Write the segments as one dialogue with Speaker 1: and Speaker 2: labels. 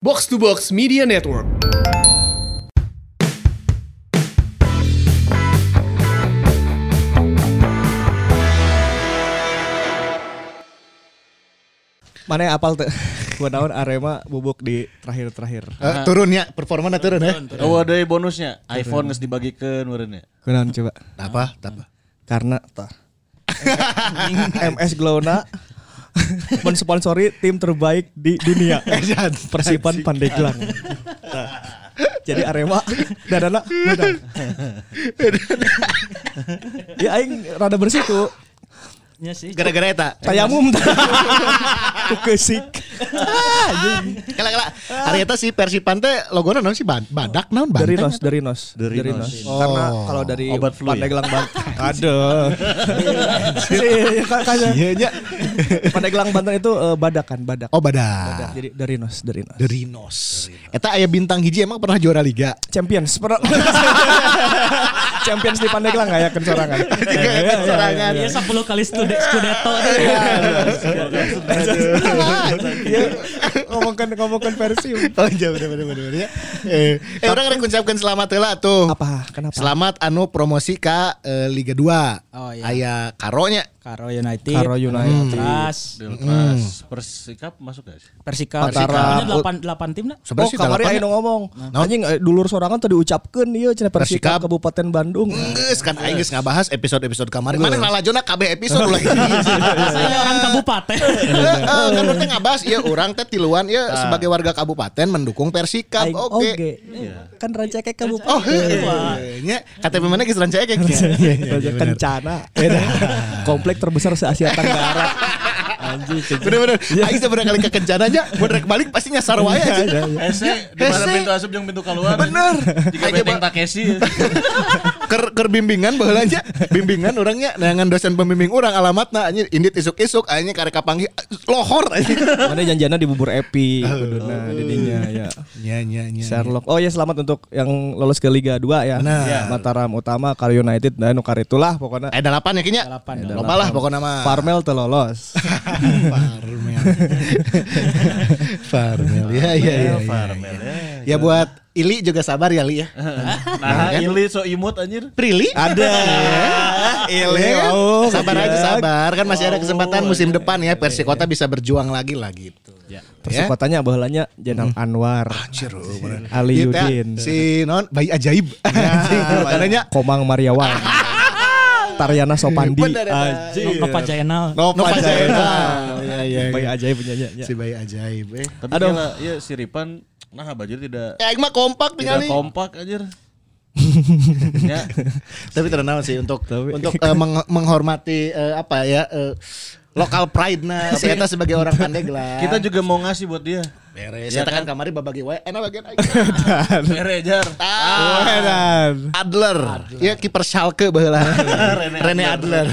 Speaker 1: Box to Box Media Network.
Speaker 2: mana yang apal tuh gua naon Arema bubuk di terakhir-terakhir
Speaker 3: Eh, turun ya, performana turun ya.
Speaker 4: Oh ada bonusnya, iPhone nges dibagikan ya? warnanya.
Speaker 2: gua naon coba
Speaker 3: Apa? Apa?
Speaker 2: karena tah MS Glowna mensponsori tim terbaik di dunia Persipan Pandeglang Tah. jadi Arema dan anak menang ya aing rada bersih tuh
Speaker 5: Iya sih.
Speaker 3: Gara-gara eta.
Speaker 2: tayamum ku kesik
Speaker 3: Kala kala hari eta si Persipan teh logona naon sih Ban- badak naon
Speaker 2: dari
Speaker 3: banteng. ya,
Speaker 2: nos dari nos
Speaker 4: Dari nos.
Speaker 3: Oh.
Speaker 2: karena kalau dari
Speaker 4: Obat flu ya?
Speaker 2: Pandeglang Banten ada
Speaker 3: Iya nya.
Speaker 2: Pandeglang Banten itu eh, badak kan badak
Speaker 3: Oh
Speaker 2: Badak.
Speaker 3: badak.
Speaker 2: jadi dari nos dari nos
Speaker 3: Dari nos. Eta aya bintang hiji emang pernah juara liga.
Speaker 2: Champions per- Champions di Pandeglang nggak ya kencorangan
Speaker 3: Serangan.
Speaker 5: Iya 10 kali studi Scudetto tuh.
Speaker 4: iya,
Speaker 2: Iya, ngomongkan ngomongkan versi
Speaker 3: Oh iya bener bener bener bener, ya. Eh, eh orang rek ngucapkeun selamat heula tuh.
Speaker 2: apa kenapa
Speaker 3: Selamat anu promosi ka eh, Liga 2.
Speaker 5: Oh, iya.
Speaker 3: Aya karonya.
Speaker 5: Karo United. Hmm.
Speaker 2: Karo United.
Speaker 5: Terus
Speaker 4: Deltras Persikap masuk gak sih?
Speaker 5: Persikap.
Speaker 2: Persikap.
Speaker 5: Persikap. 8 8 tim
Speaker 2: Oh
Speaker 5: lah.
Speaker 3: Sebenarnya sih
Speaker 2: kamari
Speaker 3: dalapannya.
Speaker 2: ayo ngomong Anjing eh, dulur sorangan tadi ucapkan Iya cina Persikap
Speaker 3: Persikap.
Speaker 2: Kabupaten Bandung
Speaker 3: Geus kan aing geus ngabahas episode-episode kemarin. Mana ngalajona KB episode ulah Iya.
Speaker 5: Saya orang kabupaten.
Speaker 3: Heeh, kan urang teh ngabahas ieu urang teh tiluan ieu
Speaker 4: Ah.
Speaker 3: sebagai warga kabupaten mendukung Persikap.
Speaker 2: Aing
Speaker 3: Oke.
Speaker 2: Kan rancaknya kabupaten
Speaker 3: Oh, heeh. Nya KTP mana geus rancake kayak
Speaker 2: Raja
Speaker 3: iya,
Speaker 2: Kencana. Komplek terbesar se Asia Tenggara. Anjing.
Speaker 3: Bener-bener, Aing sebenernya kali ke kencananya, gue rek balik pasti nyasar
Speaker 2: Iya,
Speaker 3: wae aja.
Speaker 4: Ese, di mana
Speaker 3: Ese.
Speaker 4: pintu asup yang pintu keluar?
Speaker 3: Bener.
Speaker 4: Jika
Speaker 3: Ayo,
Speaker 4: beteng
Speaker 3: Bang.
Speaker 4: Takeshi.
Speaker 3: Ker, ker bimbingan baheulanya, bimbingan orangnya, nangan dosen pembimbing orang alamatna, anjir indit isuk-isuk, akhirnya karek kapanggih, lohor aja.
Speaker 2: Mana janjiannya di bubur epi kuduna didinya
Speaker 3: Iya,
Speaker 2: ya.
Speaker 3: Nya, nya, nya.
Speaker 2: Sherlock. Oh ya selamat untuk yang lolos ke Liga 2 ya.
Speaker 3: Benar.
Speaker 2: Mataram Utama, Kali United dan Nukar itulah pokoknya.
Speaker 3: Eh, dalapan ya kayaknya.
Speaker 5: Dalapan,
Speaker 3: Loba lah pokoknya mah.
Speaker 2: Farmel teu lolos.
Speaker 3: Farmel. Farmel. Ya, ya, ya. ya.
Speaker 4: Farmel ya.
Speaker 3: Ya buat Ili juga sabar ya Li ya. kan?
Speaker 4: Nah, Ili so imut anjir.
Speaker 3: Prilly?
Speaker 2: Ada. Ile wow.
Speaker 3: Iya, ya sabar
Speaker 2: Iya.
Speaker 3: aja sabar kan masih ada kesempatan musim depan ya Persikota bisa berjuang lagi lah gitu.
Speaker 2: Terus kotanya baheulanya Jenal Anwar.
Speaker 3: Hmm. Anjir, oh, bener.
Speaker 2: Ali
Speaker 3: Iya, teh,
Speaker 2: Yudin.
Speaker 3: Si non bayi ajaib. Karena
Speaker 2: Komang Mariawan. Tariana Sopandi.
Speaker 3: Bener, ya.
Speaker 5: Nova Jainal.
Speaker 2: Nova
Speaker 3: Nova
Speaker 2: Jaena.
Speaker 3: Iya iya.
Speaker 2: Baik ajaib penyanyinya.
Speaker 3: Si bayi ajaib. Eh,
Speaker 4: Tapi
Speaker 2: Aduh.
Speaker 4: Aduh. ya si Ripan, nah bajir tidak
Speaker 3: Ya, Aing mah kompak tinggal
Speaker 4: tidak
Speaker 3: nih.
Speaker 4: kompak anjir. ya,
Speaker 3: Tapi terkenal sih untuk untuk eh, meng- menghormati eh, apa ya eh, lokal pride nah si Eta sebagai orang Pandeglang.
Speaker 4: kita juga mau ngasih buat dia.
Speaker 3: beres.
Speaker 4: Ya
Speaker 3: Eta kan
Speaker 4: kan?
Speaker 3: kamari babagi wae enak bagian aing.
Speaker 4: Mere jar.
Speaker 3: Ah. Adler. Ya kiper Schalke baheula. Rene Adler.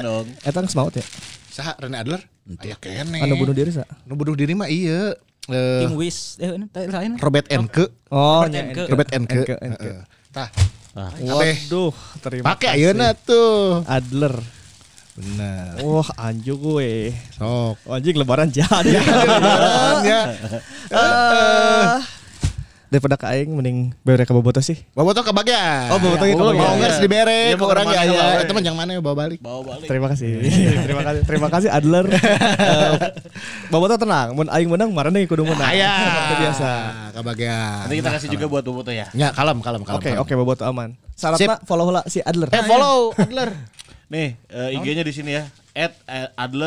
Speaker 4: Bukan dong.
Speaker 2: Eta geus maut ya.
Speaker 3: Saha Rene Adler? Aya kene.
Speaker 2: Anu bunuh diri sa.
Speaker 3: Nu bunuh diri mah iya. Eh,
Speaker 5: Tim Wis. Eh, ini, teh, lain.
Speaker 3: Robert Enke.
Speaker 2: Oh,
Speaker 5: Robert
Speaker 2: nya
Speaker 5: Enke.
Speaker 2: Enke.
Speaker 3: Robert Enke.
Speaker 2: Enke, Enke.
Speaker 3: Heeh. Tah.
Speaker 4: Tah.
Speaker 3: Kabeh.
Speaker 2: Waduh, terima
Speaker 3: Pakai ayeuna tuh.
Speaker 2: Adler.
Speaker 3: Benar.
Speaker 2: Wah, anju gue.
Speaker 3: Sok.
Speaker 2: Oh, anjing lebaran jahat.
Speaker 3: Iya.
Speaker 2: ya.
Speaker 3: Ya.
Speaker 2: Eh, Daripada ke aing mending bere ka bobotoh sih.
Speaker 3: Bobotoh kebagian.
Speaker 2: Oh, bobotoh
Speaker 3: Ya,
Speaker 2: kebagian. Iya,
Speaker 3: Mau nggak
Speaker 2: iya.
Speaker 3: dibere
Speaker 4: Iya,
Speaker 3: ke
Speaker 4: mau
Speaker 3: orang ya.
Speaker 4: kemana,
Speaker 3: ya.
Speaker 4: kemana.
Speaker 3: Itu mah yang mana ya bawa balik.
Speaker 4: Bawa balik.
Speaker 2: Terima kasih. terima kasih. Terima kasih Adler. Eh, bobotoh tenang, mun aing menang marane kudu menang.
Speaker 3: Aya.
Speaker 2: Seperti biasa.
Speaker 3: Kebagian.
Speaker 4: Nanti kita kasih juga buat Boboto ya.
Speaker 3: Ya, kalem, kalem, kalem.
Speaker 2: Oke,
Speaker 3: kalem.
Speaker 2: oke bobotoh aman. Syaratnya follow lah si Adler.
Speaker 3: Eh, follow Adler.
Speaker 4: Nih, eh, IG-nya di sini ya. At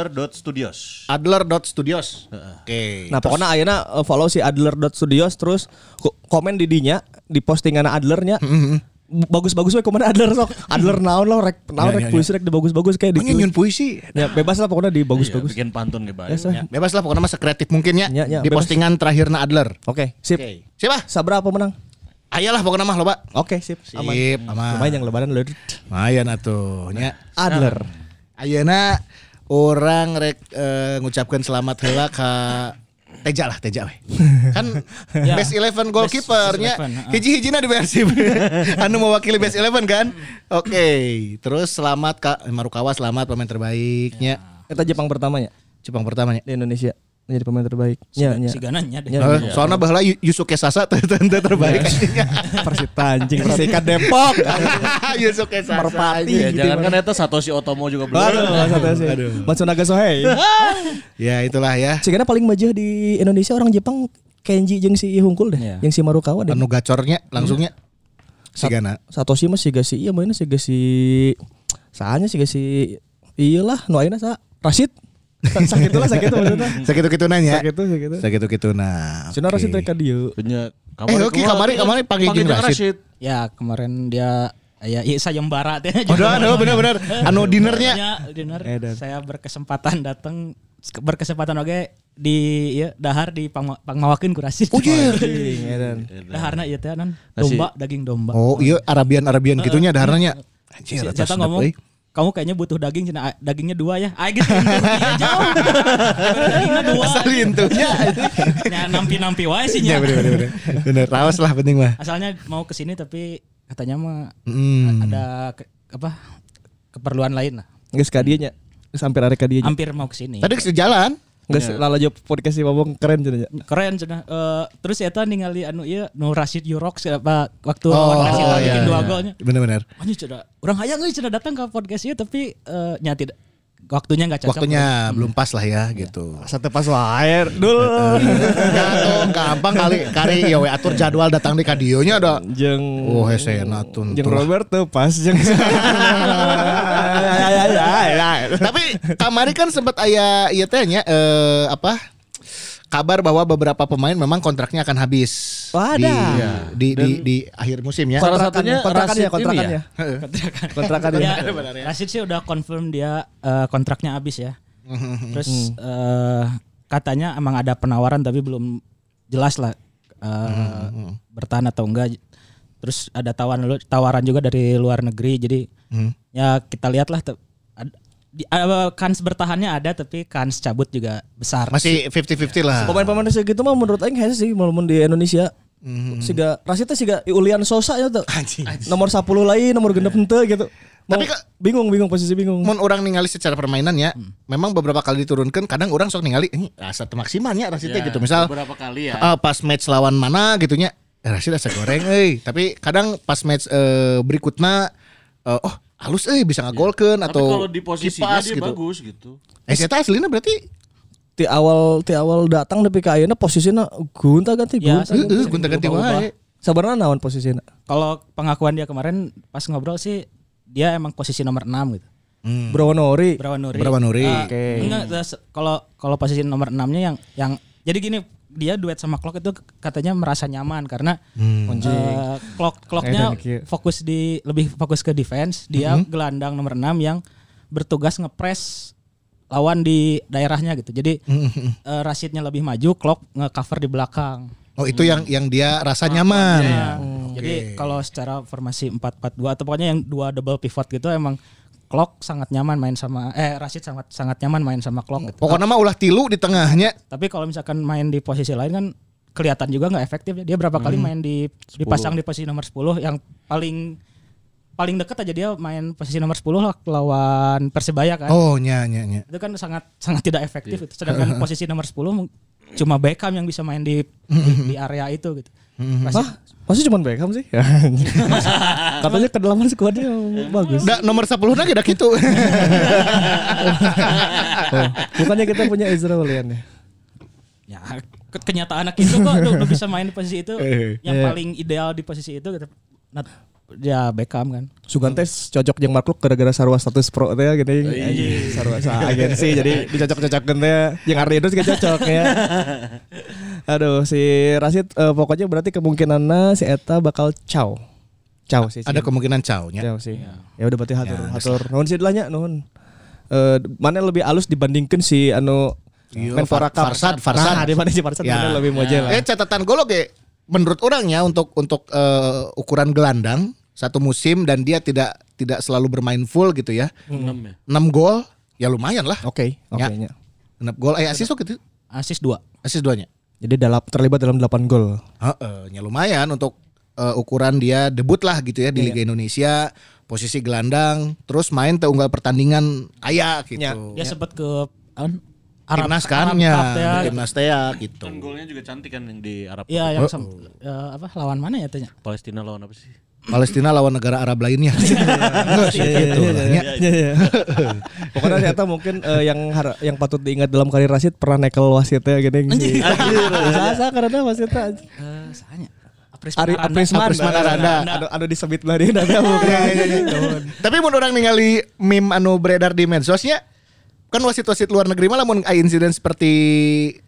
Speaker 4: adler.studios.
Speaker 3: Adler.studios. Oke.
Speaker 2: Nah, pokoknya ayeuna eh, follow si adler.studios terus ko- komen di dinya di postingan Adlernya. B- Bagus-bagus we komen Adler sok. Adler naon lo rek naon rek puisi rek di bagus-bagus kayak
Speaker 3: Pokoknya
Speaker 2: di
Speaker 3: nyun puisi.
Speaker 2: Ya bebas lah pokoknya di
Speaker 4: Iya,
Speaker 2: bagus-bagus.
Speaker 4: bikin pantun gitu.
Speaker 2: Ya, sah.
Speaker 3: Bebas lah pokoknya mah sekreatif mungkin ya.
Speaker 2: Ya, ya,
Speaker 3: Di
Speaker 2: bebas.
Speaker 3: postingan terakhirna Adler.
Speaker 2: Oke, sip.
Speaker 3: Siapa?
Speaker 2: Sabra apa menang?
Speaker 3: Ayalah pokoknya mah loba.
Speaker 2: Oke, sip. Aman.
Speaker 3: Sip, aman.
Speaker 2: Lumayan yang lebaran lur.
Speaker 3: Mayan atuh ya. nya.
Speaker 2: Adler.
Speaker 3: Ayeuna orang rek eh, ngucapkeun selamat heula ka Teja lah Teja we. Kan
Speaker 5: Ya.
Speaker 3: best 11 goalkeeper
Speaker 5: Best
Speaker 3: nya.
Speaker 5: 11, heeh.
Speaker 3: Hiji-hijina di Persib. anu mewakili best 11 kan? Oke, terus selamat Kak Marukawa selamat pemain terbaiknya.
Speaker 2: Eta Jepang pertamanya
Speaker 3: Jepang pertamanya.
Speaker 2: di Indonesia. menjadi pemain terbaik. Ya, ya.
Speaker 5: Si gananya deh.
Speaker 2: Ya.
Speaker 3: Eh, soalnya bahwa Yusuke Sasa teu- teu- teu terbaik
Speaker 2: Persita anjing, Persika Depok.
Speaker 3: Yusuke Sasa
Speaker 2: Merpati.
Speaker 4: Ya,
Speaker 2: gitu,
Speaker 4: jangan kan
Speaker 2: Bang.
Speaker 4: itu Satoshi Otomo juga
Speaker 2: Aduh,
Speaker 4: belum.
Speaker 2: satu sih. Matsunaga Sohei.
Speaker 3: ya itulah ya
Speaker 2: Cikana paling majeur di Indonesia orang Jepang Kenji jeung si Hungkul deh,
Speaker 5: Iya.
Speaker 2: yang si Marukawa deh.
Speaker 3: anu gacornya langsungnya sigana
Speaker 2: Satoshi mah siga si iya mainnya siga si saanya siga si iyalah nu ayeuna sa Rashid. Sakit lah sakit maksudnya.
Speaker 3: segitu gitu nanya
Speaker 2: Sakitu sakitu.
Speaker 3: segitu gitu nah
Speaker 2: Cina Rashid teh
Speaker 5: kan.
Speaker 2: ka dieu.
Speaker 4: Punya
Speaker 3: Eh, oke, kamari- kamari panggil Jing Rashid.
Speaker 5: Ya kemarin dia ya iya sayembara teh.
Speaker 3: Oh, aduh, aduh, bener-bener. Anu dinernya.
Speaker 5: Ya, dinner.
Speaker 2: Edan.
Speaker 5: Saya berkesempatan datang berkesempatan oke di ieu, dahar di Pangma- Pangmawakeun kurasi. iya.
Speaker 2: Anjing, edan.
Speaker 5: Daharna ieu teh non domba daging domba.
Speaker 3: Oh iya Arabian Arabian gitunya daharnya. Anjir,
Speaker 5: Si-
Speaker 3: atas
Speaker 5: Jata ngomong,
Speaker 3: euy.
Speaker 5: kamu kayaknya butuh daging, cina "Ah, dagingnya dua ya. Ayo gitu, dagingnya jauh. dagingnya dua.
Speaker 3: Asalin tuh. Ya,
Speaker 5: Ya nampi-nampi wae sih
Speaker 3: ya
Speaker 5: nya.
Speaker 3: bener bener bener. Bener, rawas lah penting mah.
Speaker 5: Asalnya mau ke sini tapi katanya mah
Speaker 3: Hmm.
Speaker 5: ada ke- apa keperluan lain lah.
Speaker 2: Geus ka dieu nya. Sampai arek ka dieu nya.
Speaker 5: Hampir mau ke sini.
Speaker 3: Tadi sejalan.
Speaker 2: Geus
Speaker 4: Iya.
Speaker 2: lalajo podcast si Babong keren cenah nya.
Speaker 5: Keren sudah. Eh, terus eta ningali anu ieu Nu Rashid Yurox apa waktu
Speaker 3: Oh,
Speaker 5: lawan Arsenal
Speaker 3: iya,
Speaker 5: bikin dua
Speaker 3: iya.
Speaker 5: golnya.
Speaker 3: Bener bener.
Speaker 5: Anjir cina, orang hayang euy cina datang ke podcast ieu tapi eh, nya tidak waktunya nggak cocok.
Speaker 3: Waktunya belum pas lah ya gitu.
Speaker 2: Iya, Satu pas wae. Dul.
Speaker 3: Jatuh gampang kali kari ya we atur jadwal datang di kadionya ada.
Speaker 2: Jeung
Speaker 3: Oh, hesena tuh.
Speaker 2: jeung
Speaker 3: tuh.
Speaker 2: Robert tuh pas jeung. Ya ya ya ya.
Speaker 3: Tapi kamari kan sempat aya ieu teh nya eh, apa? Kabar bahwa beberapa pemain memang kontraknya akan habis
Speaker 2: Wadah.
Speaker 3: di,
Speaker 2: Iya.
Speaker 3: di, di, di akhir musim ya.
Speaker 4: Salah satunya
Speaker 2: kontrakan ya
Speaker 4: Rashid ini
Speaker 2: kontrakan
Speaker 4: ya?
Speaker 2: ya. Kontrakan ya.
Speaker 5: Ya, Rashid sih udah confirm dia eh, kontraknya habis ya. Terus eh, katanya emang ada penawaran tapi belum jelas lah eh, bertahan atau enggak. Terus ada tawaran lu- tawaran juga dari luar negeri. Jadi ya kita lihatlah te- ad- di- eh, kans bertahannya ada tapi kans cabut juga besar.
Speaker 3: Masih 50-50 lah.
Speaker 2: Pemain-pemain segitu mah menurut aing hese sih walaupun di Indonesia. Siga Rashid teh siga Iulian Sosa ya tuh. Nomor 10 lain, nomor genep henteu gitu. Mau-
Speaker 3: Tapi ke-
Speaker 2: bingung bingung posisi bingung.
Speaker 3: Mun orang ningali secara permainan ya,
Speaker 4: Hmm.
Speaker 3: memang beberapa kali diturunkan, kadang orang sok ningali ini rasa teu maksimalnya Rasidnya gitu. Misal
Speaker 4: Iya, Beberapa kali ya.
Speaker 3: ah, pas match lawan mana gitunya, eh, Rasid asa goreng euy. Tapi kadang pas match eh, berikutnya eh, oh halus euy bisa ngagolkeun
Speaker 4: Iya. Tapi
Speaker 3: atau
Speaker 4: kalau di posisinya
Speaker 3: kipas
Speaker 4: dia bagus gitu.
Speaker 3: Eh saya aslinya berarti
Speaker 2: Ti awal ti awal datang tapi ka ayeuna posisina gunta ganti
Speaker 5: Ya,
Speaker 2: gunta.
Speaker 3: eh, eh, gonta ganti wae.
Speaker 2: Sabarna naon posisina?
Speaker 5: Kalau pengakuan dia kemarin pas ngobrol sih dia emang posisi nomor 6 gitu.
Speaker 2: Bro Nori.
Speaker 5: Berawan Nuri.
Speaker 3: Berawan Nuri.
Speaker 5: Eh,
Speaker 2: Ah, Oke.
Speaker 5: enggak, terus kalau kalau posisi nomor 6-nya yang yang jadi gini dia duet sama Clock itu katanya merasa nyaman karena eh, Clock Clocknya
Speaker 2: Eh, thank you.
Speaker 5: fokus di lebih fokus ke defense dia gelandang nomor 6 yang bertugas ngepres lawan di daerahnya gitu jadi eh, Rashidnya lebih maju Clock ngecover di belakang
Speaker 3: Oh itu yang
Speaker 4: Hmm.
Speaker 3: yang dia rasa nyaman.
Speaker 5: Iya. jadi kalau secara formasi 4-4-2 atau pokoknya yang dua double pivot gitu emang Clock sangat nyaman main sama eh Rashid sangat sangat nyaman main sama Clock gitu.
Speaker 3: Pokoknya mah ulah tilu di tengahnya.
Speaker 5: Tapi kalau misalkan main di posisi lain kan kelihatan juga nggak efektif. ya. Dia berapa kali main di dipasang di posisi nomor 10 yang paling paling dekat aja dia main posisi nomor 10 lah lawan Persebaya kan.
Speaker 3: Oh nya nya nya.
Speaker 5: Itu kan sangat sangat tidak efektif itu. Sedangkan posisi nomor 10 mung- cuma Beckham yang bisa main di di, di area itu gitu. Pasti-
Speaker 2: Hah? Masih cuman Beckham sih? Katanya kedalaman skuadnya oh, bagus.
Speaker 3: Da, nomor 10 na gak gitu.
Speaker 2: Oh, Bukannya kita punya Ezra Walian ya?
Speaker 5: ya ke- kenyataan anak itu kok lu, lu bisa main di posisi itu
Speaker 3: Eh,
Speaker 5: yang
Speaker 2: iya.
Speaker 5: paling ideal di posisi itu gitu. Nah, ya Beckham kan.
Speaker 2: Sugantes cocok jeung Mark Klok gara-gara sarwa status pro teh gini.
Speaker 3: Iya.
Speaker 2: Sarwa sa agensi jadi dicocok-cocokkeun teh jeung Ardindo juga cocok ya. Aduh si Rasid eh, pokoknya berarti kemungkinannya si eta bakal caw. Caw sih.
Speaker 3: Ada Iya. kemungkinan cownya.
Speaker 2: caw sih. Ya udah berarti hatur hatur. Nuhun sih delanya nuhun. Eh mana lebih alus dibandingkan si anu
Speaker 3: Iya,
Speaker 2: Menpora Cup.
Speaker 3: Farsad,
Speaker 2: Nah,
Speaker 3: Farsad.
Speaker 2: daripada si Farsad
Speaker 3: Ya.
Speaker 2: mana lebih mojel. lah.
Speaker 3: Eh catatan gol oke. Menurut orangnya untuk untuk eh, ukuran gelandang satu musim dan dia tidak tidak selalu bermain full gitu ya.
Speaker 4: 6 ya.
Speaker 3: 6 gol ya lumayan lah.
Speaker 2: Oke, oke
Speaker 3: Ya.
Speaker 2: nya.
Speaker 3: 6 gol eh asis gitu.
Speaker 5: Asis 2.
Speaker 3: Asis duanya.
Speaker 2: Jadi dalam terlibat dalam 8 gol.
Speaker 3: Heeh, ya lumayan untuk eh, ukuran dia debut lah gitu ya
Speaker 2: Iya.
Speaker 3: di Liga Indonesia, posisi gelandang, terus main teunggal pertandingan ayah gitu.
Speaker 2: Ya.
Speaker 5: Dia sempat ke an, kan, Arab-
Speaker 3: timnas
Speaker 5: Arab
Speaker 3: kan ya,
Speaker 5: Cup ya.
Speaker 3: timnas teh ya, gitu.
Speaker 4: Kan golnya juga cantik kan yang di Arab.
Speaker 5: Iya
Speaker 3: Oh.
Speaker 5: yang sem- eh, apa lawan mana ya tanya?
Speaker 4: Palestina lawan apa sih?
Speaker 3: Palestina lawan negara Arab lainnya. Enggak sih gitu. orangnya.
Speaker 2: Iya, iya. Pokoknya ternyata mungkin eh, yang har- yang patut diingat dalam karir Rasid pernah nekel wasitnya gini. sih. Sasa karena wasitnya.
Speaker 5: Eh, sanya. Apres
Speaker 2: Ari
Speaker 5: Maranda.
Speaker 2: Aprisman,
Speaker 3: Aprisman Aranda.
Speaker 2: Anu anu disebut lah dia ada
Speaker 3: Iya, iya, iya. Tapi mun orang ningali meme anu beredar di medsosnya kan wasit-wasit luar negeri malah mun aya insiden seperti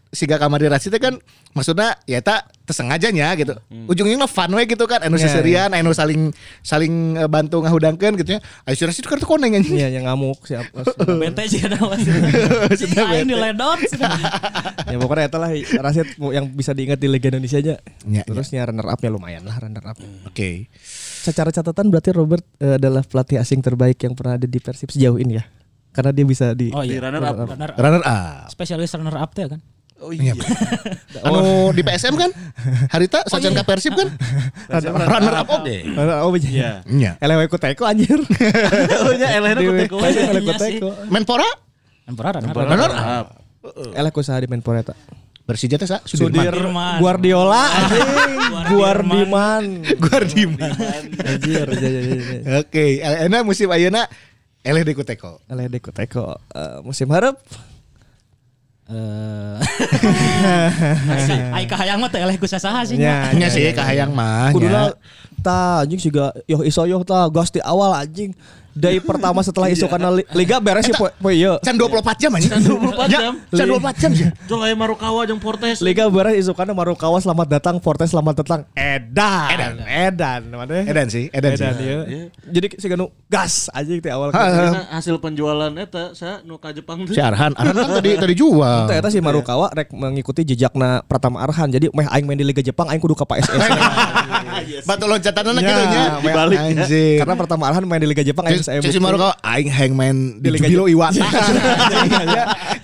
Speaker 3: siga kamari rasid teh kan maksudnya ya tak tesengajanya gitu. Ujungnya fun we gitu kan anu
Speaker 2: Iya,
Speaker 3: seserian, anu saling saling eh, bantu ngahudangkeun gitu nya. Ayo si rasid kan tuh koneng anjing.
Speaker 2: Iya, yang ngamuk siapa?
Speaker 5: Bete sih Iya, ada wasit. Si Aing diledot.
Speaker 2: ya pokoknya itu lah Rasid yang bisa diingat di Liga Indonesia aja.
Speaker 3: Iya,
Speaker 2: Terusnya runner up ya lumayan lah runner up.
Speaker 3: Oke.
Speaker 2: Secara catatan berarti Robert eh, adalah pelatih asing terbaik yang pernah ada di Persib sejauh ini ya. Karena dia bisa di
Speaker 5: Oh iya.
Speaker 4: Di runner up.
Speaker 5: Runner up.
Speaker 3: Runner up.
Speaker 5: Spesialis runner up tuh ya kan.
Speaker 4: Oh iya.
Speaker 3: Anu di PSM kan? Harita sajian ka Persib kan? Runner up oke.
Speaker 2: Oh
Speaker 4: Iya.
Speaker 2: iya.
Speaker 3: Iya.
Speaker 2: Elewe Kuteko anjir.
Speaker 4: Oh iya, Elena
Speaker 2: Di-
Speaker 4: Kuteko.
Speaker 2: Persib Elewe
Speaker 5: Iya sih.
Speaker 2: Kuteko.
Speaker 3: Menpora?
Speaker 5: Tempora runner up.
Speaker 4: Runner up.
Speaker 2: Elewe Kusaha di Menpora eta.
Speaker 3: Persija teh sa Sudirman.
Speaker 2: Sudir Guardiola anjing.
Speaker 5: Guardiman.
Speaker 2: Guardiman.
Speaker 3: Guardiman.
Speaker 2: Anjir. ya, ya, ya, ya.
Speaker 3: Oke, Elena musim ayeuna eleh di Kuteko.
Speaker 2: Elewe Kuteko eh, musim harap
Speaker 5: Eh. Ai kahayang mah teh eleh ku sasaha sih.
Speaker 2: Ya,
Speaker 3: Hanya sih kahayang mah. iya.
Speaker 2: Kuduna
Speaker 3: nya.
Speaker 2: ta anjing juga yoh iso yoh ta gas di awal anjing. Dari pertama setelah iso kana li- liga beres ya poe poe ieu.
Speaker 3: Can 24 jam Ya, aja. Can
Speaker 4: 24 jam.
Speaker 3: Can 24 jam ya.
Speaker 4: Jolai Marukawa jeung Portes.
Speaker 2: Liga beres iso kana Marukawa selamat datang, Fortes selamat datang. Edan.
Speaker 3: Edan. eh,
Speaker 2: Edan. Mana?
Speaker 3: Edan sih, edan sih.
Speaker 2: Edan iya. ieu. Jadi si Ganu gas anjing di awal.
Speaker 3: Ha, ha.
Speaker 4: Karena kan hasil penjualan eta sa nu ka Jepang
Speaker 3: Si
Speaker 4: teh.
Speaker 3: Arhan, Arhan kan tadi tadi jual.
Speaker 2: Ternyata si Marukawa rek mengikuti jejakna Pratama Arhan. Jadi meh aing main di Liga Jepang aing kudu ka PSS.
Speaker 3: Ah, iya Batu loncatan anak
Speaker 2: Ya,
Speaker 3: gitu nya.
Speaker 2: dibalik.
Speaker 3: Anjing.
Speaker 2: Karena Pratama Arhan main di Liga Jepang aing
Speaker 3: Cek si Marukawa aing hangman di Jubilo Iwata.
Speaker 2: Iya,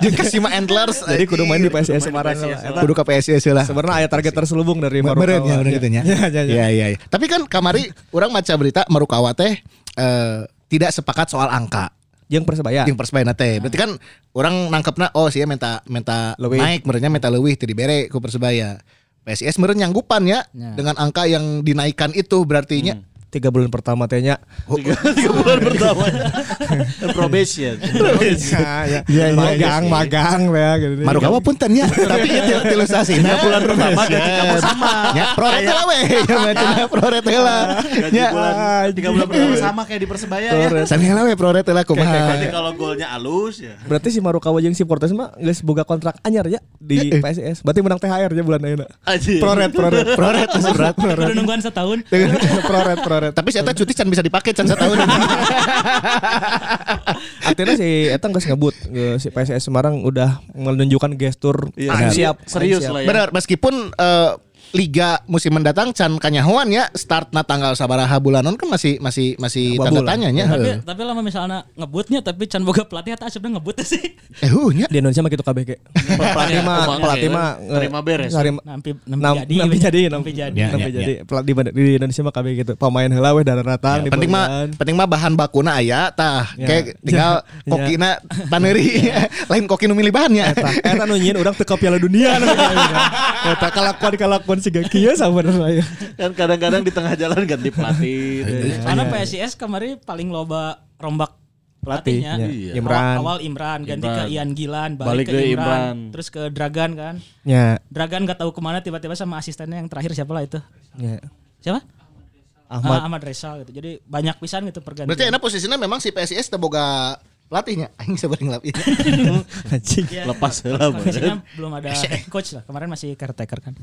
Speaker 3: Jeung Kasima Antlers.
Speaker 2: Jadi kudu main di PSS
Speaker 4: Kudu main
Speaker 2: Semarang
Speaker 4: di
Speaker 2: lah.
Speaker 4: PSS
Speaker 2: Eta
Speaker 3: kudu ke PSIS lah.
Speaker 2: Sebenarnya ayat target terselubung dari Marukawa.
Speaker 3: Meren ya orang gitu nya.
Speaker 2: Iya, iya, iya.
Speaker 3: Iya iya iya. Tapi kan kamari orang maca berita Marukawa teh eh, tidak sepakat soal angka.
Speaker 2: Yang Persebaya.
Speaker 3: Yang Persebaya teh. Berarti kan orang nangkepna oh sih minta minta
Speaker 2: Leuwih.
Speaker 3: naik merenya minta leuwih teu dibere ku Persebaya. PSIS meren nyanggupan ya
Speaker 5: Ya.
Speaker 3: dengan angka yang dinaikkan itu berartinya.
Speaker 2: Tiga bulan pertama tehnya.
Speaker 4: Tiga, tiga bulan pertama. Probation.
Speaker 2: Iya, iya. Magang, magang ya gitu.
Speaker 3: Marukawa pun tanya, tapi itu ilustrasi. Nah, bulan pertama gaji kamu sama. Ya, pro retela we. Ya, macamnya pro retela.
Speaker 4: Gaji
Speaker 2: Iya.
Speaker 3: Ya,
Speaker 4: bulan tiga bulan pertama sama kayak di Persebaya ya.
Speaker 3: samela we pro retela kumaha.
Speaker 4: Berarti kalau golnya halus ya.
Speaker 2: Berarti si Marukawa jeung si Portes mah geus boga kontrak anyar ya di PSIS. Berarti menang THR nya ya bulan ayeuna.
Speaker 4: Anjir.
Speaker 2: Proret, proret, proret, proret,
Speaker 5: Udah nungguan setahun.
Speaker 2: proret, proret. Oh,
Speaker 3: Tapi saya cuti can bisa dipakai can setahun.
Speaker 2: Artinya si Etang geus ngebut Ge- si PSIS Semarang udah menunjukkan gestur
Speaker 4: Iya,
Speaker 2: "Aing siap, aing
Speaker 4: serius
Speaker 2: siap."
Speaker 4: lah ya.
Speaker 3: Benar, meskipun eh, liga musim mendatang can kanyahoan ya start na tanggal sabaraha bulanon kan masih masih masih
Speaker 2: Dua
Speaker 3: tanda
Speaker 2: bulan.
Speaker 3: tanya nya.
Speaker 5: Tapi tapi lama misalnya ngebutnya tapi can boga pelatih eta asupna ngebut sih.
Speaker 3: Eh, huh, nya.
Speaker 2: Di Indonesia mah gitu kabeh ge. Pelatih mah
Speaker 4: Uangnya,
Speaker 2: pelatih
Speaker 4: ya.
Speaker 2: mah nge-
Speaker 4: Terima beres.
Speaker 2: sarim-
Speaker 5: Nampi
Speaker 2: Nam,
Speaker 5: nampi jadi.
Speaker 2: jadi, nampi jadi,
Speaker 5: nampi jadi.
Speaker 3: Ya,
Speaker 2: nampi
Speaker 3: ya,
Speaker 2: jadi. Pelat di, di Indonesia mah kabeh gitu. Pemain heula weh darah datang di
Speaker 3: penting mah
Speaker 2: Bogoran.
Speaker 3: penting mah bahan bakuna aya tah
Speaker 2: kan. Ya.
Speaker 3: kayak tinggal
Speaker 2: Ya.
Speaker 3: kokina paneuri lain koki nu milih ya. bahannya
Speaker 2: Eta, eta nu nyieun anu urang teu ka Piala Dunia. nah, kayaknya. Eta kalakuan-kalakuan siga kieu sabenerna. ya.
Speaker 4: Kan kadang-kadang di tengah jalan ganti pelatih. gitu ya.
Speaker 5: Karena PSIS kemarin paling loba rombak pelatihnya.
Speaker 2: Iya.
Speaker 5: Awal-
Speaker 2: Imran.
Speaker 5: Awal, Imran ganti ke
Speaker 4: Imran.
Speaker 5: Ian Gilan,
Speaker 4: Balik
Speaker 5: balik, ke,
Speaker 4: ke
Speaker 5: Imran,
Speaker 4: Imran.
Speaker 5: terus ke Dragan kan.
Speaker 2: Ya,
Speaker 5: Dragan gak tahu kemana tiba-tiba sama asistennya yang terakhir siapa lah itu.
Speaker 2: ya.
Speaker 5: Siapa?
Speaker 2: Ahmad.
Speaker 5: Ah, Ahmad Reza gitu. Jadi banyak pisan gitu pergantian.
Speaker 3: Berarti enak posisinya memang si PSIS teu boga pelatihnya. Aing sabar ngelapin.
Speaker 5: ah.
Speaker 2: Anjing.
Speaker 4: Lepas lah.
Speaker 5: Kondisinya belum ada head coach lah. Kemarin masih caretaker kan.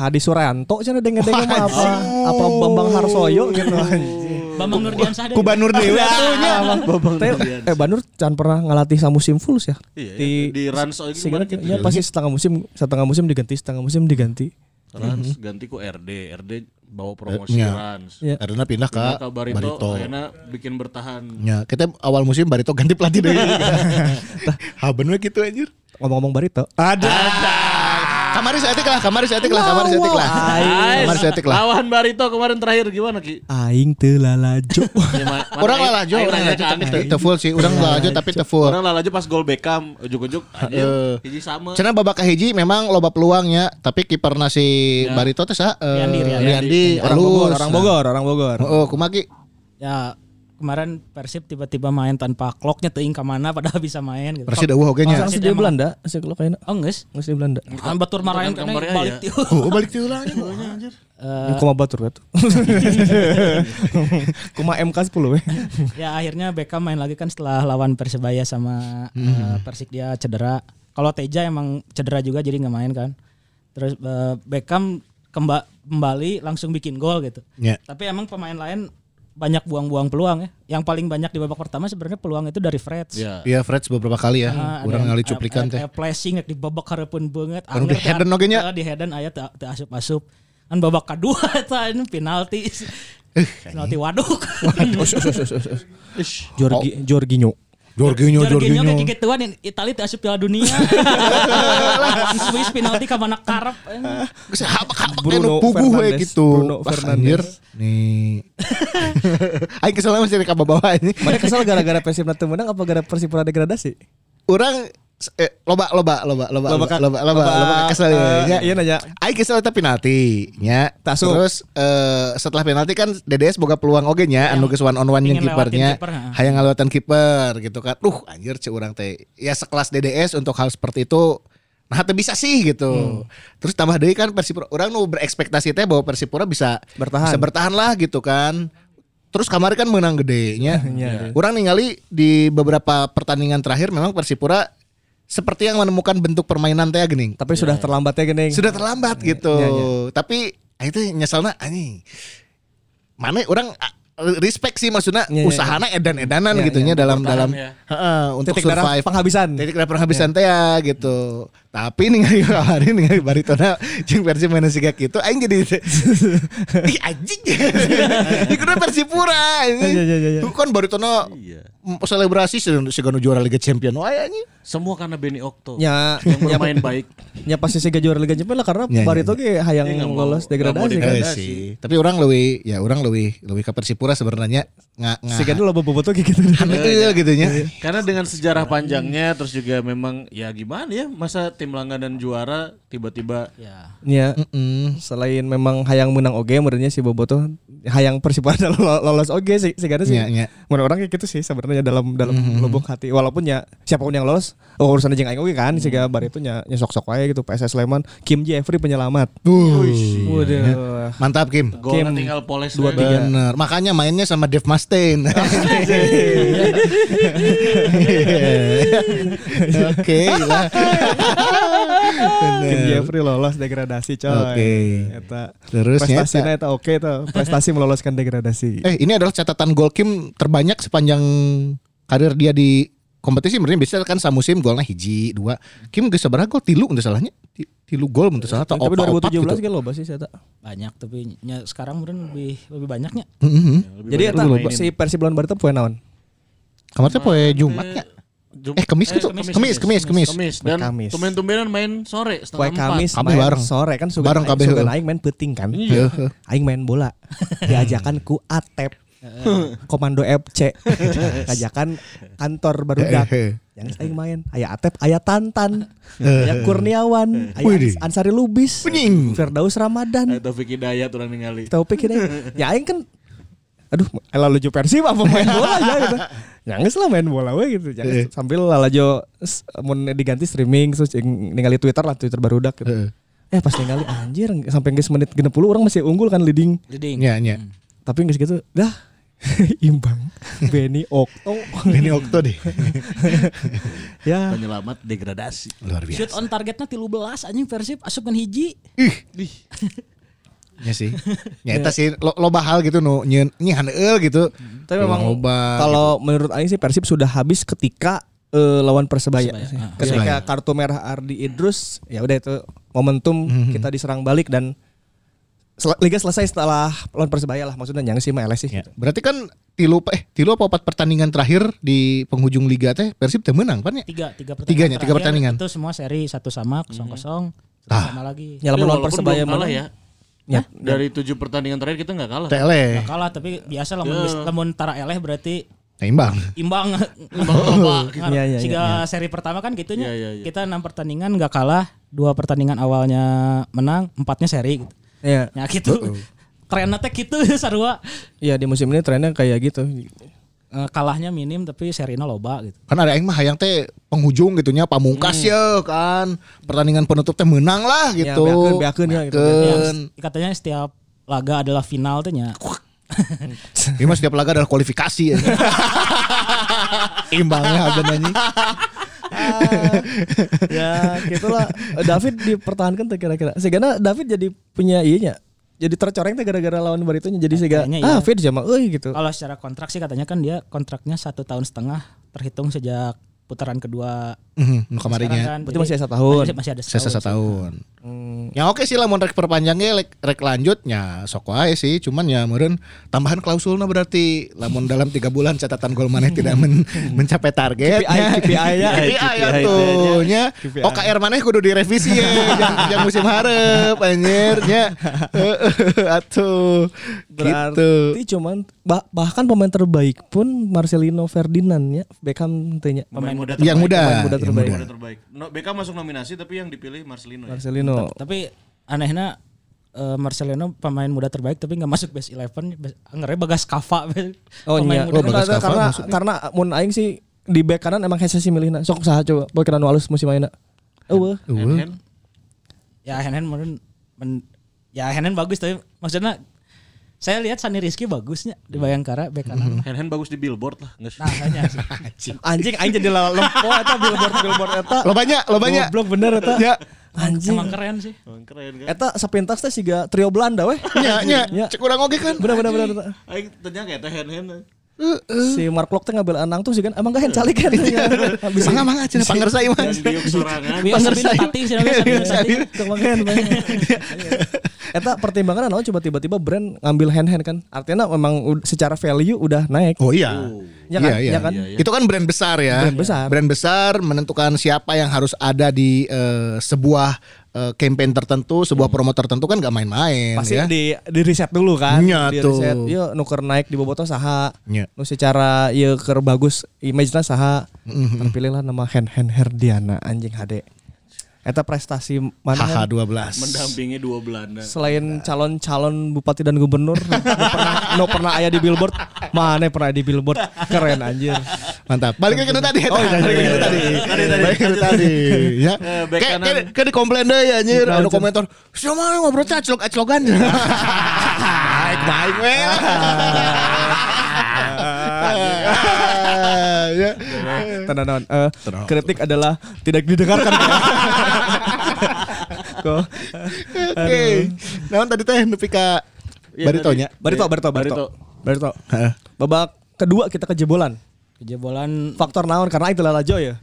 Speaker 2: Hadi Suryanto cenah dengeng-dengeng mah apa apa Bambang Harsoyo gitu anjing.
Speaker 5: Bambang Nurdiansyah deh.
Speaker 3: Kubanur Dewa atunya.
Speaker 2: Teh, eh Banur can pernah ngalatih samusim full ya.
Speaker 4: Iya, di Rans oh, gimana
Speaker 2: sehingga
Speaker 4: gitu.
Speaker 2: ya pasti setengah musim setengah musim diganti setengah musim diganti.
Speaker 4: Rans ganti ku RD, RD bawa promosi
Speaker 3: Iya.
Speaker 4: Rans.
Speaker 2: Iya.
Speaker 3: Karena pindah ke
Speaker 4: Nah, Barito,
Speaker 3: Barito.
Speaker 4: akhirnya bikin bertahan.
Speaker 3: Ya, kita awal musim Barito ganti pelatih deh. Haben we gitu anjir.
Speaker 2: Ngomong-ngomong Barito. Ada.
Speaker 3: Kamari saya etik lah, kamari saya etik lah, kamari saya etik lah. Kamari saya etik lah.
Speaker 6: Lawan Barito kemarin terakhir gimana Ki?
Speaker 2: Aing teu lalajo.
Speaker 6: Iya.
Speaker 3: Iya, Orang lah lajo, orang
Speaker 6: orang
Speaker 3: lajo tapi teu full sih, orang lajo tapi teu full.
Speaker 6: Orang lalajo pas gol Beckham ujuk-ujuk
Speaker 3: Eh, Heeh.
Speaker 6: anjir hiji sama.
Speaker 3: Cenah babak kahiji memang loba peluangnya, tapi kiperna si Barito teh sa eh,
Speaker 5: Riandi, Riandi.
Speaker 3: Riandi
Speaker 2: Ya. Orang Bogor,
Speaker 3: alus.
Speaker 2: orang Bogor, orang Bogor.
Speaker 3: Heeh, Oh, kumaki.
Speaker 5: Ya kemarin Persib tiba-tiba main tanpa clocknya teuing ka mana padahal bisa main gitu.
Speaker 3: Persida eueuh oge nya.
Speaker 2: Orang di Belanda, sih kalau kayaknya.
Speaker 5: Oh geus.
Speaker 2: Nggak di Belanda.
Speaker 5: Kan batur marahin kan
Speaker 6: gambarnya
Speaker 5: balik
Speaker 6: ya.
Speaker 5: tiup.
Speaker 3: Oh, balik tieu lah anjing.
Speaker 5: Eh,
Speaker 2: Kuma batur kan. Kuma MK 10 we.
Speaker 5: ya akhirnya Beckham main lagi kan setelah lawan Persebaya sama eh, Persik dia cedera. Kalau Teja emang cedera juga jadi nggak main kan. Terus eh, Beckham kemba- kembali langsung bikin gol gitu.
Speaker 3: Ya.
Speaker 5: Tapi emang pemain lain banyak buang-buang peluang ya. Yang paling banyak di babak pertama sebenarnya peluang itu dari Freds.
Speaker 2: Ya.
Speaker 6: Iya.
Speaker 3: Iya, Freds beberapa kali ya.
Speaker 5: Ah, ada
Speaker 3: Orang
Speaker 5: yang-
Speaker 3: ngali cuplikan
Speaker 5: ada-
Speaker 3: teh.
Speaker 5: ada Flashing rek di babak hareupeun banget.
Speaker 3: Orang di headen oge nya.
Speaker 5: Di headen eh, aya teu teu asup-asup. Kan babak kedua eta ini penalti.
Speaker 3: Eh.
Speaker 5: penalti waduk.
Speaker 2: Jorgi Jorginho.
Speaker 3: Jorginho,
Speaker 5: Jorginho ke kegituan Itali teu asup Piala Dunia. Swiss penalti ka mana karep. eh.
Speaker 3: Habak-habak
Speaker 2: Bruno
Speaker 3: anu puguh we
Speaker 2: Fernandes,
Speaker 3: gitu.
Speaker 2: Bruno
Speaker 3: Wah,
Speaker 2: Fernandes.
Speaker 3: anjir. Nih. Aing kesalnya masih rek bawa ini.
Speaker 2: Mana kesel gara-gara Persib nanti menang apa gara Persipura degradasi?
Speaker 3: Orang eh, loba loba loba loba loba
Speaker 2: ka-
Speaker 3: loba loba, loba kesel
Speaker 2: eh,
Speaker 3: ya.
Speaker 2: Iya nanya.
Speaker 3: Aing kesel tapi penalti nya.
Speaker 2: Tasup.
Speaker 3: Terus eh, setelah penalti kan DDS boga peluang oge nya
Speaker 2: Iya.
Speaker 3: anu geus one on one yang
Speaker 5: pingin lewatin
Speaker 3: kipernya.
Speaker 5: kiper, ha.
Speaker 3: Hayang ngalewatan kiper gitu kan. Duh anjir ceu urang teh. Ya sekelas DDS untuk hal seperti itu Nah, teu bisa sih
Speaker 2: Hmm.
Speaker 3: gitu. Terus tambah deui kan Persipura orang nu berekspektasi teh bahwa Persipura bisa
Speaker 2: Bertahan.
Speaker 3: bisa bertahan lah gitu kan. Terus kemarin kan menang gedenya.
Speaker 2: Iya.
Speaker 3: Orang ningali di beberapa pertandingan terakhir memang Persipura seperti yang menemukan bentuk permainan teh gening
Speaker 2: Tapi sudah terlambat ya gini.
Speaker 3: sudah terlambat gitu.
Speaker 2: Iya, iya.
Speaker 3: Tapi ah, itu nyeselna anjing. Mana orang ah, respect sih maksudnya
Speaker 2: Iya, iya,
Speaker 3: usahana edan-edanan
Speaker 2: Iya,
Speaker 3: gitunya
Speaker 2: iya,
Speaker 3: dalam dalam
Speaker 6: ya.
Speaker 3: Heeh, untuk
Speaker 2: titik darah
Speaker 3: survive.
Speaker 2: penghabisan. Iya.
Speaker 3: Titik darah penghabisan teh ya gitu. Tapi nih nggak kabarin nggak baritona jeung versi mana siga gitu aing jadi ih anjing. Ieu kudu Persipura ini.
Speaker 2: Iya, iya, iya, iya.
Speaker 3: Tuh kan baritona m- selebrasi siga nu juara Liga Champion wae anjing.
Speaker 6: Semua karena Benny Okto.
Speaker 3: Iya.
Speaker 2: Ya,
Speaker 6: Yang
Speaker 2: ya,
Speaker 6: bermain baik.
Speaker 2: ya pasti sih juara Liga Champions lah karena
Speaker 3: Ya, ya,
Speaker 2: Barito ge hayang
Speaker 6: Dia Iya, nggak mau-
Speaker 2: lolos
Speaker 6: nggak mau
Speaker 2: degradasi kan.
Speaker 3: Eh, sih. Tapi orang lebih ya orang lebih lebih ke Persipura sebenarnya nggak nggak
Speaker 2: Siga dulu bobo tuh gitu.
Speaker 3: Iya gitu nya.
Speaker 6: Karena dengan sejarah panjangnya terus juga memang ya gimana ya masa tim langganan juara tiba-tiba
Speaker 5: Ya.
Speaker 2: Ya, selain memang hayang menang oge menurutnya si Bobotoh hayang Persipura dan lo- lolos oge sih sih sih.
Speaker 3: Iya, iya.
Speaker 2: Menurut orang kayak gitu sih sebenarnya dalam dalam
Speaker 3: Mm-hmm.
Speaker 2: lubuk hati walaupun ya siapapun yang lolos oh, urusan jeung aing oge kan
Speaker 3: Mm-hmm.
Speaker 2: sih Barito nya nya sok-sok wae gitu PSS Sleman Kim Jeffrey penyelamat. Waduh.
Speaker 3: Mantap Kim.
Speaker 6: golnya tinggal poles ya.
Speaker 2: dua
Speaker 6: aja.
Speaker 2: tiga.
Speaker 3: Bener. Makanya mainnya sama Dave Mustaine. Ya. Oke. lah.
Speaker 2: Kim Jeffrey lolos degradasi coy.
Speaker 3: Oke.
Speaker 2: Eta
Speaker 3: Terus
Speaker 2: prestasinya eta
Speaker 3: nyata.
Speaker 2: oke tuh. Prestasi meloloskan degradasi.
Speaker 3: Eh ini adalah catatan gol Kim terbanyak sepanjang karir dia di kompetisi mending bisa kan samusim golnya hiji dua Kim geus sabar gol tilu untuk salahnya Ti- tilu gol untuk salah atau
Speaker 2: Tapi
Speaker 3: opat
Speaker 2: 2017
Speaker 3: opat gitu
Speaker 2: kan loba sih si eta.
Speaker 5: Banyak tapi nya sekarang mungkin lebih lebih banyaknya.
Speaker 3: Mhm.
Speaker 2: Jadi eta si Persib lawan Barito poe naon?
Speaker 3: kamar teh poe Jumatnya
Speaker 6: Jum-
Speaker 3: eh kemis gitu kemis kemis kemis
Speaker 6: Kamis dan
Speaker 2: Kamis.
Speaker 6: tumben-tumbenan main sore
Speaker 2: Poe
Speaker 6: setengah
Speaker 2: Kamis
Speaker 3: Kami
Speaker 2: main
Speaker 3: bareng.
Speaker 2: sore kan sugan
Speaker 3: Bareng
Speaker 2: aing,
Speaker 3: kabeh,
Speaker 2: sugan
Speaker 3: heeh.
Speaker 2: aing main peuting kan.
Speaker 3: Iya.
Speaker 2: Aing main bola. Diajakan ku Atep. Komando FC. Ajakan kantor barudak.
Speaker 3: Hehe.
Speaker 2: Yang aing main aya Atep, aya Tantan, aya Kurniawan, aya
Speaker 3: Eh. Widih.
Speaker 2: Ansari Lubis,
Speaker 3: Pening.
Speaker 2: Firdaus Ramadan.
Speaker 6: atau Vicky Dayat orang ningali.
Speaker 2: Taufik ini. Ya aing kan aduh elah lucu persib apa main bola ya gitu. Jangan lah main bola we gitu. Jangan sambil lalajo s- mun diganti streaming terus jeung ningali Twitter lah Twitter barudak gitu.
Speaker 3: Heeh.
Speaker 2: Eh pas ningali anjir sampai geus menit 60 orang masih unggul kan leading.
Speaker 5: Jadi
Speaker 3: Nya nya.
Speaker 2: Tapi geus gitu dah imbang Benny Okto
Speaker 3: Ini Okto deh.
Speaker 2: ya
Speaker 6: Penyelamat degradasi.
Speaker 3: Luar biasa.
Speaker 5: shoot on targetnya 13 anjing Persib asup kan hiji.
Speaker 3: Ya sih. Nyata sih lo, loba hal gitu nu nyeun nyi haneueul gitu.
Speaker 2: tapi memang
Speaker 3: loba.
Speaker 2: kalau menurut aing sih Persib sudah habis ketika eh, lawan Persebaya. Ketika
Speaker 3: Persebaya.
Speaker 2: kartu merah Ardi Idrus ya udah itu momentum kita diserang balik dan sel- liga selesai setelah lawan Persebaya lah maksudnya yang sih mah LS sih.
Speaker 3: Ya. Berarti kan tilu eh tilu apa empat pertandingan terakhir di penghujung liga teh Persib teh menang pan ya?
Speaker 5: Tiga, tiga pertandingan.
Speaker 3: Tiganya, tiga
Speaker 5: terakhir
Speaker 3: pertandingan.
Speaker 5: Itu semua seri satu sama kosong kosong. Terus sama lagi.
Speaker 2: Nyala
Speaker 6: Tapi
Speaker 2: melawan
Speaker 6: walaupun
Speaker 2: Persebaya
Speaker 6: belum kalah
Speaker 2: menang.
Speaker 6: ya.
Speaker 2: Ya.
Speaker 6: Dari tujuh pertandingan terakhir kita nggak kalah.
Speaker 3: Tele,
Speaker 5: Nggak kalah tapi
Speaker 6: Iya.
Speaker 5: biasa lamun lamun tara eleh berarti
Speaker 3: Nah, imbang.
Speaker 5: imbang.
Speaker 2: Iya, iya,
Speaker 5: Siga seri pertama kan gitunya.
Speaker 6: Iya, iya, iya.
Speaker 5: Kita enam pertandingan nggak kalah, dua pertandingan awalnya menang, empatnya seri gitu.
Speaker 2: Iya.
Speaker 5: Ya gitu. Kerennya teh gitu sarua.
Speaker 2: Iya di musim ini trennya kayak gitu.
Speaker 5: Eh, kalahnya minim tapi serina loba gitu.
Speaker 3: Kan ada yang mah hayang teh penghujung gitunya pamungkas ya kan. Pertandingan penutup teh menang lah
Speaker 2: Hmm. Ya,
Speaker 3: gitu.
Speaker 2: beakeun, beakeun ya, gitu.
Speaker 3: Beakeun.
Speaker 5: Katanya setiap laga adalah final tuh nya.
Speaker 3: Ini mah setiap laga adalah kualifikasi ya. Imbangnya ada nanya.
Speaker 2: ya gitulah. David dipertahankan tuh kira-kira. Segana David jadi punya nya Jadi tercoreng tuh gara-gara lawan baritunya jadi sega
Speaker 5: Kayaknya iya. Oh.
Speaker 2: ah Fit sama euy gitu.
Speaker 5: Kalau secara kontrak sih katanya kan dia kontraknya satu tahun setengah terhitung sejak putaran kedua.
Speaker 3: Mhm, nu kamarinya.
Speaker 5: Sekarang kan,
Speaker 2: ya. Berarti
Speaker 5: jadi
Speaker 2: masih ada satu tahun.
Speaker 5: Masih, masih ada
Speaker 3: Saya
Speaker 5: setahun.
Speaker 3: satu tahun.
Speaker 2: Hmm.
Speaker 3: Ya oke sih lah mau rek perpanjangnya rek, rek lanjutnya sok wae sih cuman ya meureun tambahan klausulna berarti lamun dalam tiga bulan catatan gol maneh tidak men- mencapai
Speaker 2: KPI
Speaker 3: target
Speaker 2: KPI-nya.
Speaker 3: KPI ya tuh nya OKR maneh kudu direvisi ya jangan jangan musim hareup anjir nya Heeh, atuh gitu
Speaker 2: Berarti cuman bah- bahkan pemain terbaik pun Marcelino Ferdinand ya Beckham tanya
Speaker 6: Pemain muda terbaik.
Speaker 3: yang
Speaker 2: pemain
Speaker 3: muda Iya.
Speaker 2: muda
Speaker 3: yang
Speaker 2: terbaik.
Speaker 3: muda.
Speaker 6: Muda terbaik. No, BK masuk nominasi tapi yang dipilih Marcelino. ya?
Speaker 2: Marcelino.
Speaker 5: Tapi anehnya eh, Marcelino pemain muda terbaik tapi nggak masuk best eleven. Anggernya bagas kava.
Speaker 2: Oh
Speaker 5: pemain
Speaker 2: iya,
Speaker 5: muda
Speaker 2: oh,
Speaker 5: terbaik.
Speaker 2: karena karena, karena mun aing sih di back kanan emang hese sih milihna. Sok saha coba bae kana nu alus musim ayeuna. Eueuh.
Speaker 6: Hand-hand.
Speaker 5: Ya Henen meren- men, ya Henen bagus tapi maksudnya saya lihat Sani Rizky bagusnya
Speaker 2: Hmm.
Speaker 5: di Bayangkara bek kanan.
Speaker 6: Hand-hand bagus di billboard lah. Nggak sih.
Speaker 5: Nah, kayaknya sih.
Speaker 2: Anjing aing jadi lempo eta billboard billboard eta.
Speaker 3: lo banyak lo banyak
Speaker 2: Goblok bener eta.
Speaker 3: ya
Speaker 2: Anjing.
Speaker 5: Emang keren sih.
Speaker 6: Emang Keren kan.
Speaker 2: Eta sapintas teh siga trio Belanda weh.
Speaker 3: nya nya
Speaker 2: Ya.
Speaker 3: cek kurang oge kan
Speaker 2: Bener bener bener. eta.
Speaker 6: Aing tanya kayak teh hand-hand.
Speaker 2: Si Mark Lok teh ngambil anang tuh sih kan emang gak calik
Speaker 3: Iya.
Speaker 2: kan.
Speaker 3: bisa nggak mah cina pangersa
Speaker 6: Dan
Speaker 3: iman
Speaker 6: diuk sorangan.
Speaker 5: Biar sambil tating sih namanya sambil tating.
Speaker 2: Kemakan Eta pertimbangan naon coba tiba-tiba brand ngambil hand-hand kan. Artinya memang ud- secara value udah naik.
Speaker 3: Oh iya.
Speaker 2: Iya kan? Iya kan?
Speaker 3: Itu kan brand besar ya.
Speaker 2: Brand besar.
Speaker 3: Brand besar menentukan siapa yang harus ada di eh, sebuah eh, campaign tertentu, sebuah promo tertentu kan gak main-main
Speaker 2: Hmm. Pasti
Speaker 3: ya.
Speaker 2: di di riset dulu kan.
Speaker 3: Iya
Speaker 2: di
Speaker 3: tuh.
Speaker 2: riset, yuk nuker naik di bobotoh saha.
Speaker 3: Iya.
Speaker 2: Nu secara ieu keur bagus image-na saha.
Speaker 3: Mm-hmm.
Speaker 2: Terpilihlah nama Hand Hand Herdiana anjing HD. Eta prestasi mana?
Speaker 3: HH
Speaker 2: kan?
Speaker 3: 12.
Speaker 6: Mendampingi dua Belanda.
Speaker 2: Selain calon-calon bupati dan gubernur, no pernah, no pernah aya di billboard, mana pernah di billboard, keren anjir.
Speaker 3: Mantap. Balik ke itu tadi. Oh,
Speaker 2: iya,
Speaker 3: balik ke itu tadi. Balik ke itu tadi. Ya.
Speaker 6: Eh, back
Speaker 3: Kayak-
Speaker 6: kanan.
Speaker 3: Kayak kayak dikomplain deh ya anjir. Ada komentar, "Siapa yang ngobrol aclok-aclokan?" Baik, baik weh. Ya.
Speaker 2: Tanda naon. Eh, kritik adalah tidak didengarkan. Kok.
Speaker 3: Oke. Nah, tadi teh nepi ka baritonya.
Speaker 2: Barito, Barito, Barito. Barito. Babak kedua kita kejebolan.
Speaker 5: Kejebolan
Speaker 2: Faktor naon karena itu lala Joy ya.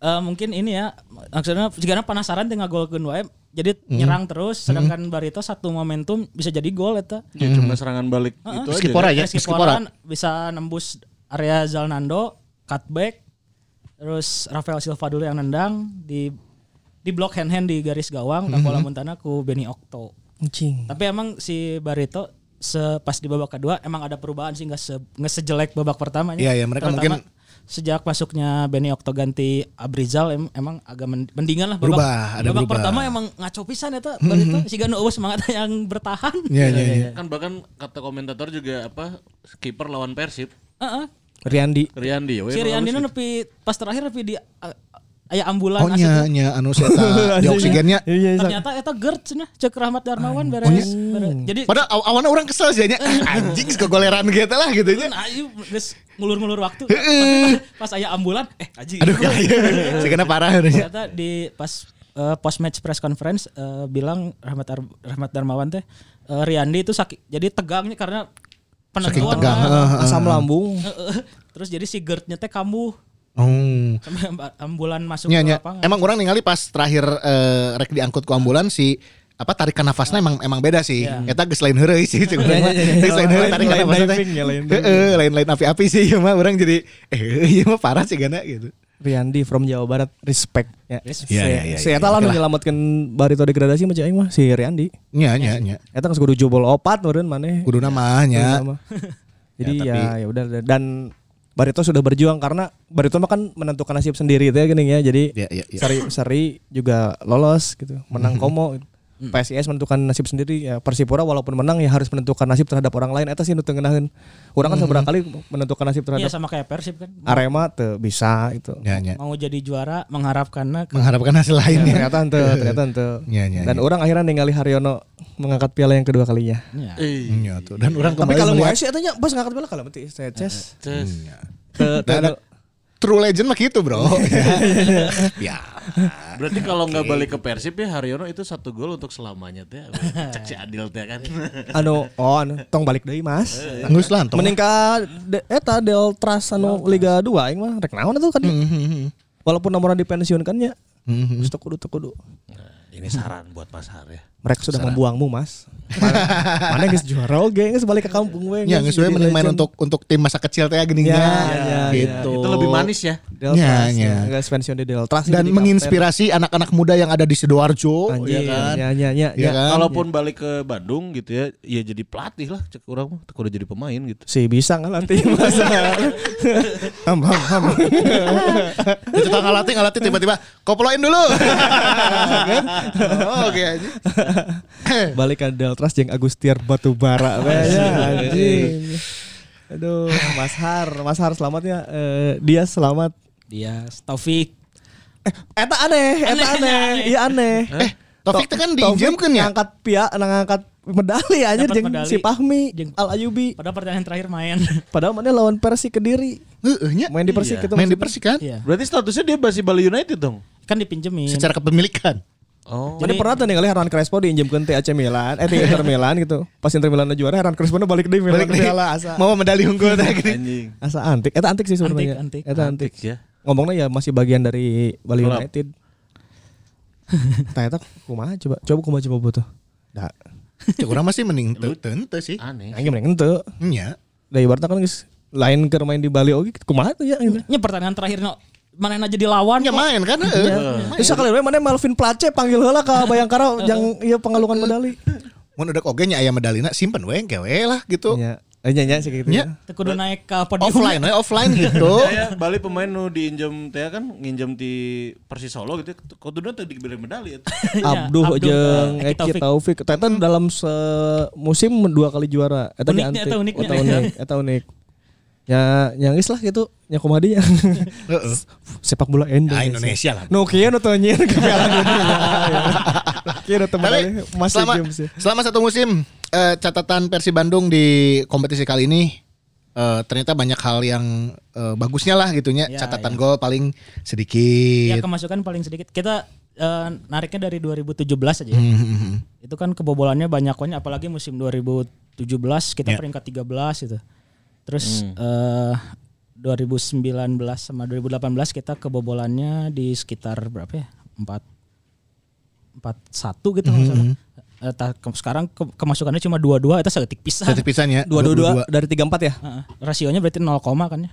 Speaker 5: Eh, mungkin ini ya maksudnya jika penasaran dengan gol wae jadi
Speaker 2: Hmm.
Speaker 5: nyerang terus sedangkan Barito satu momentum bisa jadi gol eta.
Speaker 6: Ya cuma serangan balik itu aja.
Speaker 3: Skipora ya,
Speaker 5: Reski
Speaker 3: Skipora.
Speaker 5: Poran bisa nembus area Zalnando, cutback, terus Rafael Silva dulu yang nendang di di blok hand hand di garis gawang dan
Speaker 3: Mhm.
Speaker 5: bola muntana ku Benny Okto.
Speaker 2: Anjing.
Speaker 5: Tapi emang si Barito se pas di babak kedua emang ada perubahan sih nggak se, nggak sejelek babak pertamanya.
Speaker 3: Iya, iya, mereka
Speaker 5: Terutama
Speaker 3: mungkin-
Speaker 5: sejak masuknya Benny Okto ganti Abrizal em- emang agak men- mendingan lah babak,
Speaker 3: Berubah, ada
Speaker 5: babak
Speaker 3: berubah. Mhm.
Speaker 5: pertama emang ngaco pisan eta Barito si Gano semangat yang bertahan.
Speaker 3: Iya, iya, iya.
Speaker 6: Kan bahkan kata komentator juga apa kiper lawan Persib
Speaker 5: Heeh.
Speaker 2: Riandi.
Speaker 6: Riyandi. we
Speaker 5: Si
Speaker 6: lawan
Speaker 5: Riyandina nepi pas terakhir nepi di uh, aya ambulan
Speaker 3: Oh nya nya anu seta di oksigennya.
Speaker 2: Iya, iya.
Speaker 5: Ternyata eta GERD cenah Cek Rahmat Darmawan beres. beres. Jadi
Speaker 3: Ah, Hmm. Padahal aw awalnya orang kesel sih nya Ah, anjing kegoleran gitu lah gitu nya.
Speaker 5: nah, ieu geus ngulur-ngulur waktu.
Speaker 3: Heeh.
Speaker 5: pas aya ambulan eh anjing.
Speaker 3: Aduh kaya segena parah nya.
Speaker 5: Ternyata di pas eh, post match press conference eh, bilang Rahmat Ar- Rahmat Darmawan teh eh, Riyandi itu sakit jadi tegangnya karena
Speaker 3: Saking
Speaker 5: penentuan
Speaker 3: tegang.
Speaker 5: lah.
Speaker 3: heeh, heeh.
Speaker 2: Asam lambung.
Speaker 5: Heeh. Terus jadi si GERD-nya teh kamu
Speaker 3: Oh.
Speaker 5: sampai amb- ambulan masuk
Speaker 3: Nya
Speaker 5: ke
Speaker 3: nya.
Speaker 5: lapangan.
Speaker 3: Emang orang ningali pas terakhir eh, rek diangkut ke ambulan si apa tarikan nafasnya emang emang beda sih. Eta geus lain heureuy sih cek urang mah. Geus lain heureuy tarikan
Speaker 2: Lain
Speaker 3: nafasnya.
Speaker 2: diving ya, lain diving.
Speaker 3: iya Heeh, lain-lain api-api sih ieu mah orang jadi eh ieu mah iya parah sih gana gitu.
Speaker 2: Riyandi from Jawa Barat respect ya.
Speaker 5: Respect.
Speaker 2: Si-
Speaker 3: Iya, iya, iya,
Speaker 2: Si
Speaker 3: iya,
Speaker 2: Eta lah
Speaker 3: oke
Speaker 2: nu
Speaker 3: lah.
Speaker 2: nyelametkeun barito degradasi mah cik aing mah si Riyandi.
Speaker 3: Nya nya nya.
Speaker 2: Eta geus kudu jebol opat meureun maneh.
Speaker 3: Kudu namanya.
Speaker 2: Sama. Jadi Iya. ya, ya udah dan Barito sudah berjuang karena Barito mah kan menentukan nasib sendiri teh gini ya. Jadi
Speaker 3: Ya, ya, ya.
Speaker 2: Seri Seri juga lolos gitu, menang Komo. PSIS menentukan nasib sendiri ya Persipura walaupun menang ya harus menentukan nasib terhadap orang lain eta sih nu teu ngeunaheun. Urang kan seberapa kali menentukan nasib
Speaker 5: Iya
Speaker 2: terhadap
Speaker 5: sama kayak Persib kan.
Speaker 2: Arema tuh bisa gitu. itu.
Speaker 3: Nya nya.
Speaker 5: Mau jadi juara mengharapkan
Speaker 3: Iya, Mengharapkan hasil lainnya.
Speaker 2: Iya, Ternyata ente, ternyata ente.
Speaker 3: Iya, iya,
Speaker 2: Dan
Speaker 3: iya.
Speaker 2: orang akhirnya ningali Haryono mengangkat piala yang kedua kalinya.
Speaker 3: Nya
Speaker 5: ya.
Speaker 3: Iya, tuh. Dan orang
Speaker 2: Tapi
Speaker 3: kembali
Speaker 2: kalau mau
Speaker 3: melihat
Speaker 2: sih tanya pas ngangkat piala kalau mati saya ces.
Speaker 6: Iya.
Speaker 3: Nah, True legend mah gitu, Bro. ya.
Speaker 6: Berarti kalau nggak balik ke Persib ya Haryono itu satu gol untuk selamanya teh. Cek si Adil teh kan.
Speaker 2: Anu oh anu tong balik deui Mas.
Speaker 3: Ngus lah Eh, tong.
Speaker 2: Mending ka de- eta Del Tras anu Liga 2 aing mah rek naon atuh kan.
Speaker 3: Hmm,
Speaker 2: Walaupun nomorna dipensiunkan ya. nya. Geus teu kudu teu kudu.
Speaker 6: Nah, Ini saran buat Mas Har ya.
Speaker 2: Mereka sudah membuangmu, Mas. Mana mana geus juara oge, geus balik ke kampung we.
Speaker 3: Ya, geus we
Speaker 2: jadi
Speaker 3: mending main
Speaker 2: legend.
Speaker 3: untuk untuk tim masa kecil teh geuning
Speaker 2: Ya,
Speaker 3: nya.
Speaker 2: ya, ya.
Speaker 3: gitu.
Speaker 6: Itu lebih manis ya.
Speaker 2: Del
Speaker 3: Nya,
Speaker 2: Tras.
Speaker 3: nya.
Speaker 2: ya. Geus pensiun di Del Tras
Speaker 3: Dan
Speaker 2: jadi
Speaker 3: menginspirasi anak-anak muda yang ada di Sidoarjo,
Speaker 2: kapten.
Speaker 3: ya
Speaker 2: Anjing,
Speaker 3: kan?
Speaker 2: ya, ya, ya,
Speaker 3: Ya
Speaker 2: ya.
Speaker 3: kan?
Speaker 6: Kalaupun balik ke Bandung gitu ya, ya jadi pelatih lah cek orang mah, udah jadi pemain gitu.
Speaker 2: Si bisa nggak nanti masa? ham ham ham.
Speaker 3: Itu tak ngelatih ngelatih tiba-tiba koploin dulu. Kan? Oh, Oke Eh, aja.
Speaker 2: Balik ke Deltras jeung Agustiar Batubara. Kayaknya anjing. Aduh, Mas Har, Mas Har selamatnya eh, dia selamat. Eh,
Speaker 5: Dia Taufik.
Speaker 2: Eta aneh, eta aneh.
Speaker 5: Aneh, aneh.
Speaker 2: Iya aneh. Eh,
Speaker 3: Taufik teh kan diinjemkeun ya?
Speaker 2: Ngangkat pia, ngangkat medali aja
Speaker 5: Dapat
Speaker 2: jeung
Speaker 5: medali.
Speaker 2: si Pahmi,
Speaker 5: Jeung-
Speaker 2: Al Ayubi.
Speaker 5: Pada pertandingan terakhir main.
Speaker 3: Kan?
Speaker 2: Padahal mana lawan Persi Kediri.
Speaker 3: Heeh nya.
Speaker 2: Main di Persik itu.
Speaker 3: Iya. Main di Persik kan?
Speaker 5: Iya.
Speaker 6: Berarti statusnya dia masih Bali United dong.
Speaker 5: Kan dipinjemin.
Speaker 3: Secara kepemilikan.
Speaker 6: Oh.
Speaker 2: Jadi pernah tuh ningali Hernan Crespo diinjemkeun ke AC Milan, eh di Inter Milan gitu. Pas Inter Milan juara Hernan Crespo balik deui Milan
Speaker 3: Balik
Speaker 2: ke
Speaker 3: deh.
Speaker 2: piala asa.
Speaker 3: Mau medali unggul teh gini.
Speaker 6: Anjing.
Speaker 2: Asa antik, eta antik sih sebenarnya.
Speaker 5: Antik, antik.
Speaker 2: Eta antik.
Speaker 6: Ya.
Speaker 2: Ngomongnya ya masih bagian dari Bali
Speaker 6: Klub.
Speaker 2: United. Ternyata kumaha coba, coba kumaha coba butuh. Da,
Speaker 3: Cek urang Ya, masih mending teu teu sih.
Speaker 6: Aneh.
Speaker 2: aing mending henteu.
Speaker 3: Nya.
Speaker 2: Da ibaratna kan geus lain keur main di Bali oge kumaha tuh ya. gitu.
Speaker 5: Ini pertandingan Iya, terakhir no. Mana aja dilawan
Speaker 3: Nya
Speaker 5: kok.
Speaker 3: main kan heeh.
Speaker 5: Iya.
Speaker 2: Eh sakali we mana Melvin Place panggil heula ka Bayangkara yang ieu pengalungan medali.
Speaker 3: Mun udah oge nya aya medalina simpen we engke we lah
Speaker 5: Oh.
Speaker 3: gitu.
Speaker 2: Iya, Eh, nya nya sih gitu.
Speaker 3: Nya.
Speaker 5: Teu kudu naik ke podium.
Speaker 3: Offline we offline gitu.
Speaker 6: Ya, Bali pemain nu diinjem teh kan nginjem di Persis Solo gitu. Koduna teh diberi medali. ya? eta.
Speaker 2: Abduh
Speaker 5: Iya, Abduh,
Speaker 2: jeung
Speaker 3: ya,
Speaker 5: eh, Eki
Speaker 2: Eki Taufik. Ternyata dalam semusim dua kali juara. Eta
Speaker 5: Uniknya,
Speaker 2: diantik.
Speaker 5: eta uniknya.
Speaker 2: Eta unik, eta unik. Ya nyangis lah gitu, nya kumaha dia.
Speaker 3: Heeh.
Speaker 2: Sepak bola Indonesia.
Speaker 3: Ah, Indonesia lah.
Speaker 2: Nu kieu nu teu nyieun ke Piala Dunia. Kieu nu teu
Speaker 3: Tapi
Speaker 2: medali, masih
Speaker 3: selama,
Speaker 2: games ya.
Speaker 3: selama satu musim eh, catatan Persi Bandung di kompetisi kali ini eh, ternyata banyak hal yang eh, bagusnya lah gitunya.
Speaker 5: Ya,
Speaker 3: catatan
Speaker 5: ya.
Speaker 3: gol paling sedikit.
Speaker 5: Ya kemasukan paling sedikit. Kita eh, nariknya dari 2017 aja ya.
Speaker 3: Mhm.
Speaker 5: Itu kan kebobolannya banyak banget apalagi musim 2017
Speaker 3: Ya.
Speaker 5: kita peringkat 13 gitu. Terus eh 2019 sama 2018 kita kebobolannya di sekitar berapa ya? 4 41 gitu kalau nggak salah. Eh, ta- ke- sekarang ke- kemasukannya cuma 22 itu seketik pisah.
Speaker 3: Satu pisan ya.
Speaker 2: Dua dua dua dari tiga empat ya.
Speaker 5: Heeh. rasionya berarti 0, kan ya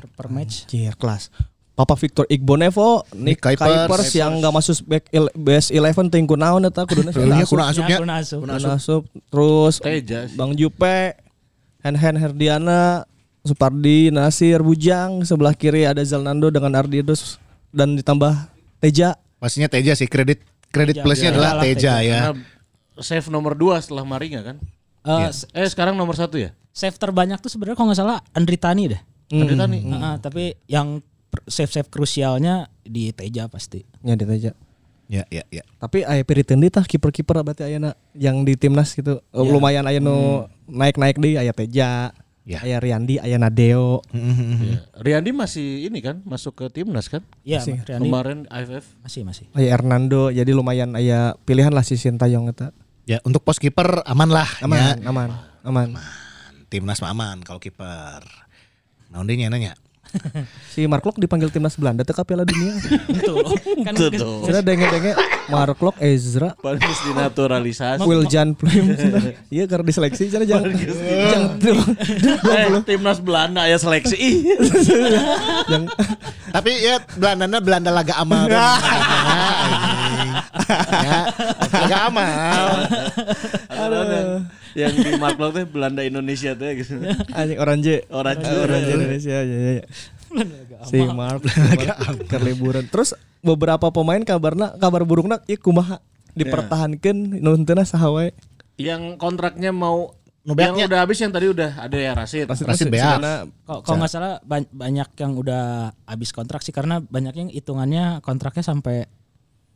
Speaker 5: per, per match.
Speaker 2: Cier kelas. Papa Victor Igbonevo, Nick
Speaker 3: Nick Kuipers.
Speaker 2: Kuipers, yang nggak masuk back il- best eleven tingku naon eta kuduna sih
Speaker 3: Dulunya
Speaker 2: asup.
Speaker 3: Iya, kurang asupnya.
Speaker 5: Ya, kurang asup.
Speaker 2: Kuna Asup, terus
Speaker 6: Teja sih.
Speaker 2: Bang Jupe, Henhen Herdiana, Supardi, Nasir, Bujang, sebelah kiri ada Zalnando dengan Ardidos dan ditambah Teja.
Speaker 3: Pastinya Teja sih kredit kredit
Speaker 5: Teja.
Speaker 3: plusnya
Speaker 5: Ya,
Speaker 3: adalah
Speaker 5: lah,
Speaker 3: Teja
Speaker 5: Teja.
Speaker 3: ya.
Speaker 6: Karena Nah, save nomor 2 setelah Maringa kan.
Speaker 5: Eh,
Speaker 6: Eh sekarang nomor satu ya?
Speaker 5: save terbanyak tuh sebenarnya kalau nggak salah Andri Tani deh.
Speaker 6: Tadi tani.
Speaker 5: Heeh, tapi yang per- save-save krusialnya di Teja pasti.
Speaker 2: Ya di Teja.
Speaker 3: Ya ya ya.
Speaker 2: Tapi aya piriteun deui tah kiper-kiper berarti ayana yang di timnas gitu. Eh, Lumayan aya nu naik-naik deui aya Teja.
Speaker 3: Ya.
Speaker 2: Aya Riyandi, aya Nadeo.
Speaker 6: Ya. Riyandi masih ini kan masuk ke timnas kan?
Speaker 5: Iya, Riani
Speaker 6: Kemarin AFF.
Speaker 5: masih masih.
Speaker 2: Aya Hernando, jadi lumayan aya pilihan lah si Sintayong eta.
Speaker 3: Ya untuk pos kiper aman lah. ya.
Speaker 2: Aman, aman, aman.
Speaker 3: Timnas mah aman kalau kiper. Nah, dia nanya nanya.
Speaker 2: Si Mark Klok dipanggil timnas Belanda teka Piala Dunia.
Speaker 5: Itu loh. kan
Speaker 6: Itu dong.
Speaker 2: Sudah denge-denge Mark Klok, Ezra,
Speaker 6: Pantes dinaturalisasi.
Speaker 2: Wiljan Plim. Iya karena diseleksi cara jangan jangan
Speaker 6: Eh, timnas Belanda ya seleksi. Ih.
Speaker 2: jangan
Speaker 3: Tapi ya Belanda Belanda laga amal. kan. Iya, ya, laga amal.
Speaker 6: Ada yang, yang di Marklo teh Belanda Indonesia teh gitu.
Speaker 2: anjing oranje.
Speaker 6: Oranje.
Speaker 2: Ah, oranje Indonesia ya ya. ya. Si Mark ke liburan. Terus beberapa pemain kabarna kabar burukna ieu kumaha dipertahankan nu henteu saha wae.
Speaker 6: Yang kontraknya mau
Speaker 3: Nu
Speaker 6: yang
Speaker 3: beaknya.
Speaker 6: udah habis yang tadi udah ada ya Rasid.
Speaker 3: Rasid
Speaker 2: Rasid
Speaker 3: beak.
Speaker 2: sebenarnya
Speaker 5: Kok kalau nggak salah ban- banyak yang udah habis kontrak sih karena banyak yang hitungannya kontraknya sampai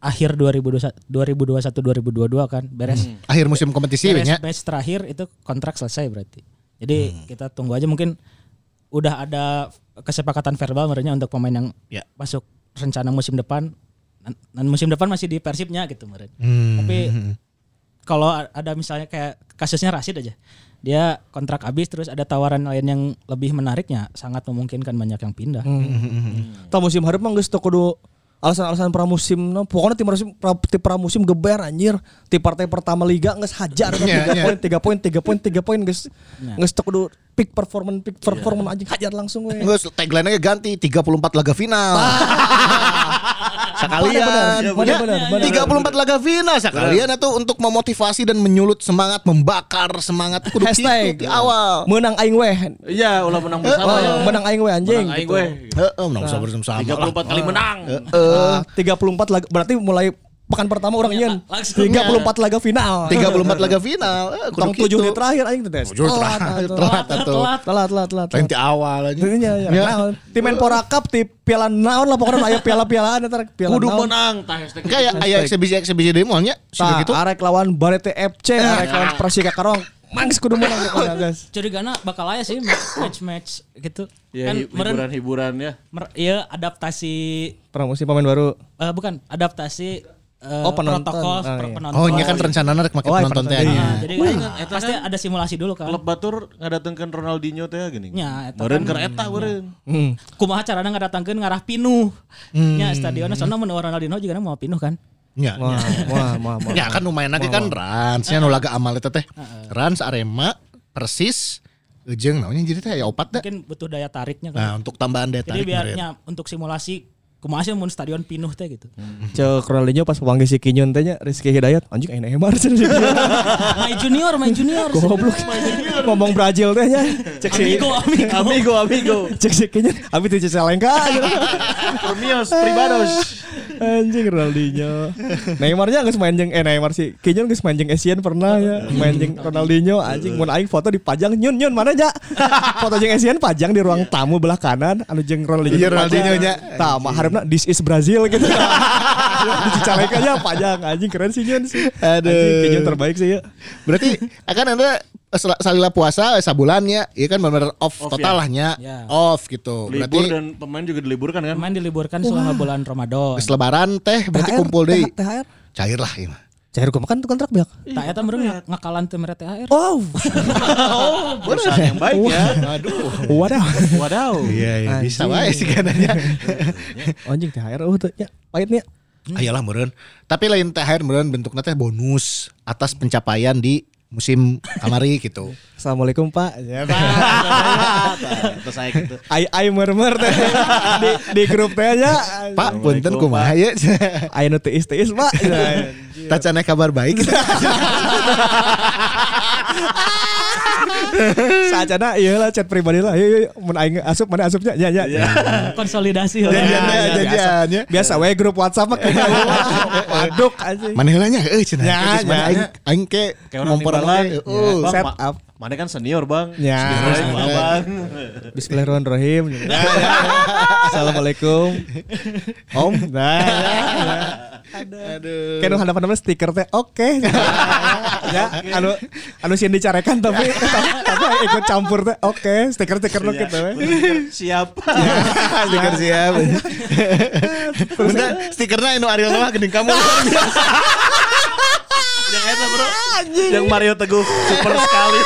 Speaker 5: akhir 2021 2021 2022 kan beres.
Speaker 3: Akhir musim kompetisi
Speaker 5: beres
Speaker 3: ya.
Speaker 5: match Nah, terakhir itu kontrak selesai berarti. Jadi kita tunggu aja mungkin udah ada kesepakatan verbal menurutnya untuk pemain yang
Speaker 4: Ya.
Speaker 5: masuk rencana musim depan dan- dan musim depan masih di Persibnya gitu menurut. Tapi kalau a- ada misalnya kayak kasusnya Rasid aja. Dia kontrak habis terus ada tawaran lain yang lebih menariknya sangat memungkinkan banyak yang pindah.
Speaker 3: Hmm.
Speaker 2: Tah musim hareup mah geus teu kudu alasan-alasan pramusim nah, pokoknya tim pramusim pra, tim pramusim geber anjir tim partai pertama liga geus hajar kan
Speaker 3: Iya,
Speaker 2: 3
Speaker 3: iya.
Speaker 2: poin 3 poin 3 poin 3 poin geus geus teu kudu peak performance
Speaker 3: Iya.
Speaker 2: peak performance anjing hajar langsung we
Speaker 3: Terus tagline-nya ganti 34 laga final. sekalian.
Speaker 2: Ah. Benar, benar,
Speaker 3: Ya,
Speaker 2: benar, benar,
Speaker 3: 34 laga final sekalian itu untuk memotivasi dan menyulut semangat, membakar semangat kudu
Speaker 2: Hashtag.
Speaker 3: gitu di awal.
Speaker 2: menang aing weh
Speaker 6: Iya, ulah menang
Speaker 2: Oh,
Speaker 6: bersama ya.
Speaker 2: menang aing weh anjing
Speaker 6: Menang aing
Speaker 2: gitu.
Speaker 6: weh.
Speaker 3: Heeh, menang sabar sama
Speaker 6: 34 kali menang.
Speaker 3: Eh.
Speaker 2: Ah, 34 laga berarti mulai pekan pertama
Speaker 3: Iya,
Speaker 2: orang nyen 34 laga final
Speaker 3: 34 laga final. Eh, kudu
Speaker 2: tong 7
Speaker 3: gitu.
Speaker 2: menit terakhir aing teh Oh,
Speaker 3: Tujuh telat, telat, telat.
Speaker 2: telat telat telat telat
Speaker 3: Lain di awal aja.
Speaker 2: Tentunya ya. Naon. Tim Menpora Cup di Piala Naon lah pokoknya aya piala-pialaan ntar piala
Speaker 6: Kudu
Speaker 2: naon.
Speaker 6: menang tah hashtag.
Speaker 3: Kayak ya, aya eksibisi-eksibisi demo nya
Speaker 2: Tah,
Speaker 3: sudah gitu.
Speaker 2: arek lawan Barete FC, arek lawan Persika Karong. Mangs kudu menang ya, pokoknya guys.
Speaker 5: Curigana bakal aja sih match match gitu.
Speaker 6: Ya,
Speaker 5: kan
Speaker 6: hi-
Speaker 5: meren,
Speaker 6: hiburan-hiburan ya.
Speaker 5: mer- ya adaptasi
Speaker 2: Pramusim pemain baru.
Speaker 5: Eh, bukan adaptasi eh,
Speaker 2: Oh, penonton.
Speaker 5: protokol
Speaker 2: Ah,
Speaker 5: per-
Speaker 2: iya.
Speaker 5: penonton.
Speaker 3: Oh, nya kan rencananya rek
Speaker 2: Oh,
Speaker 3: make
Speaker 2: iya,
Speaker 3: penonton teh.
Speaker 2: penonton.
Speaker 3: nya.
Speaker 5: Nah, jadi kan pasti ada simulasi dulu kan.
Speaker 6: Klub Batur ngadatengkeun Ronaldinho teh gini.
Speaker 5: Ya, eta
Speaker 6: Meureun
Speaker 5: kan.
Speaker 6: keur eta meureun.
Speaker 2: Hmm,
Speaker 5: Kumaha carana ngadatangkeun ngarah pinuh. Nya stadionnya soalnya mun Ronaldinho juga mau pinuh kan.
Speaker 3: Nya.
Speaker 2: Wah, wah, wah, wah.
Speaker 3: Ya kan lumayan lagi kan Rans nya nu laga amal eta teh. Rans Arema Persis Ejeng namanya jadi teh ya opat dah.
Speaker 5: Mungkin butuh daya tariknya kan.
Speaker 3: Nah, untuk tambahan daya
Speaker 5: jadi
Speaker 3: tarik meureun.
Speaker 5: biarnya untuk simulasi kumaha sih mun stadion pinuh teh gitu.
Speaker 2: Cek Ronaldinho pas panggil si Kinyon teh nya Rizky Hidayat anjing ayeuna Neymar cenah si Kinyon.
Speaker 5: my junior, my junior.
Speaker 2: Goblok. Ngomong Brazil teh nya. Cek si
Speaker 5: Amigo, Ya. amigo.
Speaker 6: Amigo, amigo.
Speaker 2: cek gitu. si Kinyon abi teu celengka anjing.
Speaker 6: Permios, privados.
Speaker 2: Anjing Ronaldinho. Neymarnya geus main jeung eh Neymar sih. Kinyon geus main jeung Asian pernah ya. Main jeung Ronaldinho anjing mun aing foto dipajang nyun nyun mana ja. Foto jeung Asian pajang di ruang tamu belah kanan anu jeung Ronaldinho.
Speaker 3: Iya, Ronaldinho nya.
Speaker 2: Tah mah hareup this is Brazil gitu. Dicicalek aja pajang anjing keren sih nyun sih.
Speaker 3: Aduh.
Speaker 2: Anjing Kinyon terbaik sih ya.
Speaker 3: Berarti akan ada sel- salila puasa sabulannya, ya kan benar off,
Speaker 6: Off ya?
Speaker 3: total lah nya.
Speaker 5: Ya.
Speaker 3: Off gitu. Berarti
Speaker 6: Libur dan pemain juga diliburkan kan?
Speaker 5: Main diliburkan selama bulan Ramadan.
Speaker 3: geus lebaran teh berarti kumpul deh.
Speaker 2: THR.
Speaker 3: Cair lah ieu mah.
Speaker 2: Cair gua makan tuh kontrak banyak.
Speaker 5: Tak eta meureun nge- ngakalan teu mere THR.
Speaker 2: Oh.
Speaker 6: Perusahaan yang baik ya.
Speaker 3: Aduh.
Speaker 2: Wadah.
Speaker 6: Wadaw.
Speaker 3: Iya, iya bisa wae sih
Speaker 2: Anjing THR oh tuh ya. Pahitnya.
Speaker 3: Ayolah meureun. Tapi lain THR meureun bentuknya teh bonus atas pencapaian di musim kamari gitu.
Speaker 2: Assalamualaikum Pak. Ya,
Speaker 3: Iya,
Speaker 2: Pak.
Speaker 6: Terus saya gitu.
Speaker 2: Ai ai murmur teh di, di grup teh nya.
Speaker 3: Pak, punten kumaha ya?
Speaker 2: Ai nu teis teis Pak.
Speaker 3: Tacana kabar baik.
Speaker 2: Saacana ieu lah chat pribadi lah. Ieu ieu, mun aing asup mana asupnya? Ya ya.
Speaker 5: Konsolidasi. Ya,
Speaker 3: Janjiannya, janjiannya.
Speaker 2: Biasa we grup WhatsApp mah kayak waduk anjing.
Speaker 3: Mana heulanya? Eh, cenah.
Speaker 2: Ya,
Speaker 3: Terus mana
Speaker 2: ya.
Speaker 3: aing aing ke
Speaker 6: Kayak orang timbalan.
Speaker 3: memperoleh. Oh,
Speaker 6: Bang,
Speaker 2: set
Speaker 6: ma-
Speaker 2: up.
Speaker 6: Mana kan senior bang.
Speaker 2: Ya.
Speaker 6: Senior Iya. yang
Speaker 3: Senior.
Speaker 6: abang.
Speaker 2: Bismillahirrahmanirrahim. Assalamualaikum. Om. Nah. ya, ya. Kayak nu hadapan namanya stiker teh oke. ya, anu anu sieun dicarekan tapi tapi ikut campur teh oke, stiker-stiker nu kitu we.
Speaker 6: Siap.
Speaker 3: stiker siap. Benda stikernya Inu Ariel Noah gening kamu.
Speaker 6: Yang itu bro.
Speaker 5: Ah,
Speaker 6: Yang Mario Teguh super sekali.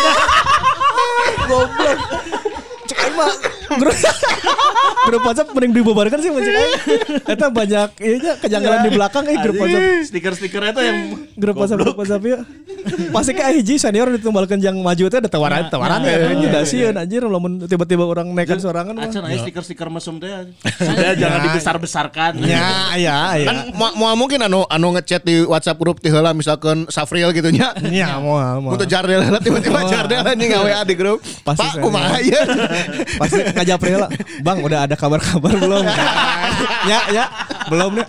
Speaker 2: Cek aing mah grup grup WhatsApp mending dibubarkan sih maksudnya. Eta banyak iya kejanggalan di belakang eh grup WhatsApp.
Speaker 6: Stiker-stikernya tuh yang
Speaker 2: Grup WhatsApp grup WhatsApp ya. Pasti kayak hiji senior ditumbalkan yang maju itu ada tawaran tawaran ya. Tidak sih anjir lamun tiba-tiba orang nekan sorangan mah.
Speaker 6: Acan aja stiker-stiker mesum teh. Iya. Sudah Iya. jangan dibesar-besarkan.
Speaker 3: Ya, ya, ya. Kan mau mau mungkin anu anu ngechat di WhatsApp grup ti heula misalkan Safril gitu nya.
Speaker 2: Ya mau mau.
Speaker 3: Untuk Jardel heula tiba-tiba Jardel anjing WA di grup.
Speaker 2: Pasti
Speaker 3: Pak
Speaker 2: saya-
Speaker 3: kumaha ieu?
Speaker 2: Pasti ngajak April lah. Bang udah ada kabar-kabar belum? ya ya belum nih.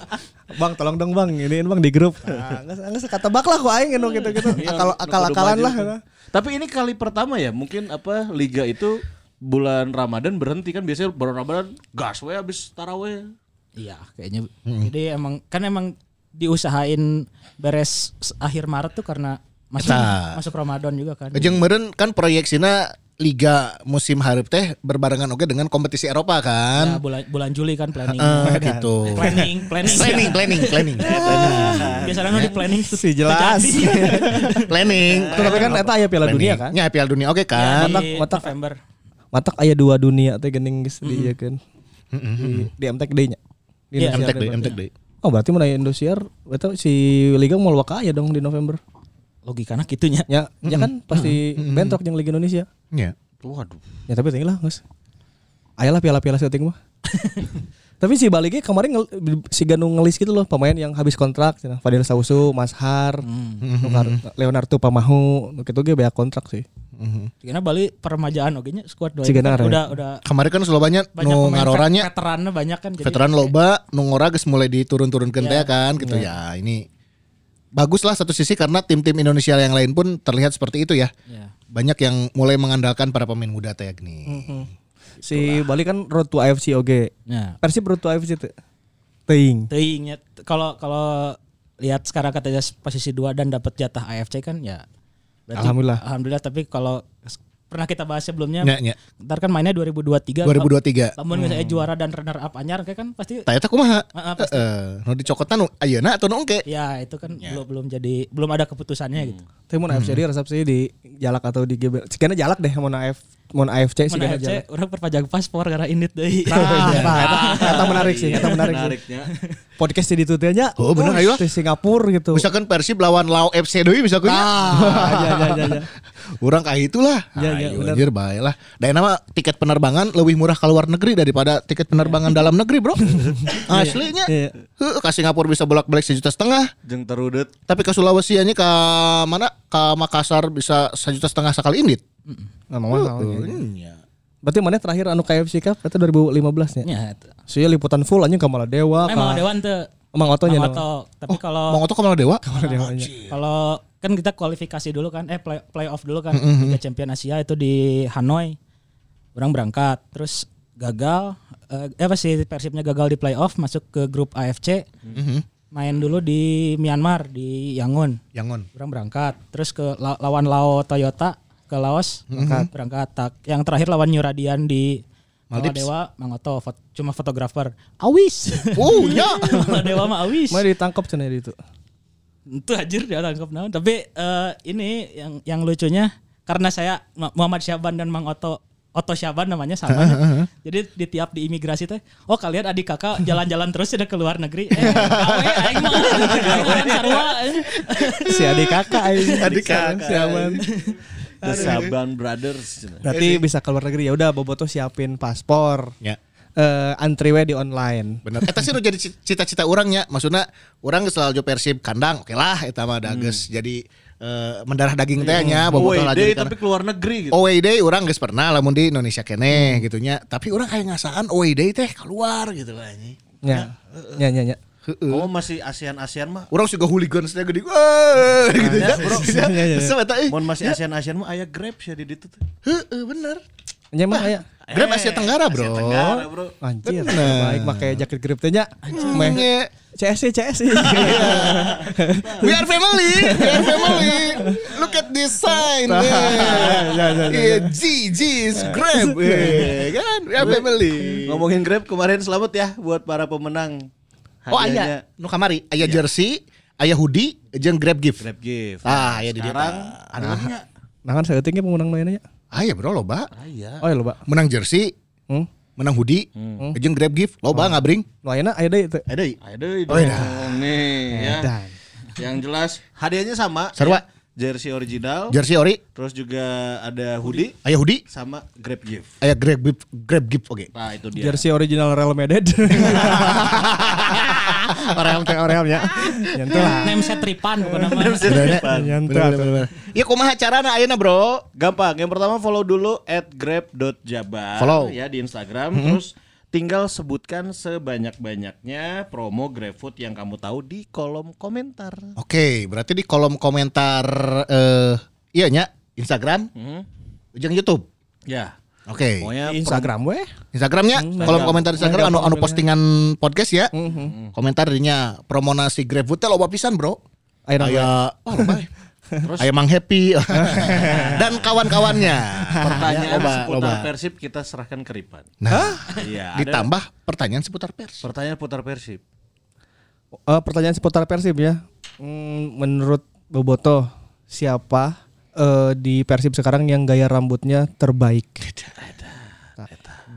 Speaker 2: Bang tolong dong bang ini bang di grup.
Speaker 3: Nah,
Speaker 2: Ah, nggak- Nggak sekata bak lah kok aing gitu
Speaker 6: Iya,
Speaker 2: gitu.
Speaker 3: Iya,
Speaker 2: Akal akal akalan lah.
Speaker 3: ya.
Speaker 6: Tapi ini kali pertama ya mungkin apa liga itu bulan Ramadan berhenti kan biasanya bulan Ramadan gas we habis taraweh.
Speaker 5: Iya, kayaknya. Jadi emang kan emang diusahain beres s- akhir Maret tuh karena masuk
Speaker 3: Eta.
Speaker 5: masuk Ramadan juga kan.
Speaker 3: Jeung meureun kan proyeksina liga musim hareup teh berbarengan oke dengan kompetisi Eropa kan.
Speaker 5: Ya, bulan bulan Juli kan planning.
Speaker 3: Eh, gitu.
Speaker 5: Planning, planning.
Speaker 3: Planning, planning, planning,
Speaker 5: Biasanya nu di planning
Speaker 2: Si jelas.
Speaker 3: planning.
Speaker 2: Tapi kan eta aya Piala Dunia kan?
Speaker 3: Ya Piala Dunia oke kan.
Speaker 5: Matak,
Speaker 2: Matak- matak.
Speaker 5: November.
Speaker 2: Matak aya dua dunia teh gening geus diieukeun. Di- Di MTK D nya. Di
Speaker 5: Iya,
Speaker 2: Indosiar
Speaker 3: MTK deui,
Speaker 2: ya,
Speaker 3: MTK deui.
Speaker 2: berarti. Oh berarti mulai Indosiar eta si Liga mau luak aya dong di November.
Speaker 5: Logikana kitunya.
Speaker 2: Ya, ya kan pasti bentrok jeung Liga Indonesia.
Speaker 3: Ya.
Speaker 6: Waduh.
Speaker 2: Ya tapi tinggal lah guys. Ayolah piala-piala syuting mah. tapi si baliknya kemarin ngel- si Ganu ngelis gitu loh pemain yang habis kontrak, cina. Fadil Sausu, Mashar, Leonardo, Leonardo Pamahu, nu gitu ge banyak kontrak sih.
Speaker 5: Karena Bali peremajaan oge nya squad dua. kan
Speaker 2: Cigenar, ya.
Speaker 5: Udah udah
Speaker 3: Kemarin kan loba nya nu
Speaker 5: banyak pemain
Speaker 3: ngaroranya
Speaker 5: vet- veterannya banyak kan jadi
Speaker 3: veteran loba nu ngora geus mulai diturun-turunkeun teh kan gitu ya. Ini bagus lah satu sisi karena tim-tim Indonesia yang lain pun terlihat seperti itu ya.
Speaker 5: Iya.
Speaker 3: Banyak yang mulai mengandalkan para pemain muda teh gini.
Speaker 2: Si Bali kan road to AFC oge.
Speaker 5: Nah,
Speaker 2: Persib road to AFC tuh. Teing.
Speaker 5: teuing nya. kalau kalau lihat sekarang katanya posisi dua dan dapat jatah AFC kan ya berarti-
Speaker 2: Alhamdulillah.
Speaker 5: Alhamdulillah tapi kalau s- pernah kita bahas sebelumnya
Speaker 3: Nya, nya.
Speaker 5: ntar kan mainnya 2023
Speaker 3: 2023.
Speaker 5: lamun misalnya
Speaker 2: Hmm.
Speaker 5: juara dan runner up anyar kayak kan pasti
Speaker 3: Tah eta kumaha?
Speaker 5: Heeh, pasti.
Speaker 3: Heeh, nu dicokotan nu ayeuna atuh nu engke.
Speaker 5: ya itu kan belum belum jadi belum ada keputusannya gitu
Speaker 2: Tapi mau AFC dia resep sih di Jalak atau di GB. Sigana Jalak deh mau AF mau AFC
Speaker 5: Mun
Speaker 2: sigana
Speaker 5: AFC
Speaker 2: Jalak.
Speaker 5: orang perpajang paspor karena indit deui
Speaker 2: Nah, nah, eta- eta menarik sih, eta menarik sih.
Speaker 6: Menariknya.
Speaker 2: Podcast di tutenya.
Speaker 3: Oh, bener, ayo.
Speaker 2: Di Singapura gitu.
Speaker 3: Misalkan Persib lawan Lao FC deui misalkan.
Speaker 2: Ah, ya, ya, ya, ya.
Speaker 3: Urang kayak itulah.
Speaker 2: Ya, ya,
Speaker 3: Ayo
Speaker 2: benar.
Speaker 3: anjir bae lah. Dan nama tiket penerbangan lebih murah ke luar negeri daripada tiket penerbangan dalam negeri, Bro. Aslinya.
Speaker 2: Iya.
Speaker 3: Heuh, ke Singapura bisa bolak-balik sejuta setengah.
Speaker 6: Jeng terudet.
Speaker 3: Tapi ke Sulawesi aja ke mana? Ke Makassar bisa sejuta setengah sekali indit.
Speaker 2: Nah, mama sama ya. Berarti mana terakhir anu KFC Cup itu 2015 nya.
Speaker 5: ya itu.
Speaker 2: Soalnya liputan full anjing Kamala Dewa.
Speaker 5: emang
Speaker 2: ka-
Speaker 5: dewan tuh
Speaker 2: Mang Otonya. no.
Speaker 5: Mang Oto.
Speaker 2: Oh,
Speaker 5: tapi kalau
Speaker 3: Mau ngotok kemana dewa?
Speaker 5: Kalau kan kita kualifikasi dulu kan, eh play playoff dulu kan
Speaker 3: Mm-hmm.
Speaker 5: Liga Champion Asia itu di Hanoi. Orang berangkat, terus gagal. Eh eh, apa sih Persibnya gagal di playoff, masuk ke grup AFC.
Speaker 3: Mm-hmm.
Speaker 5: Main dulu di Myanmar di Yangon.
Speaker 3: Yangon.
Speaker 5: Orang berangkat, terus ke la- lawan Lao Toyota ke Laos
Speaker 3: Mm-hmm.
Speaker 5: berangkat. berangkat tak. Yang terakhir lawan New Radian di
Speaker 3: Maldives.
Speaker 5: Dewa Mangoto fot- cuma fotografer. Awis.
Speaker 3: Oh ya.
Speaker 5: Dewa mah awis.
Speaker 2: Mana ditangkap cenah di itu.
Speaker 5: Itu anjir dia tangkap naon. Tapi eh, ini yang yang lucunya karena saya Ma- Muhammad Syaban dan Mang Oto Oto Syaban namanya sama. ya. Jadi di tiap di imigrasi teh, oh kalian adik kakak jalan-jalan terus udah ke luar negeri. Eh, gawe aing mah. Aing mah eh. sarua.
Speaker 2: Si adik kakak anjing.
Speaker 3: Adik kakak.
Speaker 2: Si Aman.
Speaker 6: The Saban Brothers. cina.
Speaker 2: Berarti bisa keluar negeri ya udah Boboto siapin paspor.
Speaker 3: Ya.
Speaker 2: Eh antri we di online.
Speaker 3: Bener. Eta sih udah jadi ci- cita-cita orangnya. Maksudnya orang geus selalu Persib kandang. Oke lah eta mah
Speaker 6: Hmm.
Speaker 3: ada geus jadi eh, mendarah daging teh nya bobotoh lah
Speaker 6: Away day
Speaker 3: jadi
Speaker 6: tapi
Speaker 3: kandang.
Speaker 6: keluar negeri gitu. Hmm.
Speaker 3: Away day orang geus pernah lamun di Indonesia kene gitunya. Tapi orang kayak ngasaan away day teh keluar gitu lah anjing.
Speaker 2: Ya. Ya ya ya.
Speaker 3: eh.
Speaker 6: Oh masih ASEAN-ASEAN mah.
Speaker 3: Orang juga hooligans teh gede. Wah, gitu
Speaker 2: Ya,
Speaker 3: ya.
Speaker 2: ya, ya.
Speaker 3: Terus eta eh,
Speaker 6: Mon masih ASEAN-ASEAN mah aya grab sih di ditu tuh.
Speaker 3: heuh, bener.
Speaker 2: Ya mah aya.
Speaker 3: Grab Asia Tenggara, Bro.
Speaker 6: Asia Tenggara, Bro.
Speaker 2: Anjir,
Speaker 3: Bener.
Speaker 2: baik pakai jaket grip teh nya. Meh.
Speaker 3: Nye.
Speaker 2: CSC CSC.
Speaker 3: We are family, we are family. Look at this sign.
Speaker 2: Ya, ya, ya,
Speaker 3: Yeah, G, G is Grab. Yeah, Kan, we are family.
Speaker 6: Ngomongin grab kemarin selamat ya buat para pemenang.
Speaker 3: Oh ayah, nu kamari, ayah jersey, ayah hoodie, jeung Grab gift.
Speaker 6: Iya. Grab gift.
Speaker 3: Ah, ya di dia.
Speaker 6: Sekarang ada lagi nggak?
Speaker 2: Nah kan saya tinggi pengunang lainnya.
Speaker 3: Ah ya bro loba,
Speaker 6: Ah, iya.
Speaker 2: Oh ya loba.
Speaker 3: menang jersey,
Speaker 2: Hmm?
Speaker 3: menang hoodie, jeung grab gift, loba ngabring.
Speaker 2: Nu ayeuna aya deui teu.
Speaker 3: Ada
Speaker 7: Ada dong nih ya.
Speaker 2: Edan.
Speaker 7: Yang jelas
Speaker 6: Hadiahnya sama.
Speaker 3: Sarwa.
Speaker 6: ya. Jersey original.
Speaker 3: jersey ori,
Speaker 6: terus juga ada hoodie.
Speaker 3: aya hoodie,
Speaker 6: Sama grab gift.
Speaker 3: aya grab gift, grab gift oke.
Speaker 6: Nah itu dia.
Speaker 2: Jersey original Real Madrid. Orem teh orem ya. Nyentuh lah.
Speaker 5: Name set tripan bukan nama.
Speaker 3: Bener,
Speaker 2: Nyentuh
Speaker 3: bener,
Speaker 2: atuh.
Speaker 3: bener, bener. Iya kumaha carana ayeuna, Bro?
Speaker 6: Gampang. Yang pertama follow dulu at grab.jabar.
Speaker 3: Follow.
Speaker 6: Ya di Instagram. Terus tinggal sebutkan sebanyak-banyaknya promo GrabFood yang kamu tahu di kolom komentar.
Speaker 3: Oke, berarti di kolom komentar eh iya nya Instagram, jeung YouTube.
Speaker 6: Ya.
Speaker 3: Oke.
Speaker 6: Hmm. Pokoknya Hmm,
Speaker 2: Di Instagram Eh, weh.
Speaker 3: Instagramnya kolom komentar Instagram anu anu postingan podcast ya.
Speaker 6: hmm.
Speaker 3: Komentar dinya promo nasi GrabFood teh loba pisan, Bro.
Speaker 2: Ayeuna
Speaker 3: Aya wah loba. Aya Mang Happy dan kawan-kawannya.
Speaker 6: pertanyaan
Speaker 3: Loba,
Speaker 6: seputar
Speaker 3: loba.
Speaker 6: Persib kita serahkan ke Ripan.
Speaker 3: Nah,
Speaker 6: Iya, ada
Speaker 3: ditambah pertanyaan seputar pers.
Speaker 6: pertanyaan putar Persib.
Speaker 2: Eh, pertanyaan seputar Persib ya. Hmm, menurut Boboto siapa eh, di Persib sekarang yang gaya rambutnya terbaik?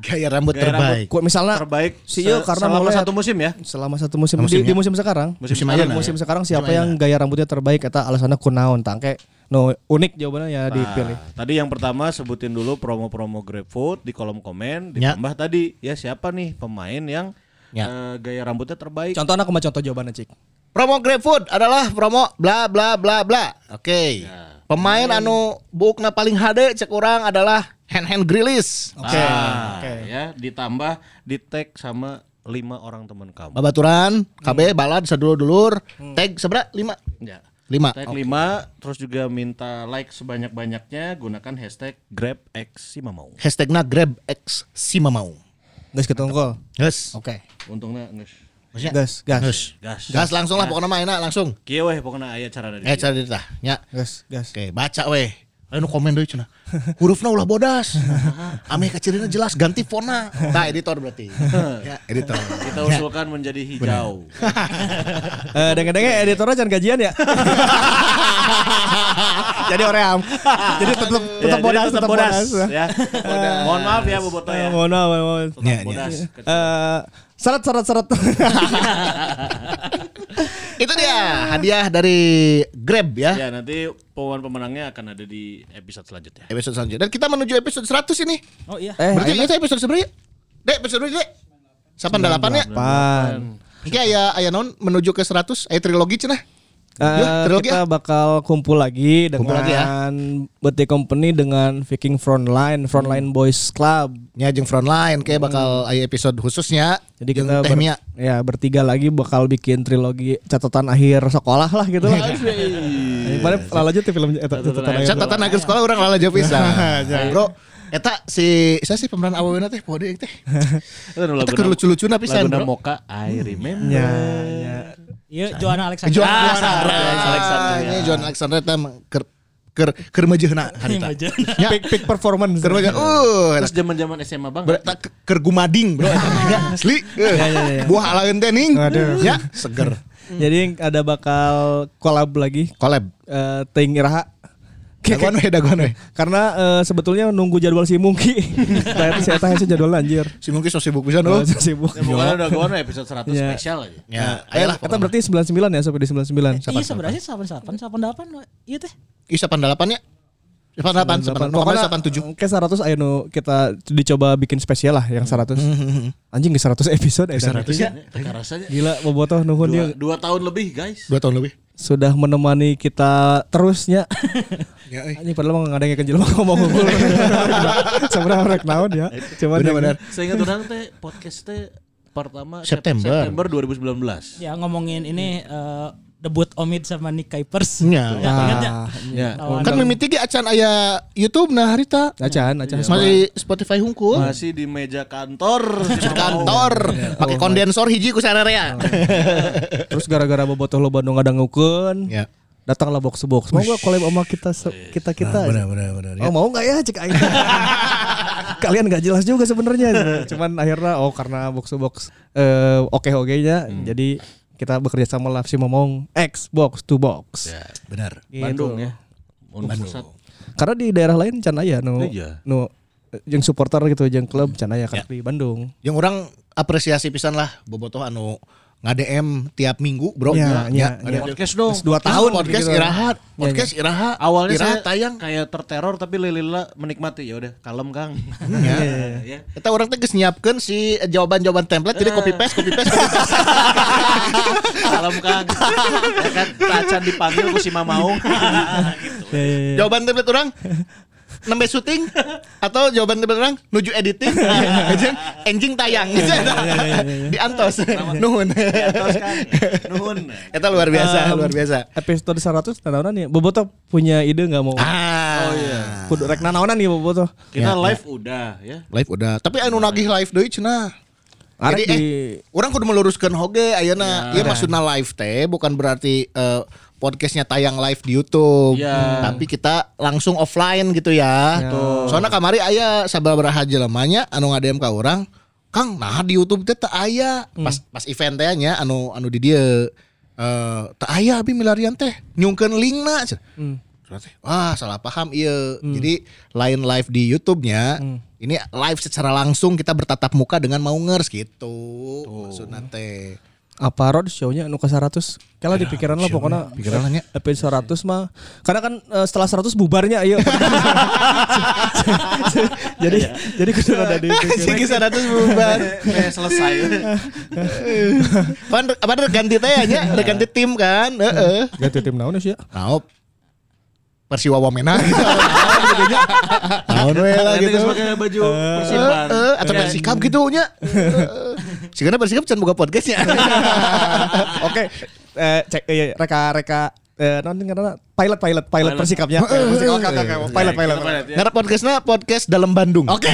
Speaker 3: Gaya rambut
Speaker 6: Gaya
Speaker 3: terbaik.
Speaker 2: Ku- misalnya
Speaker 6: Terbaik
Speaker 2: si Iyo
Speaker 6: se-
Speaker 2: karena
Speaker 6: selama
Speaker 2: mulai-
Speaker 6: satu musim ya.
Speaker 2: selama satu musim di, di musim sekarang
Speaker 3: Musim
Speaker 2: Iya,
Speaker 3: ayeuna,
Speaker 2: musim
Speaker 3: ya.
Speaker 2: sekarang siapa
Speaker 3: Musim
Speaker 2: yang gaya rambutnya terbaik eta alasannya kunaon tangke no unik jawabannya ya dipilih
Speaker 6: Nah, tadi yang pertama sebutin dulu promo-promo GrabFood di kolom komen
Speaker 3: Ya.
Speaker 6: ditambah tadi ya siapa nih pemain yang
Speaker 3: Ya.
Speaker 6: eh, gaya rambutnya terbaik.
Speaker 2: contohnya aku mau contoh jawabannya cik
Speaker 3: Promo GrabFood adalah promo bla bla bla bla. Oke. Pemain anu buukna paling hade cek orang adalah hand hand grilis.
Speaker 2: oke
Speaker 6: Ah,
Speaker 2: oke
Speaker 6: ya ditambah di tag sama lima orang teman kamu.
Speaker 3: Babaturan, KB, balad, sedulur-dulur, tag sebera lima.
Speaker 6: Ya.
Speaker 3: Lima.
Speaker 6: Tag
Speaker 3: Oke.
Speaker 6: lima, terus juga minta like sebanyak-banyaknya gunakan hashtag GrabX Simamau.
Speaker 3: Hashtagna GrabX Simamau.
Speaker 2: guys ketungkol
Speaker 3: Yes.
Speaker 2: oke
Speaker 6: Untungnya nges.
Speaker 3: Maksudnya,
Speaker 2: guys guys
Speaker 3: Gas.
Speaker 6: Gas.
Speaker 3: Gas langsung lah pokoknya mah enak langsung.
Speaker 6: Kieu weh pokoknya aya cara dari.
Speaker 3: Eh cara ditah. Ya.
Speaker 2: guys guys
Speaker 3: Oke, baca weh. Ayo nu komen deui cenah. Hurufna ulah bodas. Ame kacirina jelas ganti fona. Nah, editor berarti. ya, editor.
Speaker 6: Kita usulkan menjadi hijau.
Speaker 2: Eh, dengar dengar editornya jangan gajian ya. jadi oream. Iya, Jadi tetap tetap
Speaker 6: Ya, jadi
Speaker 2: bodas,
Speaker 6: tetap bodas, ya. Mohon maaf ya Boboto
Speaker 2: Eh,
Speaker 6: ya.
Speaker 2: Mohon maaf, mohon maaf.
Speaker 6: Tetap
Speaker 3: Ya, ya.
Speaker 6: bodas.
Speaker 2: Eh, syarat syarat syarat.
Speaker 3: Itu dia hadiah dari Grab
Speaker 2: Iya.
Speaker 3: ya.
Speaker 6: Ya nanti pengumuman pemenangnya akan ada di episode selanjutnya.
Speaker 3: Episode selanjutnya. Dan kita menuju episode 100 ini.
Speaker 5: Oh iya.
Speaker 2: eh,
Speaker 3: Berarti itu episode sebenarnya. Dek, episode sebenarnya, Dek. Sapan delapan ya.
Speaker 2: pan.
Speaker 3: Oke, aya aya non menuju ke 100, aya trilogi cenah. Yuk,
Speaker 2: Eh,
Speaker 3: trilogi
Speaker 2: kita
Speaker 3: ah.
Speaker 2: bakal kumpul lagi dengan
Speaker 3: Kumpul lagi ya.
Speaker 2: Betty Company dengan Viking Frontline,
Speaker 3: Hmm.
Speaker 2: Frontline Boys Club.
Speaker 3: Nya jeung frontline kayak bakal aya episode khususnya.
Speaker 2: Jadi
Speaker 3: jeung
Speaker 2: kita
Speaker 3: Teh
Speaker 2: ber-
Speaker 3: Mia.
Speaker 2: ya bertiga lagi bakal bikin trilogi catatan akhir sekolah lah gitu lah. Mana lanjut ya filmnya eh, catatan akhir.
Speaker 3: Iya. Catatan akhir sekolah orang lala jauh pisan. Bro, eta si saya sih pemeran awalnya teh podo teh. Eta kudu lucu-lucu pisan.
Speaker 6: Laguna
Speaker 3: Bro. Hmm.
Speaker 6: Moka I Remember.
Speaker 2: Ya, ya.
Speaker 5: Iya, Joanna Alexander.
Speaker 3: John
Speaker 5: Ah, Iya,
Speaker 3: Alexander. ya.
Speaker 6: Alexander,
Speaker 3: Ini John Alexander eta mah keur keur keur meujeuna harita.
Speaker 5: Majeun.
Speaker 3: Ya.
Speaker 2: Peak, peak performance.
Speaker 3: Keur meujeuna. Uh,
Speaker 6: Terus zaman-zaman SMA Bang. ya,
Speaker 3: Ber- tak ke- kergumading bro eta mah. Ya, asli Eh, buah ala entening ya seger
Speaker 2: Hmm. Jadi ada bakal collab lagi
Speaker 3: collab
Speaker 2: eh Ting Iraha.
Speaker 3: daguan we daguan we
Speaker 2: Karena eh, sebetulnya nunggu jadwal si Mungki. Tapi saya tahu sih jadwal anjir.
Speaker 3: si mungkin so sibuk pisan
Speaker 2: Oh,
Speaker 3: oh
Speaker 2: sibuk.
Speaker 6: Ya, pokoknya udah gua episode 100
Speaker 3: Iya.
Speaker 2: Ya.
Speaker 6: spesial aja.
Speaker 3: ya
Speaker 2: Eh,
Speaker 3: ayolah
Speaker 2: kata
Speaker 3: kata berarti
Speaker 2: berarti 99 ya sampai di 99.
Speaker 5: Iya sebenarnya sapan sapan sapan delapan iya teh.
Speaker 3: isa pandalapan ya Sapan delapan, sapan delapan, sapan tujuh.
Speaker 2: Oke 100 ayo nu kita dicoba bikin spesial lah yang 100.
Speaker 3: Hmm,
Speaker 2: Anjing ke 100 episode eh, dan.
Speaker 3: ya.
Speaker 6: Iya. Teka rasanya
Speaker 2: Gila bobotoh nuhun
Speaker 6: dua,
Speaker 2: dia
Speaker 6: dua tahun lebih guys.
Speaker 3: Dua tahun lebih.
Speaker 2: sudah menemani kita terusnya.
Speaker 3: Ya, eh.
Speaker 2: Ini padahal mau ngadengin ke jelema ngomong unggul. Sebenarnya rek naon ya. Cuman
Speaker 3: Benar-benar.
Speaker 6: Saya ingat orang teh podcast teh pertama Sep-
Speaker 3: September.
Speaker 6: September 2019.
Speaker 5: Ya ngomongin ini eh, debut Omid sama Nick Kuipers.
Speaker 3: Ya.
Speaker 5: Ya, ingat ya?
Speaker 6: Ya.
Speaker 5: Lawan-
Speaker 3: Kan mimiti ge acan aya YouTube nah harita.
Speaker 2: Acan, acan.
Speaker 3: Masih Spotify hungkul.
Speaker 6: Masih di meja kantor.
Speaker 3: Di kantor pakai kondensor hiji ku sararea.
Speaker 2: Terus gara-gara bobotoh lo Bandung ada ngukeun.
Speaker 3: Ya.
Speaker 2: Datanglah box to box. Mau gak collab sama kita se- kita kita?
Speaker 3: Nah, benar benar.
Speaker 2: Oh
Speaker 3: Iya.
Speaker 2: mau nggak ya cek aing? Kalian nggak jelas juga sebenarnya. Cuman akhirnya oh karena box to box eh, oke oke nya,
Speaker 3: Hmm.
Speaker 2: jadi kita bekerja sama lah si Momong X box to box.
Speaker 3: Benar.
Speaker 2: Gitu.
Speaker 3: ya. Iya.
Speaker 6: Bandung ya. Bandung. Pusat.
Speaker 3: Oh,
Speaker 2: Karena di daerah lain can aya ya, nu
Speaker 6: Iya.
Speaker 2: nu yang supporter gitu yang klub cenah ya kan di Bandung
Speaker 3: Yang orang apresiasi pisan lah bobotoh anu nge-DM tiap minggu, Bro.
Speaker 2: Ya, ya, ya.
Speaker 3: nge-DM.
Speaker 6: Podcast dong.
Speaker 3: Dua tahun podcast
Speaker 2: gitu.
Speaker 3: irahat, podcast iraha,
Speaker 6: Awalnya
Speaker 3: iraha
Speaker 6: saya
Speaker 3: tayang.
Speaker 6: kayak terteror tapi lilila menikmati ya udah kalem Kang.
Speaker 3: Iya.
Speaker 6: ya.
Speaker 3: Kita orang teh geus nyiapkeun si jawaban-jawaban template jadi copy paste, copy paste, copy paste.
Speaker 6: Kalem Kang. ya kan tacan dipanggil ku si Mamaung. gitu.
Speaker 2: Ya, ya, ya.
Speaker 3: Jawaban template orang nembe syuting atau jawaban template orang nuju editing. Jeung enjing tayang.
Speaker 2: Iya,
Speaker 3: Di antos. Nuhun.
Speaker 6: Terus kan nuhun.
Speaker 3: Eta luar biasa,
Speaker 2: Um,
Speaker 3: luar biasa.
Speaker 2: Episode 100 nanaonan ya. Bobotoh punya ide nggak mau?
Speaker 3: Ah.
Speaker 2: Oh, iya. Kudu rek nanaonan ya Bobotoh.
Speaker 6: Kita live udah ya.
Speaker 3: Live udah, tapi anu nagih live deui cenah. Jadi
Speaker 2: Arek
Speaker 3: eh,
Speaker 2: di- Ya.
Speaker 3: orang kudu meluruskan hoge ayeuna. Ieu maksudna live teh bukan berarti eh, podcastnya tayang live di YouTube.
Speaker 6: Ya.
Speaker 3: Tapi kita langsung offline gitu ya. Soalnya kamari aya sababaraha jelema nya anu ngadem ka orang, Kang, nah di YouTube teh teu aya. Pas pas event teh nya anu anu di dieu eh teu aya abi milarian teh nyungkeun linkna. cenah. Terus, Wah salah paham iya Jadi lain live di Youtubenya Ini live secara langsung kita bertatap muka dengan mau ngers gitu Maksudnya teh
Speaker 2: apa road show-nya anu ke 100? Kala di Ya, pikiran lah pokoknya.
Speaker 3: pikiran lah nya.
Speaker 2: Episode 100 mah. Karena kan eh, setelah 100 bubarnya ayo. jadi jadi kudu ada di
Speaker 3: Si
Speaker 2: pikiran.
Speaker 3: kisah ratus bubar
Speaker 6: Eh, selesai.
Speaker 3: Pan apa ada ganti teh nya Ada ganti tim kan Heeh.
Speaker 2: Ganti tim naon sih ya?
Speaker 3: Naop Persiwa Wamena gitu Naon we lah
Speaker 6: Nanti
Speaker 3: gitu
Speaker 6: geus pakai baju
Speaker 2: Eh,
Speaker 6: Iya. persipan.
Speaker 3: Heeh, Eh, atau persikap gitu nya Heeh. Sih karena persikap can buka podcastnya
Speaker 2: Oke. Eh cek eh, reka reka eh naon karena pilot pilot pilot persikapnya. Eh, persikap, Oke oke oke. Pilot pilot.
Speaker 6: ya.
Speaker 3: Ngarep podcastnya podcast dalam Bandung Oke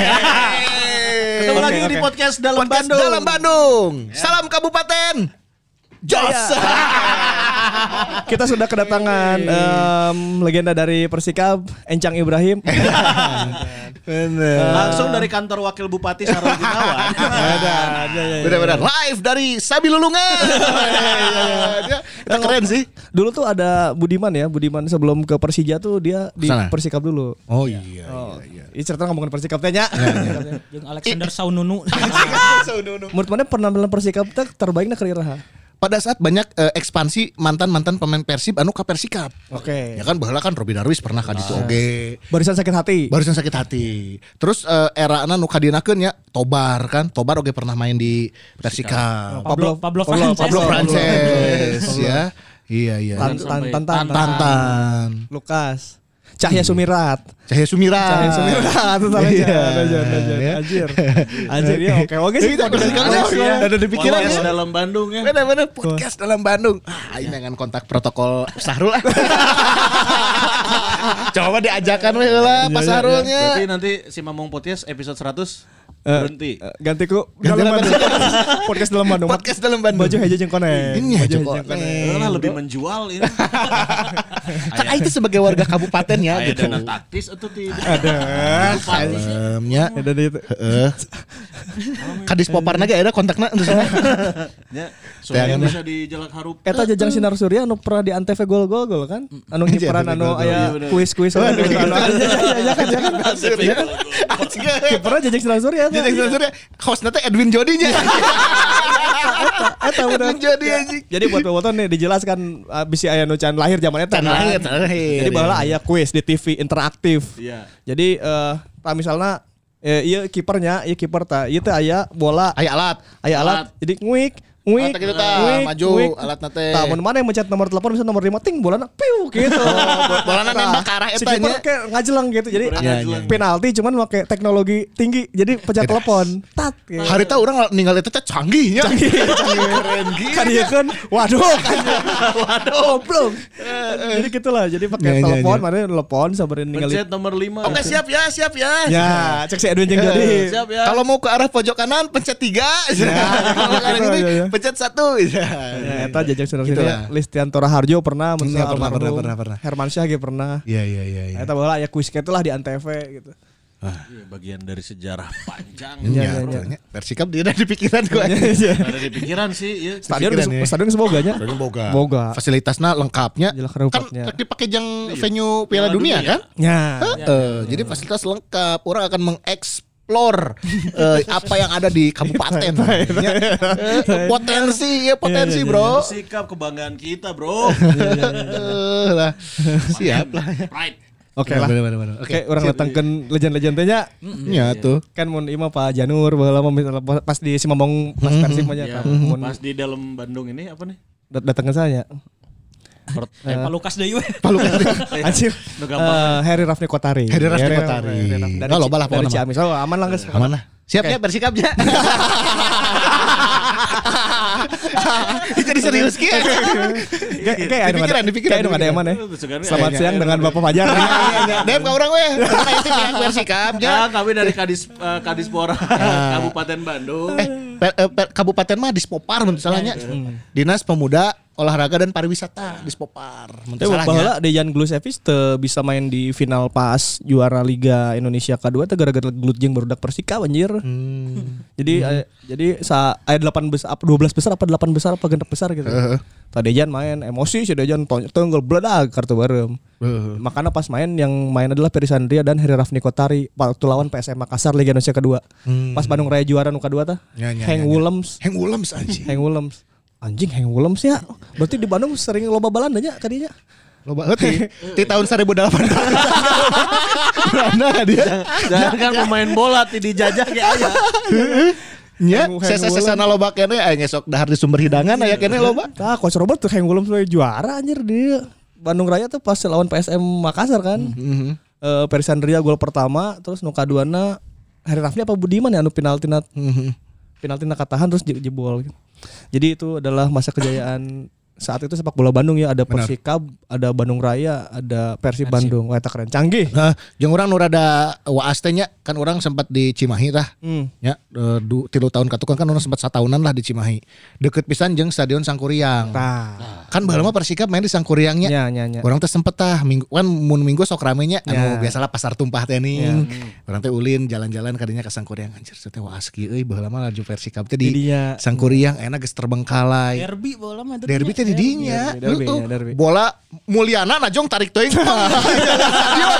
Speaker 6: Ketemu lagi
Speaker 2: Oke,
Speaker 6: di
Speaker 2: oke.
Speaker 6: podcast dalam
Speaker 3: Podcast
Speaker 6: Bandung.
Speaker 3: dalam Bandung. Salam Kabupaten. Jos.
Speaker 2: Kita sudah kedatangan em, legenda dari Persikap, Encang Ibrahim. Bener.
Speaker 6: Langsung dari kantor wakil bupati Sarul Gunawan.
Speaker 2: Ya. Ada, ada, ya, ya.
Speaker 3: Benar-benar live dari Sabi Lulungan. Dia- Kita keren sih.
Speaker 2: Dulu tuh ada Budiman ya, Budiman sebelum ke Persija tuh dia di
Speaker 3: Sana.
Speaker 2: Persikap dulu.
Speaker 3: Oh iya.
Speaker 2: Oh, Ini cerita ngomongin Persikap tanya.
Speaker 5: Jeung Alexander Saununu.
Speaker 2: Menurut mana penampilan Persikap teh terbaiknya ke Iraha?
Speaker 3: Pada saat banyak eh, ekspansi mantan-mantan pemain Persib anu ka Persikap.
Speaker 2: Oke.
Speaker 3: Ya kan baheula kan Robin Darwis pernah kan di situ oge.
Speaker 2: Barisan sakit hati.
Speaker 3: Barusan sakit hati. Terus eh, era nu kadinakeun ya Tobar kan. Tobar oge pernah main di Persikap.
Speaker 5: Pablo Pablo Frances.
Speaker 3: Pablo
Speaker 5: Pablo
Speaker 3: Frances ya. Iya iya.
Speaker 2: Tan- tan- Tantan.
Speaker 3: Tantan.
Speaker 2: Lukas. Cahya Sumirat.
Speaker 3: Cahaya Sumirat.
Speaker 2: Cahaya Sumirat. tetap aja,
Speaker 3: Hmm. Ah. Iya.
Speaker 2: aja, aja,
Speaker 3: Iya.
Speaker 2: Anjir. Anjir ya oke oke sih.
Speaker 3: Iya, Persikapnya
Speaker 2: Podcast
Speaker 3: oke.
Speaker 2: ya. Ada di pikiran
Speaker 6: Podcast
Speaker 2: ya.
Speaker 6: dalam Bandung ya.
Speaker 3: Bener-bener podcast dalam Bandung. Ah, ini dengan kontak protokol Sahrul. ah. Coba diajakan weh lah Pak Sahrulnya.
Speaker 6: Berarti nanti si Mamong Podcast episode 100
Speaker 2: Eh,
Speaker 6: berhenti.
Speaker 2: eh, ganti ku dalam
Speaker 3: dalam
Speaker 2: Bandung. Podcast dalam Bandung.
Speaker 3: Podcast dalam Bandung.
Speaker 2: Baju heja jeung konek.
Speaker 3: Ini aja kok.
Speaker 6: Lah
Speaker 2: eh.
Speaker 6: lebih menjual ini.
Speaker 3: Kan itu sebagai warga kabupaten ya
Speaker 6: Ada
Speaker 3: gitu.
Speaker 6: dana taktis atau tidak?
Speaker 3: Salemnya.
Speaker 2: Dan itu
Speaker 3: Heeh. Kadis Poparna ge ada kontakna untuk sana.
Speaker 6: Ya, soalnya
Speaker 3: Jangan. Eh,
Speaker 6: bisa dijelak harup.
Speaker 2: Eta jajang sinar surya anu pernah di antv gol gol gol kan? Anu ngiperan anu aya kuis kuis anu anu- anu- anu- ya kan ya kan.
Speaker 3: Iya kan? Asik.
Speaker 2: Kiperna jajang sinar surya. eta.
Speaker 3: Jadi sebenarnya hostnya teh Edwin Jodinya.
Speaker 2: Eta udah.
Speaker 3: Edwin Jodi anjing.
Speaker 2: Ya. Jadi buat pemotor nih dijelaskan ah, abis si aya nu can lahir zaman eta. kan?
Speaker 3: Can lahir, can lahir.
Speaker 2: Jadi bahwa aya kuis di TV interaktif.
Speaker 6: Iya.
Speaker 2: Jadi eh tah misalnya eh ieu kipernya, ieu kiper tah ieu teh aya bola,
Speaker 3: Aya alat.
Speaker 2: aya alat. Jadi nguik nguik,
Speaker 3: Oh, tah kitu tah, maju alatna teh.
Speaker 2: Tah mun mana yang mencet nomor telepon bisa nomor 5 ting bolana piu gitu.
Speaker 3: Oh, bolana
Speaker 2: Tah,
Speaker 3: nembak ke arah
Speaker 2: Si
Speaker 3: eta
Speaker 2: kiper
Speaker 3: nya.
Speaker 2: kayak ngajelang gitu. Jadi
Speaker 6: Bolana ngajelang.
Speaker 2: penalti cuman pakai teknologi tinggi. Jadi pencet telepon. Tat. gitu.
Speaker 3: Harita orang ninggal itu teh canggihnya. Canggih. Keren
Speaker 2: kan
Speaker 3: gitu.
Speaker 2: iya kan waduh kan waduh belum jadi gitulah jadi
Speaker 3: Ya, ya,
Speaker 2: pakai telepon mana telepon sabarin ninggalin
Speaker 6: Pencet nomor 5.
Speaker 3: Oke siap ya, siap ya.
Speaker 2: ya cek si Edwin yang jadi
Speaker 3: Eh,
Speaker 6: Siap ya.
Speaker 3: Kalau mau ke arah pojok kanan pencet tiga, Iya. kalau ke arah
Speaker 2: gitu,
Speaker 3: sini
Speaker 2: ya, ya.
Speaker 3: pencet satu.
Speaker 2: ya
Speaker 3: Iya
Speaker 2: eta jajak saudara sini
Speaker 3: Gitulah.
Speaker 2: Listian Toraharjo pernah mun
Speaker 3: Iya,
Speaker 2: almarhum.
Speaker 3: pernah, pernah, pernah, pernah.
Speaker 2: Herman Syah ge pernah
Speaker 3: iya iya. iya.
Speaker 2: eta baheula ya kuis kitu lah di Antv gitu
Speaker 4: Iya, bagian dari sejarah panjang.
Speaker 3: Ya, pokoknya Persikap dia ada di pikiran gue.
Speaker 6: Iya.
Speaker 4: Ada di pikiran sih, ya.
Speaker 2: Stadion
Speaker 3: Pikiran ya.
Speaker 2: stadion semoga nya.
Speaker 3: Stadion boga.
Speaker 2: Boga.
Speaker 3: Fasilitasnya lengkapnya.
Speaker 2: Jelas
Speaker 3: Kan
Speaker 2: kerupatnya.
Speaker 3: dipakai jang venue Piala Dunia kan?
Speaker 2: Ya.
Speaker 3: Heeh, jadi fasilitas lengkap. Orang akan mengeksplor eh, apa yang ada di kabupaten. Ya, eh,
Speaker 2: Iya,
Speaker 3: potensi ya potensi, Bro.
Speaker 4: Sikap kebanggaan kita, Bro.
Speaker 3: Eh, lah. Siap lah. ya.
Speaker 4: Pride.
Speaker 2: iya, Oke lah. Oke, orang datangkan legend-legendnya
Speaker 3: Ya tuh.
Speaker 2: kan mun ima Pak Janur baheula mah misalnya pas di Simamong pas Persib mah
Speaker 3: Iya,
Speaker 2: nya
Speaker 4: Ya,
Speaker 6: Iya.
Speaker 2: kan. Mun
Speaker 4: pas di dalam Bandung ini apa nih?
Speaker 2: dat- datangkeun saya.
Speaker 5: Eh, Pak Lukas deui we.
Speaker 2: Anjir. Eh, Heri Rafni Kotari.
Speaker 3: Heri Rafni Kotari.
Speaker 2: Dari,
Speaker 3: Nah, loba lah,
Speaker 2: dari
Speaker 3: pokoknya.
Speaker 2: Ciamis. Oh, aman lah guys.
Speaker 3: Aman lah. Siap ya bersikap ya. Jadi serius ki.
Speaker 2: Kayak kayak ada
Speaker 3: Dipikiran, dipikiran,
Speaker 2: Kayak ada yang mana? ya?
Speaker 4: Sekarang
Speaker 2: Selamat
Speaker 3: Iya,
Speaker 2: siang dengan Bapak Fajar. iya.
Speaker 3: Dem ka urang we. Orang ya? itu yang bersikap ya.
Speaker 4: Ya, kami dari Kadis eh, Kadispora Kabupaten Bandung.
Speaker 3: Ah. Eh, per- eh, per- kabupaten mah Dispopar mun salahnya.
Speaker 2: Hmm.
Speaker 3: Dinas Pemuda Olahraga dan Pariwisata Dispopar mun
Speaker 2: Tapi
Speaker 3: salahnya.
Speaker 2: bahwa Dejan Glusevic teu bisa main di final pas juara Liga Indonesia kedua teh gara-gara gelut jeung barudak Persika anjir. Jadi eh, jadi sa aya 8 besar apa 12 besar apa 8 besar apa genep besar gitu. Tadi Dejan main emosi si Dejan tony- tenggel bledag kartu bareng. Makanya pas main yang main adalah Perisandria dan Heri Rafni Kotari waktu lawan PSM Makassar Liga Indonesia kedua. Pas Bandung Raya juara nu kedua tah.
Speaker 3: Hmm. Ya, ya, ya,
Speaker 2: Heng
Speaker 3: ya.
Speaker 2: Wulems.
Speaker 3: Heng ulam anjing.
Speaker 2: Heng Wulems. Anjing Heng Wulems ya. Berarti di Bandung sering loba balanda nya kadinya.
Speaker 3: Loba heuti di tahun 2008. Belanda dia.
Speaker 4: Jangan kan pemain bola ti dijajah kayak aya.
Speaker 3: Nya,
Speaker 2: Heng- heng
Speaker 3: sesa-sesana loba kene aya ngesok dahar di sumber hidangan aya
Speaker 2: Iya.
Speaker 3: kene loba.
Speaker 2: Tah, Coach Robert tuh yang belum sebagai juara anjir dia. Bandung Raya tuh pas lawan PSM Makassar kan.
Speaker 3: Hmm,
Speaker 2: Eh Perisandria gol pertama, terus nu kaduana Heri Rafni apa Budiman ya anu penalti na penalti na katahan terus je- jebol. Jadi itu adalah masa kejayaan saat itu sepak bola Bandung ya ada Persikab, ada Bandung Raya, ada Persib Bandung. Wah, eta keren canggih.
Speaker 3: Nah, jeung urang nu rada waas teh nya, kan orang sempat di Cimahi tah.
Speaker 2: Hmm.
Speaker 3: Ya, eh, du, tilu tahun katukang kan orang sempat sataunan lah di Cimahi. Deket pisan jeung Stadion Sangkuriang.
Speaker 2: Tah. Iya.
Speaker 3: Kan baheula mah Persikap main di Sangkuriangnya.
Speaker 2: Nah. Nya nya nya.
Speaker 3: Orang teh sempet tah minggu kan mun minggu sok ramenya
Speaker 2: Ya.
Speaker 3: anu biasalah pasar tumpah teh nih. Orang teh ulin jalan-jalan kadinya ke Sangkuriang anjir teh waas kieu euy baheula mah laju Persikap teh di
Speaker 2: Didinya.
Speaker 3: Sangkuriang enak geus terbengkalai.
Speaker 5: Derby bola mah itu
Speaker 3: Derby
Speaker 5: nya.
Speaker 3: teh di dinya.
Speaker 2: derby, derby,
Speaker 3: Lu tuh
Speaker 2: ya, derby.
Speaker 3: bola Mulyana najong tarik teuing. Iya.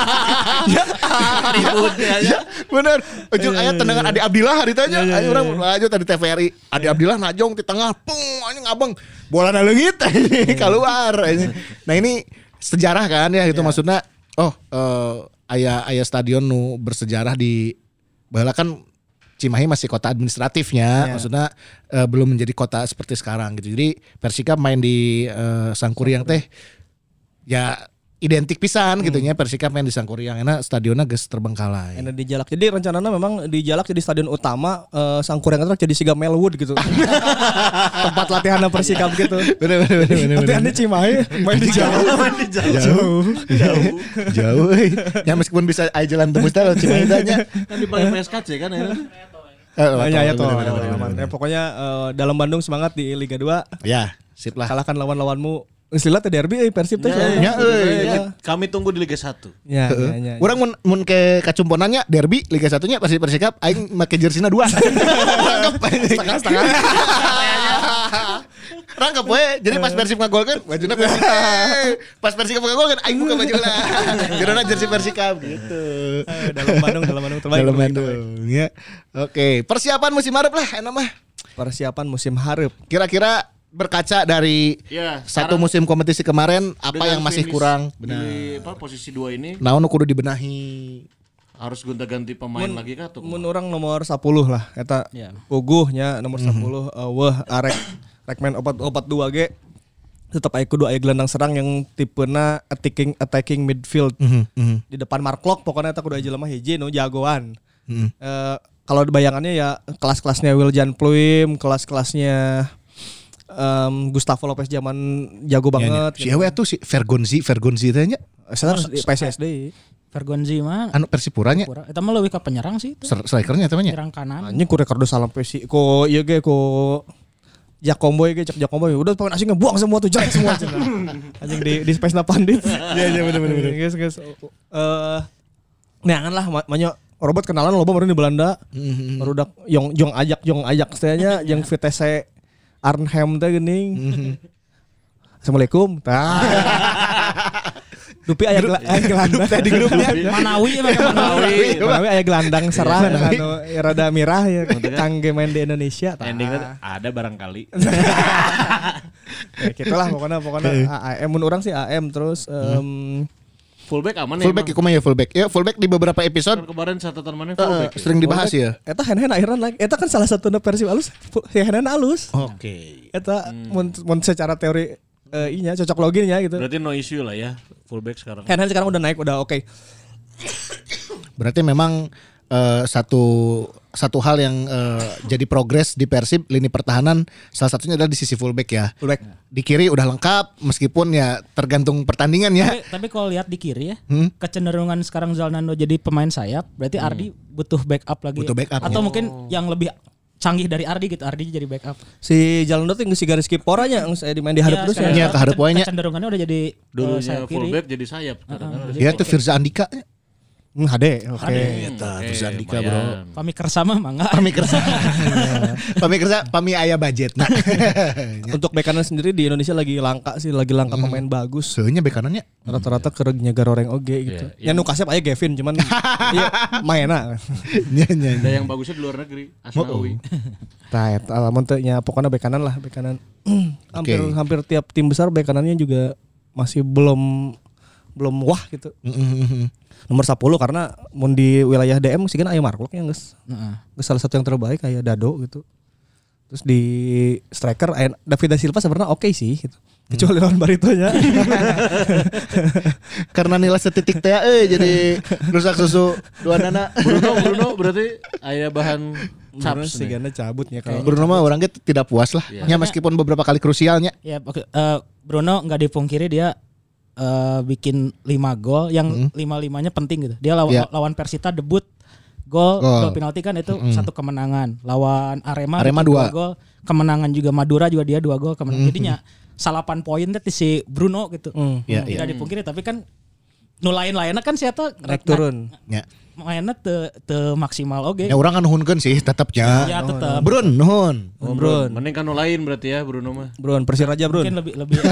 Speaker 4: Ribut ya. ya.
Speaker 3: Bener. Ujung aya tendangan Adi Abdillah hari tanya. Ayo orang aja tadi TVRI. Adi Abdillah najong di tengah. Pung anjing abang. Bola na leungit keluar. Nah ini sejarah kan ya itu maksudnya. Oh, eh, aya aya stadion nu bersejarah di Bala kan Cimahi masih kota administratifnya, maksudnya eh, belum menjadi kota seperti sekarang gitu. Jadi Persika main di eh, Sangkuriang teh ya identik pisan gitu nya Persika main di Sangkuriang enak stadionnya geus terbengkalai.
Speaker 2: Enak di Jalak. Jadi rencananya memang di Jalak jadi stadion utama eh, Sangkuriang itu jadi Siga Melwood gitu. Tempat latihan Persikap gitu.
Speaker 3: bener bener bener bener,
Speaker 2: Latihan di
Speaker 3: bener. Iya,
Speaker 2: Cimahi, main di Jalak.
Speaker 3: jauh jauh jauh euy. ya meskipun bisa aja jalan tembus teh lewat Cimahi teh nya
Speaker 4: Kan dipanggil PSKC kan ya.
Speaker 3: Eh, lewat
Speaker 2: Ya, ya,
Speaker 3: tol,
Speaker 2: toh.
Speaker 3: bener, bener, bener,
Speaker 2: Ya,
Speaker 3: bener.
Speaker 2: pokoknya eh, dalam Bandung semangat di Liga 2
Speaker 3: ya sip lah
Speaker 2: kalahkan lawan-lawanmu. Istilah teh derby eh, Persib teh.
Speaker 3: Ya, euy.
Speaker 2: Ya,
Speaker 4: Kami tunggu di Liga 1.
Speaker 2: ya, ya.
Speaker 3: Heeh. Urang mun mun ke kacumponannya derby Liga 1 nya Persib Persikap aing make jersina dua. Rangkep setengah setengah. Rangkep we. Jadi pas Persib ngagolkeun bajuna Persib. Pas Persib ngagolkeun aing buka baju lah. Jerona jersey Persikap gitu.
Speaker 2: Eh, dalam Bandung, dalam Bandung terbaik.
Speaker 3: Dalam
Speaker 2: terbaik, terbaik.
Speaker 3: Bandung ya. Oke, persiapan musim harap lah enak mah.
Speaker 2: Persiapan musim harap.
Speaker 3: Kira-kira berkaca dari
Speaker 4: Ya, sekarang
Speaker 3: satu musim kompetisi kemarin apa
Speaker 4: dengan
Speaker 3: yang masih
Speaker 4: finish
Speaker 3: kurang?
Speaker 4: Di apa, posisi 2 ini
Speaker 3: Naon nu kudu dibenahi?
Speaker 4: harus gonta-ganti pemain lagi kah tuh?
Speaker 2: Mun orang nomor 10 lah eta
Speaker 5: Ya.
Speaker 2: puguhnya nomor 10 eh, weh arek rek main opat opat dua ge tetap aya kudu aya gelandang serang yang tipena attacking attacking midfield di depan mark lock pokoknya eta kudu aya jelema hiji nu jagoan Eh, kalau bayangannya ya kelas-kelasnya Wiljan Pluim kelas-kelasnya em, Gustavo Lopez zaman jago banget
Speaker 3: Si Ewe tuh si Vergonzi, Vergonzi teh nya
Speaker 2: saya harus di PSSD
Speaker 5: Vergonzi mah
Speaker 3: anu Persipuranya
Speaker 5: kurang. Eta mah leuwih ka penyerang sih itu.
Speaker 3: ser- strikernya temannya.
Speaker 5: Penyerang kanan.
Speaker 2: Anjing ku rekordo salam pesi ku ieu ge ku Jakombo iya ge cek Jakombo udah pemain asing ngebuang semua tuh jelek semua cenah. Anjing di di space na pandit. Iya iya benar benar. Guys guys. Eh neangan lah ma- manyo Robert kenalan loba baru di Belanda. Baru dak yong yong ajak yong ajak sayanya yang VTC Arnhem teh geuning. Assalamualaikum. Tah. Dupi aya gela- aya gelandang.
Speaker 3: Tadi grupnya.
Speaker 5: Manawi emang ke Manawi.
Speaker 2: Manawi aya gelandang serang anu rada mirah ya kangge main di Indonesia. tah.
Speaker 4: Endingnya ada barangkali.
Speaker 2: Ya, gitu lah pokoknya pokoknya AM mun urang sih AM terus em,
Speaker 6: Fullback aman ya.
Speaker 3: Fullback ya kumaha ya fullback. Ya fullback di beberapa
Speaker 6: emang?
Speaker 3: episode
Speaker 6: kemarin catatan mana
Speaker 3: eh,
Speaker 6: fullback. ya?
Speaker 3: sering dibahas ya.
Speaker 2: Eta hand hand akhirnya like Eta kan salah satu versi alus Ya hand hand alus
Speaker 3: Oh.
Speaker 4: Oke.
Speaker 2: Eta mun, mun secara teori eh, inya cocok loginnya gitu
Speaker 6: Berarti no issue lah ya fullback sekarang.
Speaker 2: Hand hand sekarang udah naik udah oke
Speaker 3: Berarti memang eh, satu satu hal yang eh, jadi progres di Persib lini pertahanan salah satunya adalah di sisi fullback ya.
Speaker 2: Fullback
Speaker 3: Di kiri udah lengkap meskipun ya tergantung pertandingan ya.
Speaker 5: Tapi, tapi kalau lihat di kiri ya,
Speaker 3: Hmm?
Speaker 5: kecenderungan sekarang Zalnando jadi pemain sayap, berarti Ardi butuh backup lagi.
Speaker 3: Butuh backup,
Speaker 5: Atau
Speaker 3: ya.
Speaker 5: mungkin yang lebih canggih dari Ardi gitu, Ardi jadi backup.
Speaker 2: Si Jalan Dot yang si garis kiporanya yang saya dimain di hadap terus
Speaker 3: ya.
Speaker 5: sekarang
Speaker 3: Iya,
Speaker 5: kecen-
Speaker 3: keharap poinnya.
Speaker 5: Kecenderungannya udah jadi eh,
Speaker 6: Dulunya
Speaker 5: sayap kiri.
Speaker 6: fullback jadi sayap sekarang. kan.
Speaker 3: Ya itu Firza Andika.
Speaker 2: Hmm, HD oke
Speaker 3: Eta Iya, Firza Andika bro.
Speaker 5: Pami Kersama mah enggak.
Speaker 3: Pami kerja. Pami kerja, pami ayah budget. Nah.
Speaker 2: Untuk back kanan sendiri di Indonesia lagi langka sih Lagi langka pemain bagus
Speaker 3: Seunya bek kanannya.
Speaker 2: Rata-rata kereg nyegar orang oge gitu Ya nu kasep aja Gavin cuman Iya maena
Speaker 3: Nya nya.
Speaker 6: Ada yang bagusnya di luar negeri, Asnawi.
Speaker 2: Nah, eta lamun teu nya pokoknya bek kanan lah, bek kanan. hampir
Speaker 3: Oke.
Speaker 2: hampir tiap tim besar bek kanannya juga masih belum belum wah gitu. Nomor 10 karena mun di wilayah DM sih kan aya Marklock yang geus.
Speaker 5: Heeh.
Speaker 2: geus salah satu yang terbaik kayak Dado gitu. Terus di striker aya David da Silva sebenarnya oke sih gitu. Kecuali lawan Baritonya.
Speaker 3: Karena nilai setitik teh eh jadi rusak susu dua nana.
Speaker 6: Bruno, Bruno berarti ada bahan
Speaker 2: Terus
Speaker 6: caps
Speaker 2: sih
Speaker 6: nih.
Speaker 2: gana cabutnya kalau
Speaker 3: Bruno mah orangnya tidak puas lah. Ya meskipun beberapa kali krusialnya.
Speaker 5: Ya, oke. Eh, Bruno nggak dipungkiri dia eh, bikin 5 gol
Speaker 3: Mm-hmm.
Speaker 5: yang lima-limanya penting gitu. Dia lawan
Speaker 3: Iya.
Speaker 5: lawan Persita debut gol,
Speaker 3: Gol.
Speaker 5: gol penalti kan itu satu kemenangan. Lawan Arema
Speaker 3: Arema
Speaker 5: bikin
Speaker 3: dua. Mm-hmm.
Speaker 5: gol, kemenangan juga Madura juga dia dua gol kemenangan. Jadinya salapan poin teh ti si Bruno gitu.
Speaker 3: Iya,
Speaker 5: Tidak dipungkiri tapi kan nu lain-lainnya kan siapa
Speaker 2: naik turun.
Speaker 3: Ya.
Speaker 5: mainnya te, te maksimal oke.
Speaker 3: Ya orang kan nuhunkeun sih tetapnya.
Speaker 5: Ya, tetep.
Speaker 3: Brun nuhun.
Speaker 6: Oh, Bruno. Mending kan no lain berarti ya Bruno mah.
Speaker 2: Brun Persiraja Brun.
Speaker 5: Mungkin lebih lebih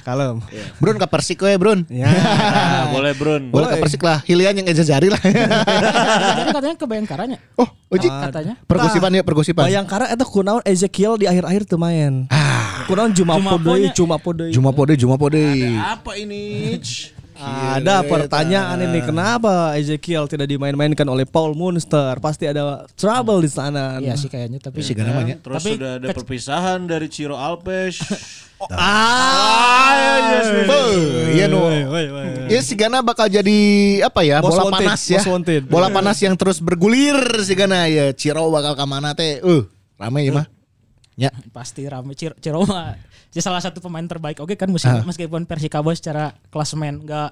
Speaker 2: Kalem.
Speaker 3: Brun ke Persik we Brun.
Speaker 2: Ya.
Speaker 6: Ah, boleh Brun.
Speaker 3: Boleh ke Persik lah. Hilian yang Eza Zari lah.
Speaker 5: Jadi katanya kebayangkarannya
Speaker 3: oh, uji.
Speaker 5: katanya.
Speaker 3: Pergusipan ya pergusipan.
Speaker 2: Bayangkara eta kunaon Ezekiel di akhir-akhir teu main. Kunaon Jumapo
Speaker 5: Jumapo
Speaker 2: deui, Jumapo
Speaker 5: nya.
Speaker 2: deui.
Speaker 3: Juma pode, juma pode.
Speaker 6: Apa ini? Ch?
Speaker 2: Ada pertanyaan ini kenapa Ezekiel tidak dimain-mainkan oleh Paul Munster? Pasti ada trouble di sana.
Speaker 5: Iya sih kayaknya tapi sih
Speaker 3: namanya.
Speaker 6: Terus
Speaker 5: Tapi
Speaker 6: sudah ada perpisahan dari Ciro Alpes.
Speaker 3: Iya nu. Ya si Gana bakal jadi apa ya?
Speaker 2: Most
Speaker 3: bola
Speaker 2: wanted,
Speaker 3: panas ya.
Speaker 2: most wanted.
Speaker 3: Bola panas yang terus bergulir si Gana ya. Ciro bakal ke mana teh? Eh, rame ya mah. Ya.
Speaker 5: pasti rame Cir Ciro mah dia salah satu pemain terbaik oke kan musim
Speaker 2: Ah.
Speaker 5: meskipun Persikabo secara klasemen nggak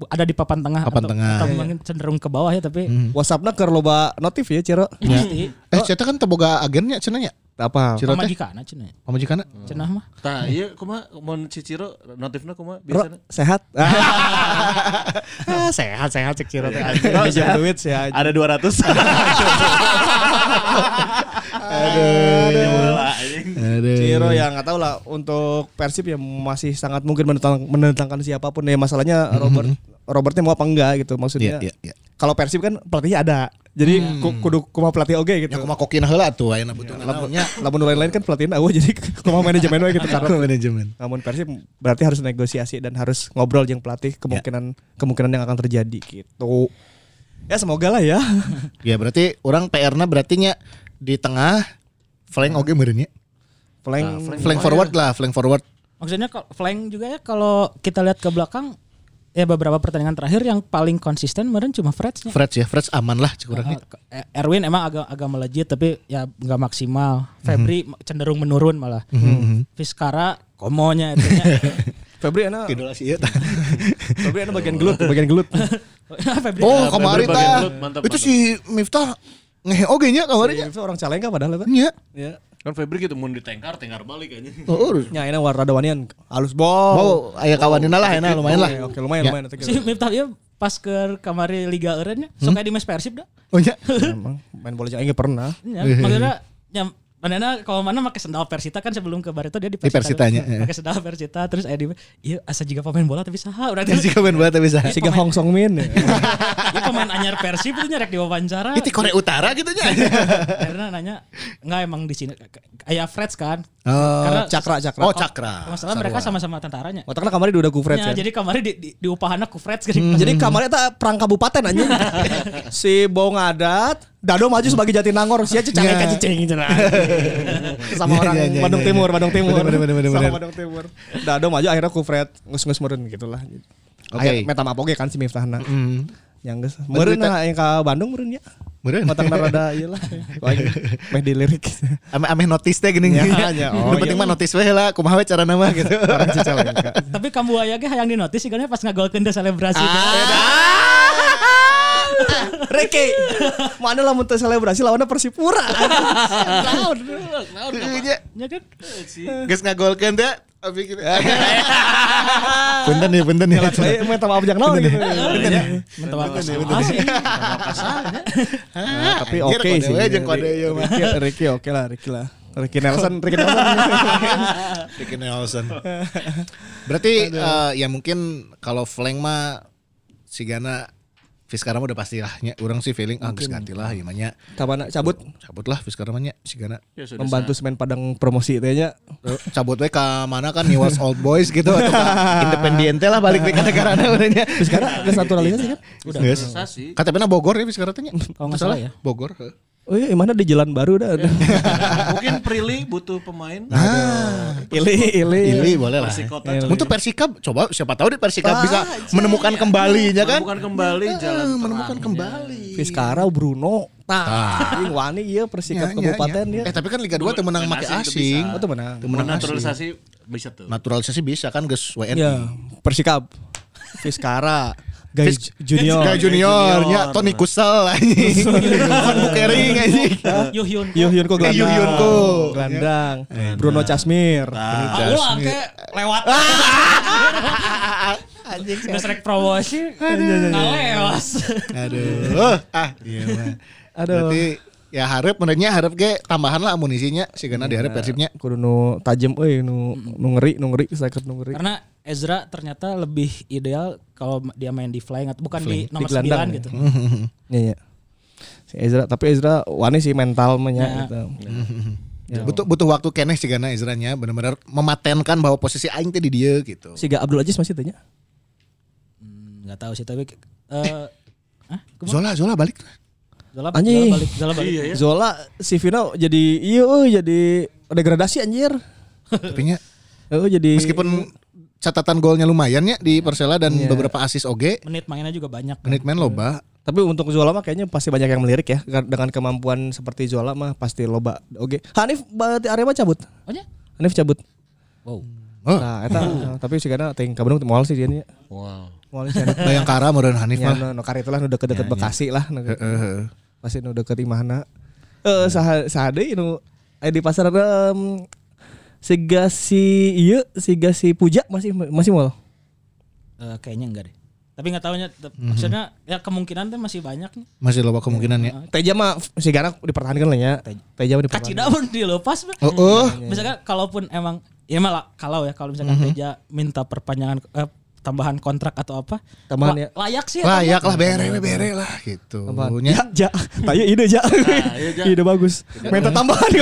Speaker 5: bu- ada di papan tengah
Speaker 3: Papan
Speaker 5: atau,
Speaker 3: tengah.
Speaker 2: iya.
Speaker 5: atau mungkin cenderung ke bawah ya tapi
Speaker 2: WhatsAppnya ke loba notif ya, Ciro.
Speaker 5: pasti
Speaker 3: Eh, Ciro kan teboga agennya cenanya.
Speaker 2: Apa?
Speaker 3: Ciro teh
Speaker 5: pemajikan aja cenah ya.
Speaker 3: pamajikanna.
Speaker 5: cenah mah
Speaker 6: Tah, iya kuma mau si Ciro notifnya kuma
Speaker 2: Ro,
Speaker 6: biasanya.
Speaker 2: sehat. Ah, sehat sehat cek Ciro teh.
Speaker 5: Iya.
Speaker 2: Pinjam duit sih aja.
Speaker 6: Ada 200.
Speaker 2: Ciro ya
Speaker 3: Iya.
Speaker 2: nggak tahu lah untuk Persib ya masih sangat mungkin menentang, menentangkan siapapun ya masalahnya Robert Robertnya mau apa enggak gitu maksudnya.
Speaker 3: Mhm. Iya, iya, iya.
Speaker 2: Kalau Persib kan pelatihnya ada. Jadi ku- kudu kumaha pelatih oge gitu.
Speaker 3: Ya kumaha kokina heula tuh ayeuna butuh
Speaker 2: Lamun lamun nu lain-lain kan pelatihnya eueuh jadi kumaha manajemen we gitu karena
Speaker 3: manajemen.
Speaker 2: namun Persib berarti harus negosiasi dan harus ngobrol jeung pelatih kemungkinan
Speaker 3: Iya.
Speaker 2: kemungkinan yang akan terjadi gitu. Ya semoga lah ya.
Speaker 3: Ya berarti orang PR-na berarti nya di tengah flank oge meureun nya.
Speaker 2: Paling
Speaker 3: Flank forward lah, flank forward.
Speaker 5: maksudnya kalau flank juga ya kalau kita lihat ke belakang ya beberapa pertandingan terakhir yang paling konsisten kemarin cuma Freds
Speaker 3: Fred ya, Fred aman lah cek urang nya.
Speaker 5: Eh, Erwin emang agak agak melejit tapi ya nggak maksimal.
Speaker 2: Hmm.
Speaker 5: Febri cenderung menurun malah. Fiskara komonya itu ya.
Speaker 2: Febri ana
Speaker 3: Idola Gitu sih iya. ieu.
Speaker 2: Febri ana bagian gelut, bagian gelut.
Speaker 5: Febri
Speaker 3: Oh, kemarin
Speaker 6: berbagai
Speaker 3: tah.
Speaker 6: menurut, mantap,
Speaker 3: Itu si Miftah ngehe oge nya kemarin nya. Iya.
Speaker 2: Itu orang Calengka padahal eta.
Speaker 3: Nya.
Speaker 2: Ya.
Speaker 6: Kan Febri gitu mau ditengkar, tengkar balik aja.
Speaker 3: Oh, urus.
Speaker 2: Nya ini warna dawanian halus bol.
Speaker 3: Mau aya kawanina lah enak lumayan lah.
Speaker 2: Oke, lumayan
Speaker 3: Ya.
Speaker 2: lumayan
Speaker 5: Si Miftah ieu pas ke kamari Liga Eureun nya,
Speaker 3: Hmm?
Speaker 5: suka di match Persib dah.
Speaker 3: Oh iya.
Speaker 2: Emang main bola aja nggak pernah.
Speaker 5: Ya, maksudnya nyam Manana kalau mana pakai sendal Persita kan sebelum ke Barito dia di
Speaker 3: Di Persitanya,
Speaker 5: dulu.
Speaker 3: iya.
Speaker 5: Pakai sendal Persita terus aya di iya asa juga pemain bola tapi saha urang
Speaker 3: Jadi
Speaker 5: teh.
Speaker 3: komen banget bisa.
Speaker 5: Si-
Speaker 2: Siga Hong Song Min. ya.
Speaker 5: Ieu pemain anyar Persib itu nyarek diwawancara.
Speaker 3: Itu Korea Utara gitu nya.
Speaker 5: Karena nanya enggak emang di sini aya Freds kan.
Speaker 3: Oh,
Speaker 5: Karena-
Speaker 2: Cakra cakra.
Speaker 3: oh Cakra.
Speaker 5: Masalah mereka sama-sama tentaranya.
Speaker 2: Oh, karena kamarnya udah ku Fred
Speaker 5: Ya,
Speaker 2: kan.
Speaker 5: jadi kemarin di, di, di upahana ku Freds kan. gini.
Speaker 3: Hmm.
Speaker 2: Jadi kamarnya tak perang kabupaten aja. si Bong Adat, Dado maju sebagai Jatinangor, si aja cangek
Speaker 3: Ya.
Speaker 2: kaji ceng cenah. Sama
Speaker 3: Ya,
Speaker 2: orang
Speaker 3: ya, ya,
Speaker 2: Bandung
Speaker 3: ya, ya.
Speaker 2: Timur, Bandung Timur.
Speaker 3: Bener, bener, bener,
Speaker 2: Sama
Speaker 3: bener.
Speaker 2: Bandung Timur. Dado maju akhirnya ku Fred ngus-ngus meureun gitu lah.
Speaker 3: Oke.
Speaker 2: Akhirnya Meta mapoge kan si Miftahna.
Speaker 3: Hmm.
Speaker 2: Yang geus meureun
Speaker 3: Berita-
Speaker 2: nah, yang ka Bandung meureun ya.
Speaker 3: Meureun.
Speaker 2: Otak na rada ieu lah. Lain, Meh dilirik.
Speaker 3: Ame ame notice teh gini.
Speaker 2: Ya, ya. Oh,
Speaker 3: Nu penting
Speaker 2: iya.
Speaker 3: mah notice we lah kumaha we cara nama gitu.
Speaker 2: Orang cicalengka.
Speaker 5: Tapi kamu ayah ge hayang di notis sih pas ngagolkeun teh
Speaker 3: Ah.
Speaker 5: selebrasi. Ya kan? Ah.
Speaker 2: Reke, mana lah muntah selebrasi lawannya Persipura.
Speaker 3: Iya.
Speaker 5: Ya kan?
Speaker 3: Geus ngagolkeun teh abis gitu. Punten ya, punten ya.
Speaker 2: Saya minta maaf jangan naon gitu.
Speaker 5: Minta maaf sama sih. ya.
Speaker 3: Ah,
Speaker 2: Nah, tapi
Speaker 3: anjir,
Speaker 2: oke
Speaker 3: kode
Speaker 2: sih.
Speaker 3: we jeung iya, kode ieu mah.
Speaker 2: Ricky, Ricky oke lah, Ricky lah. Ricky Nelson, Ricky Nelson.
Speaker 3: Ricky Nelson. Berarti eh, ya mungkin kalau flank mah si Gana Fiskara mah udah pasti lah. Nya, Orang sih feeling ah geus ganti lah gimana
Speaker 2: Kapan cabut
Speaker 3: cabut lah Fiskara mah nya si Gana.
Speaker 6: Ya
Speaker 2: membantu semen Padang promosi itu nya.
Speaker 3: Eh, Cabut we ka mana kan Niwas Old Boys gitu atau ka Independiente lah balik ke negara urangnya.
Speaker 2: Sekarang ada naturalisasi kan?
Speaker 3: Udah. Kata benar Bogor ya Fiskara teh nya.
Speaker 5: Kalau nggak salah ya.
Speaker 3: Bogor. heeh.
Speaker 2: Oh iya, mana di jalan baru dah.
Speaker 6: Mungkin Prilly butuh pemain.
Speaker 3: Nah,
Speaker 2: Ili, ili.
Speaker 3: Ili boleh lah.
Speaker 6: Persikota
Speaker 3: ya. Untuk Persikab coba siapa tahu di Persikab bisa menemukan
Speaker 6: Bukan
Speaker 3: kembalinya kan?
Speaker 6: kembali jalan Iya.
Speaker 3: Eh, menemukan kembali.
Speaker 2: Fiskara, Bruno, tah. Ing Wani iya
Speaker 3: Ya,
Speaker 2: persikap
Speaker 3: ya,
Speaker 2: kabupaten
Speaker 3: ya.
Speaker 2: dia.
Speaker 3: Eh tapi kan Liga 2 tuh menang make
Speaker 6: asing tuh
Speaker 3: asing.
Speaker 6: bisa.
Speaker 2: Oh tuh menang.
Speaker 3: Teu menang asing.
Speaker 6: naturalisasi bisa tuh.
Speaker 3: Naturalisasi bisa kan geus WNI.
Speaker 2: Ya, persikap. Fiskara, guys
Speaker 3: Fis-
Speaker 2: Iya. junior.
Speaker 3: Liga juniornya Tony ya, Kusel anjing. Van Bukering anjing.
Speaker 2: Iya.
Speaker 5: Yuh Yun.
Speaker 2: Yuh Yunko
Speaker 3: Eh,
Speaker 2: gelandang.
Speaker 3: Yuh Yunko.
Speaker 2: Iya. Gelandang. Bruno Casmir.
Speaker 5: Ah, ulah ke lewat.
Speaker 2: Ah!
Speaker 5: Anjing. Udah sering promosi. Ngalewas.
Speaker 3: Aduh. Ah, iya mah.
Speaker 2: Aduh.
Speaker 3: Berarti ya harap menurutnya harap ge tambahan lah amunisinya si Gana diharap persibnya.
Speaker 2: kudu nu tajem euy nu nu ngeri nu ngeri saya nu ngeri.
Speaker 5: Karena Ezra ternyata lebih ideal kalau dia main di flying atau bukan di nomor
Speaker 2: gelandang
Speaker 5: 9
Speaker 2: ya.
Speaker 5: gitu.
Speaker 2: Iya iya. Si Ezra tapi Ezra wani sih mental mah nya, gitu. Ya.
Speaker 3: Butuh butuh waktu keneh si Gana Ezranya benar-benar mematenkan bahwa posisi aing teh di dia gitu.
Speaker 2: Siga Abdul Aziz masih tanya.
Speaker 5: Enggak tahu sih tapi eh Hah? Kumaha?
Speaker 3: Zola Zola balik.
Speaker 5: Zola,
Speaker 2: Anjing.
Speaker 5: Zola balik, Zola balik.
Speaker 2: Zola si Vino jadi iya euy, jadi degradasi anjir.
Speaker 3: Tapi nya
Speaker 2: Euy, jadi
Speaker 3: meskipun catatan golnya lumayan ya di Persela dan beberapa asis oge,
Speaker 5: Menit mainnya juga banyak.
Speaker 3: menit main loba.
Speaker 2: tapi untuk Zola mah kayaknya pasti banyak yang melirik ya Kar- dengan kemampuan seperti Zola mah pasti loba. Oke. Hanif berarti Arema cabut.
Speaker 5: Oh ya?
Speaker 2: Hanif cabut.
Speaker 5: Wow.
Speaker 3: Oh.
Speaker 2: Nah, eta tapi sih karena ting ka Bandung teu moal sih dia nya.
Speaker 6: Wow.
Speaker 2: Moal sih. anu.
Speaker 3: Oh, Bayangkara meureun Hanif
Speaker 2: Ya,
Speaker 3: mah.
Speaker 2: no, no karek lah nu deket-deket Bekasi lah. nu- Pasti nu deket imahna. Eh saha saha deui nu eh, di pasar em siga si ieu siga si Puja masih masih moal.
Speaker 5: Eh, kayaknya enggak deh. Tapi enggak tahunya
Speaker 2: Mhm.
Speaker 5: maksudnya ya kemungkinan tuh masih banyak nih.
Speaker 3: Masih loba kemungkinan ya.
Speaker 2: Teja mah sigana dipertahankan lah nya. Teja mah dipertahankan.
Speaker 5: Kacida pun dilepas. Bang.
Speaker 3: Heeh.
Speaker 5: Misalkan kalaupun emang ya malah kalau ya kalau misalkan Teja minta perpanjangan eh, tambahan kontrak atau apa
Speaker 2: Tambahan
Speaker 5: la-
Speaker 2: ya.
Speaker 5: layak sih ya,
Speaker 3: Layak lah bere we bere lah gitu.
Speaker 2: Apaan?
Speaker 3: Nya.
Speaker 2: Ya, ja. Tanya ide ja.
Speaker 3: Ah, iya,
Speaker 2: ide bagus. Minta tambahan.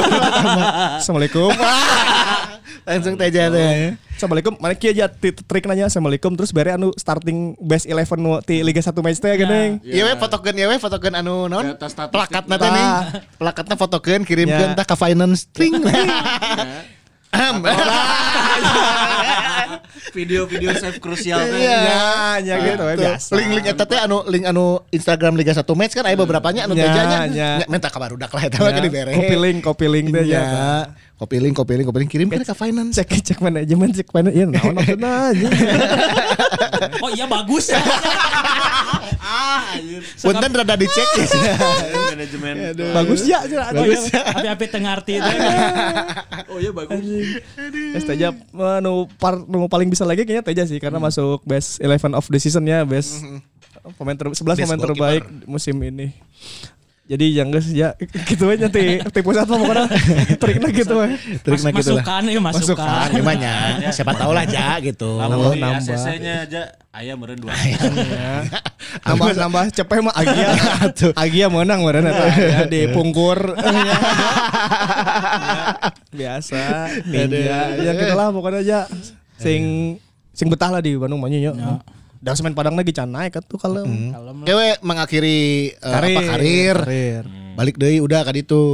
Speaker 2: Assalamualaikum.
Speaker 3: Ah.
Speaker 2: Iya,
Speaker 3: Langsung teja teh.
Speaker 2: Assalamualaikum. Mana kieu ja ti- trik nanya Assalamualaikum terus bare anu starting best 11 nu ti Liga 1 match teh geuning.
Speaker 3: Iya we fotokeun ya we fotokeun anu naon?
Speaker 6: Data statistik.
Speaker 3: Plakatna teh nih.
Speaker 2: Iya.
Speaker 3: Plakatna fotokeun
Speaker 2: Ya.
Speaker 3: kirimkeun tah ka finance string.
Speaker 2: Iya.
Speaker 3: Ahem.
Speaker 6: Video-video save krusial
Speaker 3: Iya.
Speaker 2: Ya, ya gitu, ya, biasa. Hmm.
Speaker 3: Link-link eta teh anu link anu Instagram Liga 1 Match kan aya beberapa nya anu
Speaker 2: Ya,
Speaker 3: tejanya.
Speaker 2: ya.
Speaker 3: Nya minta kabar udak lah eta mah kan dibere.
Speaker 2: Copy link, copy link teh
Speaker 3: Iya.
Speaker 2: ya.
Speaker 3: Kopi link, kopi link, kopi link kirim ke finance.
Speaker 2: cek cek manajemen cek finance ya naon maksudna aja
Speaker 5: Oh iya bagus ya.
Speaker 3: Punten rada dicek.
Speaker 6: manajemen.
Speaker 2: bagus
Speaker 5: Iya,
Speaker 2: ya cenah.
Speaker 3: Bagus.
Speaker 5: Api-api tengah arti itu.
Speaker 6: Oh iya bagus.
Speaker 2: Yes, Teja eh, nu, par, nu paling bisa lagi kayaknya Teja sih karena masuk best 11 of the season ya, best pemain ter 11
Speaker 3: Best
Speaker 2: pemain
Speaker 3: goalkeeper.
Speaker 2: terbaik musim ini. Jadi yang geus ya gitu aja nanti tipe satu pokoknya triknya gitu aja.
Speaker 3: Trik nah gitu lah.
Speaker 5: Masukan ya masukan.
Speaker 3: Masukan gimana? Siapa tahu lah ja gitu.
Speaker 6: Nambah
Speaker 2: nambah.
Speaker 6: ACC-nya aja ayam meren dua.
Speaker 2: ya. Nambah nambah cepet mah Agia. Agia menang Iya. meureun eta ya, di pungkur. Iya. Biasa ninja ya gitu lah pokoknya aja sing sing betah lah di Bandung mah nya. Dan semen Padang lagi can naik kan tuh kalau.
Speaker 3: Kewe mengakhiri eh, apa karir. Hmm,
Speaker 2: Karir.
Speaker 3: Balik deui udah kan kaditu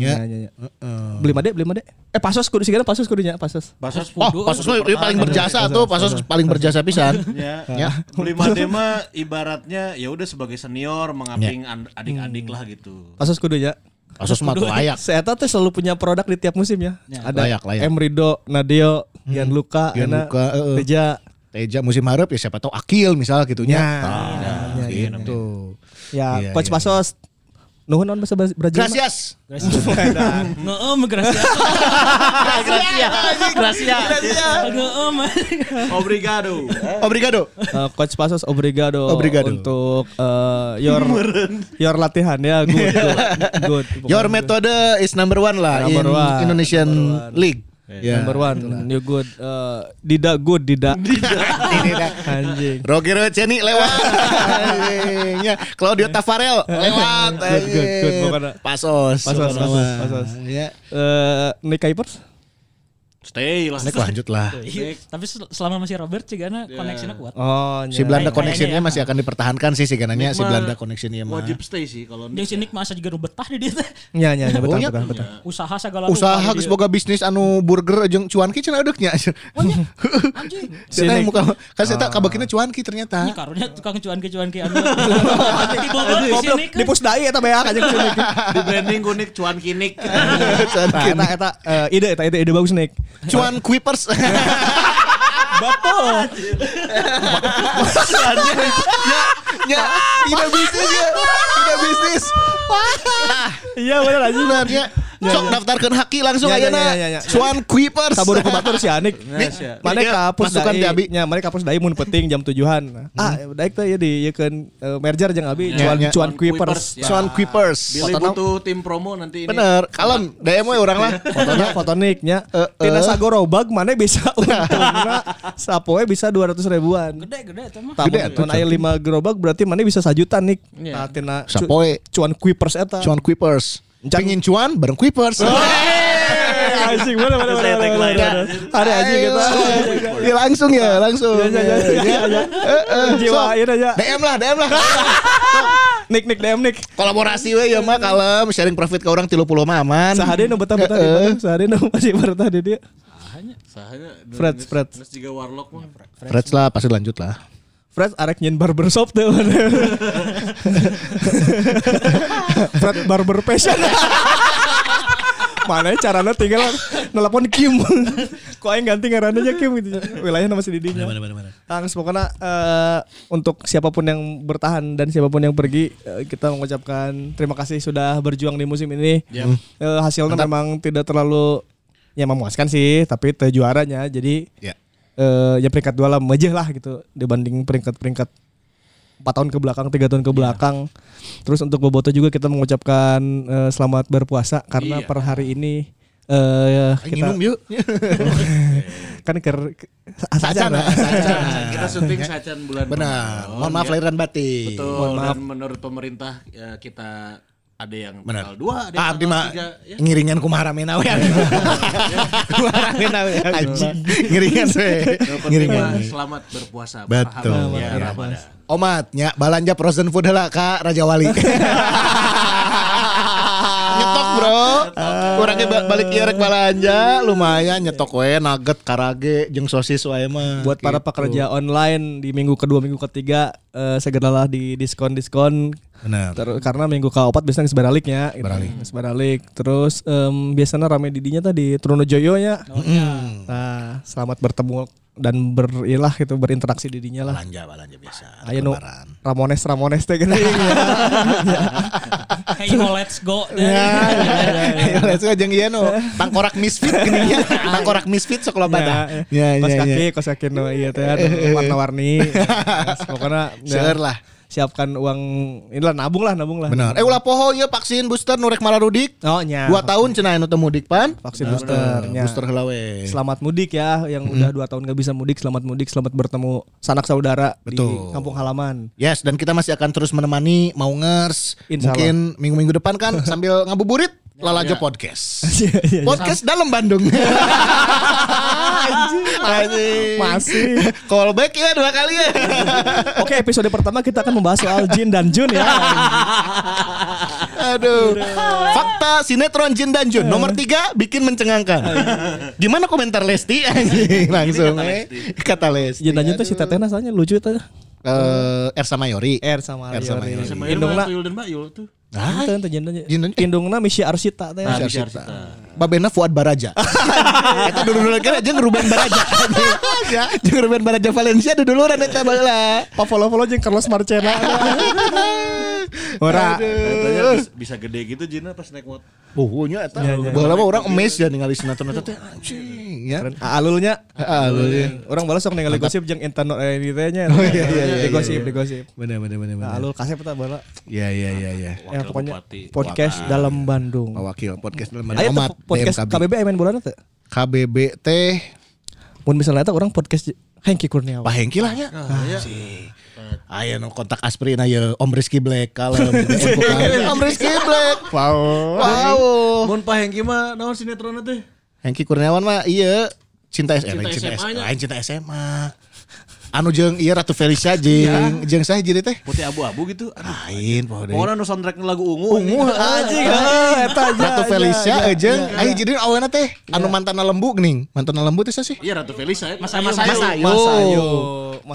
Speaker 2: Ya. ya, ya.
Speaker 3: nya.
Speaker 2: Beli made, beli made. Eh pasos kudu sigana pasos kudunya, pasos.
Speaker 6: Basos
Speaker 3: Oh, pasus mah ieu paling berjasa tuh, pasus paling berjasa pisan.
Speaker 6: Ya.
Speaker 3: Ya.
Speaker 6: Lima Dema ibaratnya ya udah sebagai senior mengaping
Speaker 3: Ya.
Speaker 6: an-
Speaker 3: Hmm.
Speaker 6: adik-adik lah gitu.
Speaker 2: Pasos kudunya.
Speaker 3: Pasus mah tuh layak.
Speaker 2: Saya tuh selalu punya produk di tiap musim ya. Ada
Speaker 3: Layak, Hmm. layak.
Speaker 2: Emrido, Nadio, Gianluca, Ena,
Speaker 3: Gianluca, eh, eh.
Speaker 2: Teja.
Speaker 3: Teja musim harap ya siapa tahu Akil misal gitu gitunya.
Speaker 2: Ya.
Speaker 3: Tah, gitu.
Speaker 2: Ya,
Speaker 3: Iya,
Speaker 2: coach
Speaker 3: iya,
Speaker 2: Pasos. Nuhun naon bahasa Brazil.
Speaker 3: Gracias.
Speaker 5: Ngeem gracias.
Speaker 6: Gracias. Gracias.
Speaker 5: Ngeem.
Speaker 6: Obrigado.
Speaker 3: Obrigado.
Speaker 2: Eh, coach Pasos obrigado,
Speaker 3: Obrigado.
Speaker 2: untuk eh, your your latihan ya good good. good.
Speaker 3: Your method is gitu. number one lah
Speaker 2: Number
Speaker 3: in
Speaker 2: one.
Speaker 3: Indonesian
Speaker 2: Number one.
Speaker 3: League. Ya.
Speaker 2: number one you good Eh, didak good didak anjing
Speaker 3: Roger Ceni lewat. Anjing, ya. Claudio Tafarel lewat.
Speaker 2: Good, good, good.
Speaker 3: anjing.
Speaker 2: Pokoknya.
Speaker 3: Pasos.
Speaker 2: Pasos,
Speaker 3: Sama.
Speaker 2: pasos, pasos.
Speaker 3: Ya.
Speaker 2: Eh, Nick Kuipers?
Speaker 6: Stay lah.
Speaker 3: Nek lanjut lah.
Speaker 5: Iya, Tapi sel- selama masih Robert sih karena koneksinya kuat.
Speaker 2: Oh,
Speaker 3: Si Belanda
Speaker 5: Kayaknya
Speaker 3: connectionnya
Speaker 5: ya.
Speaker 3: masih akan dipertahankan sih sih kanannya Ya, si
Speaker 6: Mah,
Speaker 3: Belanda connectionnya mah.
Speaker 6: Wajib stay sih kalau
Speaker 5: Dia sini masa juga nu betah di dia. teh.
Speaker 2: Nya nya nya
Speaker 3: Oh,
Speaker 2: betah
Speaker 3: nya.
Speaker 2: betah betah.
Speaker 5: Usaha segala rupa
Speaker 3: Usaha
Speaker 5: di
Speaker 3: geus
Speaker 5: dia.
Speaker 3: boga bisnis anu burger jeung cuanki cenah edeuknya.
Speaker 5: Anjing.
Speaker 3: Saya tahu muka kan saya tahu
Speaker 2: Ah.
Speaker 3: kabakina cuanki ternyata.
Speaker 5: Ini Iya, karunya tukang cuan-cuan ke anu. Di Bogor di sini
Speaker 2: Di
Speaker 5: kan.
Speaker 2: Pusdai eta beak aja kesini.
Speaker 6: di branding unik cuan kinik.
Speaker 2: Nah, eta eta eh, ide eta ide ide bagus Nick.
Speaker 3: Cuan Kuipers.
Speaker 2: Bapak.
Speaker 3: Ya, tidak bisnis ya. Tidak bisnis.
Speaker 2: Iya benar aja.
Speaker 3: Benar ya. Ah, Sok daftarkan haki langsung
Speaker 2: Ya, ya, ya,
Speaker 3: ayeuna.
Speaker 2: ya, ya.
Speaker 3: Cuan Kuipers.
Speaker 2: Kabur ke batur si Anik.
Speaker 6: sia.
Speaker 2: Mana
Speaker 3: Iya,
Speaker 2: ka
Speaker 3: masukan Hmm.
Speaker 2: Pusdai?
Speaker 3: ti Abi.
Speaker 2: Nya mana ka Pusdai mun penting jam 7-an. Ah, daik teh ieu di ieu keun, eh, merger jeung Abi
Speaker 3: Ya,
Speaker 2: cuan
Speaker 3: ya.
Speaker 2: cuan
Speaker 6: Kuipers,
Speaker 2: Kuipers.
Speaker 6: ya.
Speaker 3: Cuan Kuipers.
Speaker 6: Billy butuh tim promo nanti ini.
Speaker 3: Bener, kalem, DM we orang lah.
Speaker 2: fotonya fotoniknya
Speaker 3: Eh, eh.
Speaker 2: tina sagorobag mana bisa untungna sapoe bisa 200 ribuan
Speaker 5: Gede gede itu mah.
Speaker 2: Tamun
Speaker 3: Gede atuh,
Speaker 2: mun aya 5 gerobak berarti mana bisa sajutan nih. Nah, tina cu-
Speaker 3: Sapoe.
Speaker 2: cuan kuipers eta.
Speaker 3: Cuan Kuipers.
Speaker 2: Encan.
Speaker 3: Pingin cuan bareng Kuipers.
Speaker 2: Oh, iya, Eh, Anjing mana mana mana. mana, mana, mana. Ada anjing
Speaker 3: Ayo.
Speaker 2: kita.
Speaker 3: Ya langsung ya, langsung. Iya,
Speaker 2: Ya, ya, ya, ya, ya, ya. Jiwain aja.
Speaker 3: DM lah, DM lah.
Speaker 2: Nik nik DM nik.
Speaker 3: Kolaborasi we ya mah kalem, sharing profit ke orang 30 mah aman.
Speaker 2: Sahade nu betah betah di
Speaker 3: Heeh.
Speaker 2: Bandung, sahade nu masih betah di dia.
Speaker 6: Sahanya
Speaker 2: Fred, Fred.
Speaker 6: Terus juga warlock
Speaker 3: Ya,
Speaker 6: mah.
Speaker 3: Freds lah, pasti lanjut lah.
Speaker 2: Fred arek nyen barber shop tuh. Fred barber passion. Mana ya caranya tinggal nelpon Kim. Kok aing ganti ngaranna aja Kim gitu. Wilayahnya masih di dinya. Thanks pokoknya eh, untuk siapapun yang bertahan dan siapapun yang pergi eh, kita mengucapkan terima kasih sudah berjuang di musim ini. Eh, hasilnya memang tidak terlalu ya memuaskan sih, tapi teu juaranya. Jadi
Speaker 3: Ya.
Speaker 2: eh ya peringkat dua lah mejeh lah gitu dibanding peringkat-peringkat empat tahun ke belakang tiga tahun ke belakang terus untuk Boboto juga kita mengucapkan eh, selamat berpuasa karena per hari ini eh kita
Speaker 3: Minum yuk.
Speaker 2: kan ker nah.
Speaker 3: Sacan,
Speaker 2: asacana.
Speaker 3: sacan.
Speaker 6: Kita syuting sajian bulan.
Speaker 3: Nah, ya. Benar.
Speaker 6: Ramadan,
Speaker 3: Mohon maaf
Speaker 6: ya.
Speaker 3: lahir dan batin.
Speaker 6: Betul.
Speaker 2: Mohon maaf.
Speaker 6: Dan menurut pemerintah ya, kita ada yang
Speaker 3: Benar.
Speaker 6: tanggal 2, ada yang
Speaker 3: Ah, abdi
Speaker 6: tanggal
Speaker 3: mah
Speaker 6: tiga, ya. Iya,
Speaker 3: ngiringan kumaha ramena we. Kumaha ramena we. Anjing. Ngiringan we.
Speaker 6: Yang penting
Speaker 3: Ngiringan.
Speaker 6: mah selamat berpuasa.
Speaker 3: Betul.
Speaker 6: Paham, ya,
Speaker 3: Selamat
Speaker 6: Ramadan.
Speaker 3: Omatnya balanja frozen food heula ka Raja Wali. Nyetok bro. Kurangnya ba- balik iya rek balanja lumayan nyetok we nugget karage jeung sosis wae mah.
Speaker 2: buat para pekerja online di minggu kedua minggu ketiga eh, segeralah di diskon diskon
Speaker 3: Benar.
Speaker 2: Ter- karena minggu keempat biasanya geus baralik nya gitu. Geus baralik. terus em, biasanya rame di dinya tadi Trunojoyo nya
Speaker 3: Oh,
Speaker 2: nah selamat bertemu dan berilah itu berinteraksi di dinya lah
Speaker 3: Belanja belanja biasa.
Speaker 2: Ayo nu Ramones Ramones teh gitu.
Speaker 3: Iya,
Speaker 2: Iya, gini
Speaker 5: Hey, yo, let's go. Nah,
Speaker 3: gitu. Let's go jeung ieu nu tangkorak misfit gini ya. Tangkorak misfit sok loba tah. iya,
Speaker 2: ya, kos kaki kos kaki nu iya teh aduh, warna-warni Yes, pokoknya ya,
Speaker 3: Seueur lah.
Speaker 2: siapkan uang inilah nabung lah nabung lah
Speaker 3: Benar. Eh ulah poho ieu vaksin booster nu rek malarudik.
Speaker 2: oh nya
Speaker 3: 2 tahun cenah anu teu mudik pan.
Speaker 2: vaksin booster nya.
Speaker 3: Booster iya. Hmm. heula we.
Speaker 2: Ya. Selamat mudik ya yang udah dua tahun nggak bisa mudik, selamat mudik, selamat bertemu sanak saudara
Speaker 3: Betul.
Speaker 2: di kampung halaman.
Speaker 3: Yes, dan kita masih akan terus menemani mau ngers.
Speaker 2: Insya Allah. Ya,
Speaker 3: Mungkin minggu-minggu depan kan sambil ngabuburit lalajo podcast.
Speaker 2: Iya,
Speaker 3: podcast dalam Bandung. Anjing.
Speaker 2: Masih. Iya.
Speaker 3: Callback ya dua kali ya.
Speaker 2: Oke, episode pertama kita akan membahas soal Jin dan Jun ya.
Speaker 3: Aduh. Fakta sinetron Jin dan Jun nomor tiga bikin mencengangkan. Gimana komentar Lesti anjing langsung eh. kata Lesti.
Speaker 2: Jin dan Jun tuh si Teteh asalnya lucu tuh.
Speaker 3: Eh, Ersa Mayori.
Speaker 2: R sama
Speaker 3: R sama Yori.
Speaker 2: Yori.
Speaker 6: Sama
Speaker 2: Indungna.
Speaker 6: Yul dan Mbak Yul tuh.
Speaker 2: Ah, itu Jin dan
Speaker 3: Jin
Speaker 2: Jun.
Speaker 3: dan-
Speaker 2: Indungna Misha Arsita teh.
Speaker 6: Nah,
Speaker 3: Arsita.
Speaker 6: Arsita.
Speaker 3: Babena Fuad Baraja. Eta dulu-dulu kan aja ngeruben Baraja. Jeung Ruben Baraja Valencia duduluran eta baheula.
Speaker 2: Pa follow-follow jeung Carlos Marcena. Ora.
Speaker 6: Katanya bis- bisa gede gitu Jina pas naik motor.
Speaker 3: Buhunya Eh.
Speaker 6: Iya,
Speaker 3: Oh, eta. Iya, Baheula mah urang amazed ya ningali sinetron eta teh anjing ya.
Speaker 2: Alulnya
Speaker 3: Ah, lu ya.
Speaker 2: orang balas sok ningali gosip jeung Intan Nuraini teh nya.
Speaker 3: Oh, iya, iya, iya,
Speaker 2: Di gosip, di gosip.
Speaker 3: Bener bener bener
Speaker 2: Nah, Alul kasep eta balas.
Speaker 3: Iya iya iya iya.
Speaker 2: Ya, pokoknya podcast dalam Bandung.
Speaker 3: Pak Wakil podcast dalam
Speaker 2: Ayo teh podcast KBB main bola teh.
Speaker 3: KBB teh
Speaker 2: Mun misalnya teh orang podcast Hengki Kurniawan.
Speaker 3: Pak Hengki lah nya.
Speaker 6: Iya.
Speaker 3: Anjing. Ayo nu kontak Aspri na ya Om Rizky Black kalem. Om Rizky Black. Wow. Wow.
Speaker 6: Mun Pak Hengki mah naon sinetronnya teh?
Speaker 3: Hengki Kurniawan mah iya cinta, S- eh, lain
Speaker 6: Cinta
Speaker 3: cinta SMA
Speaker 6: SMA -nya.
Speaker 3: lain cinta SMA anu jeung iya Ratu Felicia jeung jeung saya jadi teh
Speaker 6: Putih abu-abu gitu.
Speaker 3: Iya.
Speaker 6: Aduh.
Speaker 3: lain poho deui.
Speaker 6: Pokoknya nu soundtracknya lagu ungu.
Speaker 3: Ungu,
Speaker 2: Anjing, ah, eta aja,
Speaker 3: Ratu
Speaker 2: aja,
Speaker 3: Felicia eh,
Speaker 2: aja.
Speaker 3: jeung aya jadi awalnya teh anu mantan lembu geuning mantan lembu teh sih
Speaker 6: Iya Ratu Felisa ya. Mas
Speaker 5: Mas
Speaker 6: Ayu. Oh.
Speaker 3: Ayu.
Speaker 2: Mas Ayu. Mas Ayu.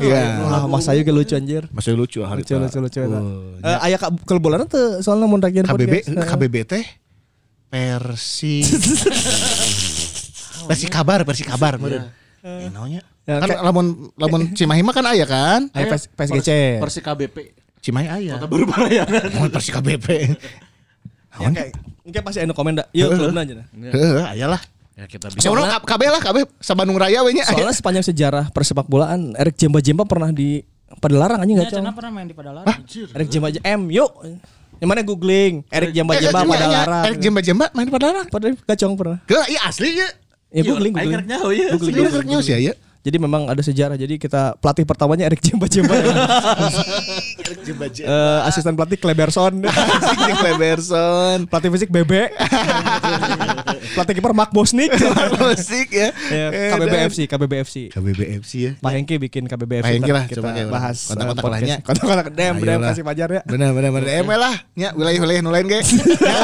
Speaker 3: Iya.
Speaker 2: Ah, Mas Ayu ge lucu anjir.
Speaker 3: masih lucu hari
Speaker 2: Lucu lucu lucu eta. Eh,
Speaker 3: iya.
Speaker 2: aya ka kelbolana teh soalna mun rek jadi
Speaker 3: KBB
Speaker 2: podcast. eh.
Speaker 3: KBB teh Persi Persi kabar Persi kabar meureun Eh, naonnya?
Speaker 2: Ya,
Speaker 3: kan
Speaker 2: kayak-
Speaker 3: lamun lamun Cimahi mah kan aya kan
Speaker 2: Aya PS PSGC.
Speaker 6: Persi KBP.
Speaker 3: Cimahi aya
Speaker 6: Kota baru Parayangan.
Speaker 3: Mau Persi KBB
Speaker 2: Ya, kayak- Mungkin pasti anu komen dah. Yuk, kelebna aja. dah.
Speaker 3: Heeh, ayalah.
Speaker 6: Ya kita
Speaker 3: Saya urang ka- kabeh lah kabeh sa Bandung Raya we nya.
Speaker 2: Soalnya sepanjang sejarah persepak bolaan Erik Jemba-Jemba pernah di Padalarang anjing enggak
Speaker 5: Cina
Speaker 2: cong.
Speaker 5: pernah main di Iya, Padalarang.
Speaker 2: Erik Jemba M yuk. Yang mana googling Erik Jemba-Jemba Padalarang.
Speaker 3: Erik Eh, Jemba Jemba main di Padalarang.
Speaker 2: Padahal kacong pernah.
Speaker 3: Ke iya asli ya.
Speaker 2: Ya googling googling.
Speaker 6: Aing rek
Speaker 3: oh iya.
Speaker 6: nyaho ya.
Speaker 2: Googling,
Speaker 3: Asli
Speaker 2: googling.
Speaker 3: rek nyaho sih ya.
Speaker 2: Jadi memang ada sejarah. Jadi kita pelatih pertamanya Erik Jemba Jemba.
Speaker 3: Erik Jemba Jemba.
Speaker 2: Eh, asisten pelatih Kleberson.
Speaker 3: Sing Kleberson.
Speaker 2: pelatih fisik Bebe. pelatih kiper Mark Bosnik.
Speaker 3: Musik ya.
Speaker 2: Ya, KBBFC, KBBFC.
Speaker 3: KBBFC ya.
Speaker 2: Pak Hengki bikin KBBFC.
Speaker 3: Pak Hengki
Speaker 2: ntar
Speaker 3: lah,
Speaker 2: ya, kita
Speaker 3: coba kayak orang.
Speaker 2: bahas
Speaker 3: Kontak-kontak
Speaker 2: eh, podcast.
Speaker 3: lainnya.
Speaker 2: Kontak-kontak DM, DM
Speaker 3: Ayolah.
Speaker 2: kasih pajar ya.
Speaker 3: Benar benar benar. Emel lah. Ya wilayah-wilayah nu lain ge. Ya.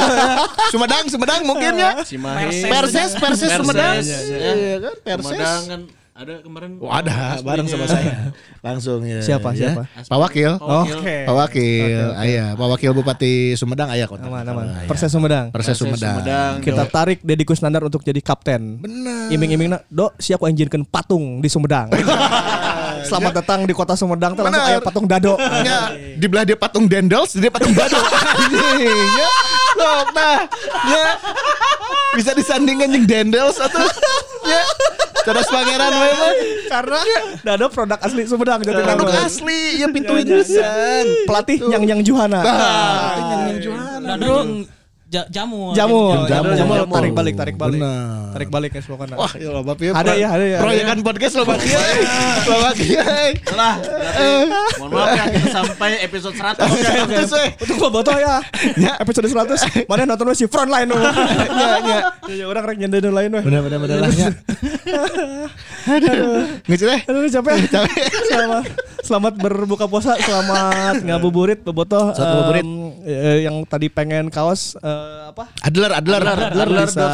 Speaker 3: Sumedang Sumedang mungkin ya.
Speaker 6: Cimahi.
Speaker 3: Perses Perses Sumedang.
Speaker 6: Perses, ya.
Speaker 3: Iya kan
Speaker 6: Pemadang
Speaker 3: Perses.
Speaker 6: kan ada kemarin.
Speaker 3: Wah Oh, ada bareng sama saya. Langsung ya.
Speaker 2: Siapa,
Speaker 3: ya.
Speaker 2: siapa?
Speaker 3: Pak Wakil. Oh,
Speaker 2: Oke.
Speaker 3: Pak Wakil, ayah, Pak Wakil Bupati Sumedang Ah, ayah kontak.
Speaker 2: Aman, aman.
Speaker 3: Ayah.
Speaker 2: Perses Sumedang.
Speaker 3: Perses Sumedang.
Speaker 2: Kita
Speaker 3: Iya.
Speaker 2: tarik Deddy Kusnandar untuk jadi kapten.
Speaker 3: Bener.
Speaker 2: Iming-imingna, "Dok, siap ku anjirkeun patung di Sumedang."
Speaker 3: Iya.
Speaker 2: Selamat datang di kota Sumedang, teh langsung
Speaker 3: Bener.
Speaker 2: aya patung dado.
Speaker 3: Ya,
Speaker 2: Iya.
Speaker 3: di belah dia patung dendels, dia patung badut. Anjing, ya. Sok, nah, ya. Bisa disandingkan jeung dendels atau ya. Terus pangeran we mah.
Speaker 2: Karena dado produk asli Sumedang jadi
Speaker 3: Produk asli, ya
Speaker 2: Iya,
Speaker 3: pintu insan.
Speaker 2: Pelatih yang yang Juhana.
Speaker 3: Nah. iya,
Speaker 2: Nah.
Speaker 5: Lalu jamu.
Speaker 2: Jamu,
Speaker 3: Oh, Jamu,
Speaker 2: jamu, jamu,
Speaker 3: jamu.
Speaker 2: tarik balik, tarik balik,
Speaker 3: Bener.
Speaker 2: tarik balik ya semua kena.
Speaker 3: Wah, ya lo Bapak ya.
Speaker 2: Ada ya, ada ya, Iya. ada
Speaker 3: Proyekan podcast lo Bapak ya. Lo Bapak ya.
Speaker 6: Lah, berarti
Speaker 3: Eh.
Speaker 6: mohon maaf ya kita sampai episode ya. 100.
Speaker 2: Iya,
Speaker 3: Terus we.
Speaker 2: Untuk gua botol ya.
Speaker 3: Ya. Iya,
Speaker 2: Episode 100. Mana nonton si frontline lu. Ya, ya. Ya, orang rek nyendain nu lain weh.
Speaker 3: Bener bener bener lah. ya. Aduh, ngecil eh.
Speaker 2: Aduh capek. Sama selamat berbuka puasa, selamat ngabuburit bobotoh.
Speaker 3: Selamat ngabuburit.
Speaker 2: Em, eh, yang tadi pengen kaos eh, apa?
Speaker 3: Adler, Adler.
Speaker 2: Adler bisa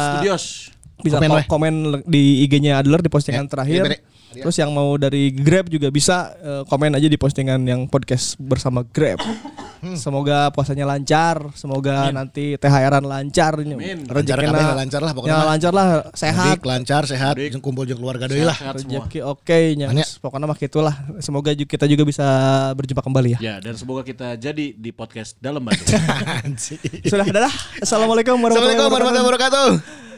Speaker 2: bisa
Speaker 3: Komen
Speaker 2: ko-
Speaker 3: weh.
Speaker 2: komen le- di IG-nya Adler di postingan
Speaker 3: Ya,
Speaker 2: terakhir.
Speaker 3: iya, Bere.
Speaker 2: Terus yang mau dari Grab juga bisa eh, komen aja di postingan yang podcast bersama Grab.
Speaker 3: Hmm.
Speaker 2: Semoga puasanya lancar, semoga nanti THR-an lancar,
Speaker 3: Lancar kabeh lah, lancar lah pokoknya
Speaker 2: Ya,
Speaker 3: mah.
Speaker 2: lancar lah, sehat,
Speaker 3: Mudik, lancar, sehat, jeung kumpul jeung keluarga deui lah.
Speaker 2: rezeki oke, nya.
Speaker 3: Anya.
Speaker 2: pokoknya mah gitulah. Semoga ju- kita juga bisa berjumpa kembali ya.
Speaker 6: Ya, dan semoga kita jadi di podcast dalam Bandung.
Speaker 2: Sudah, dah. Assalamualaikum warahmatullahi wabarakatuh.
Speaker 3: Assalamualaikum warahmatullahi wabarakatuh.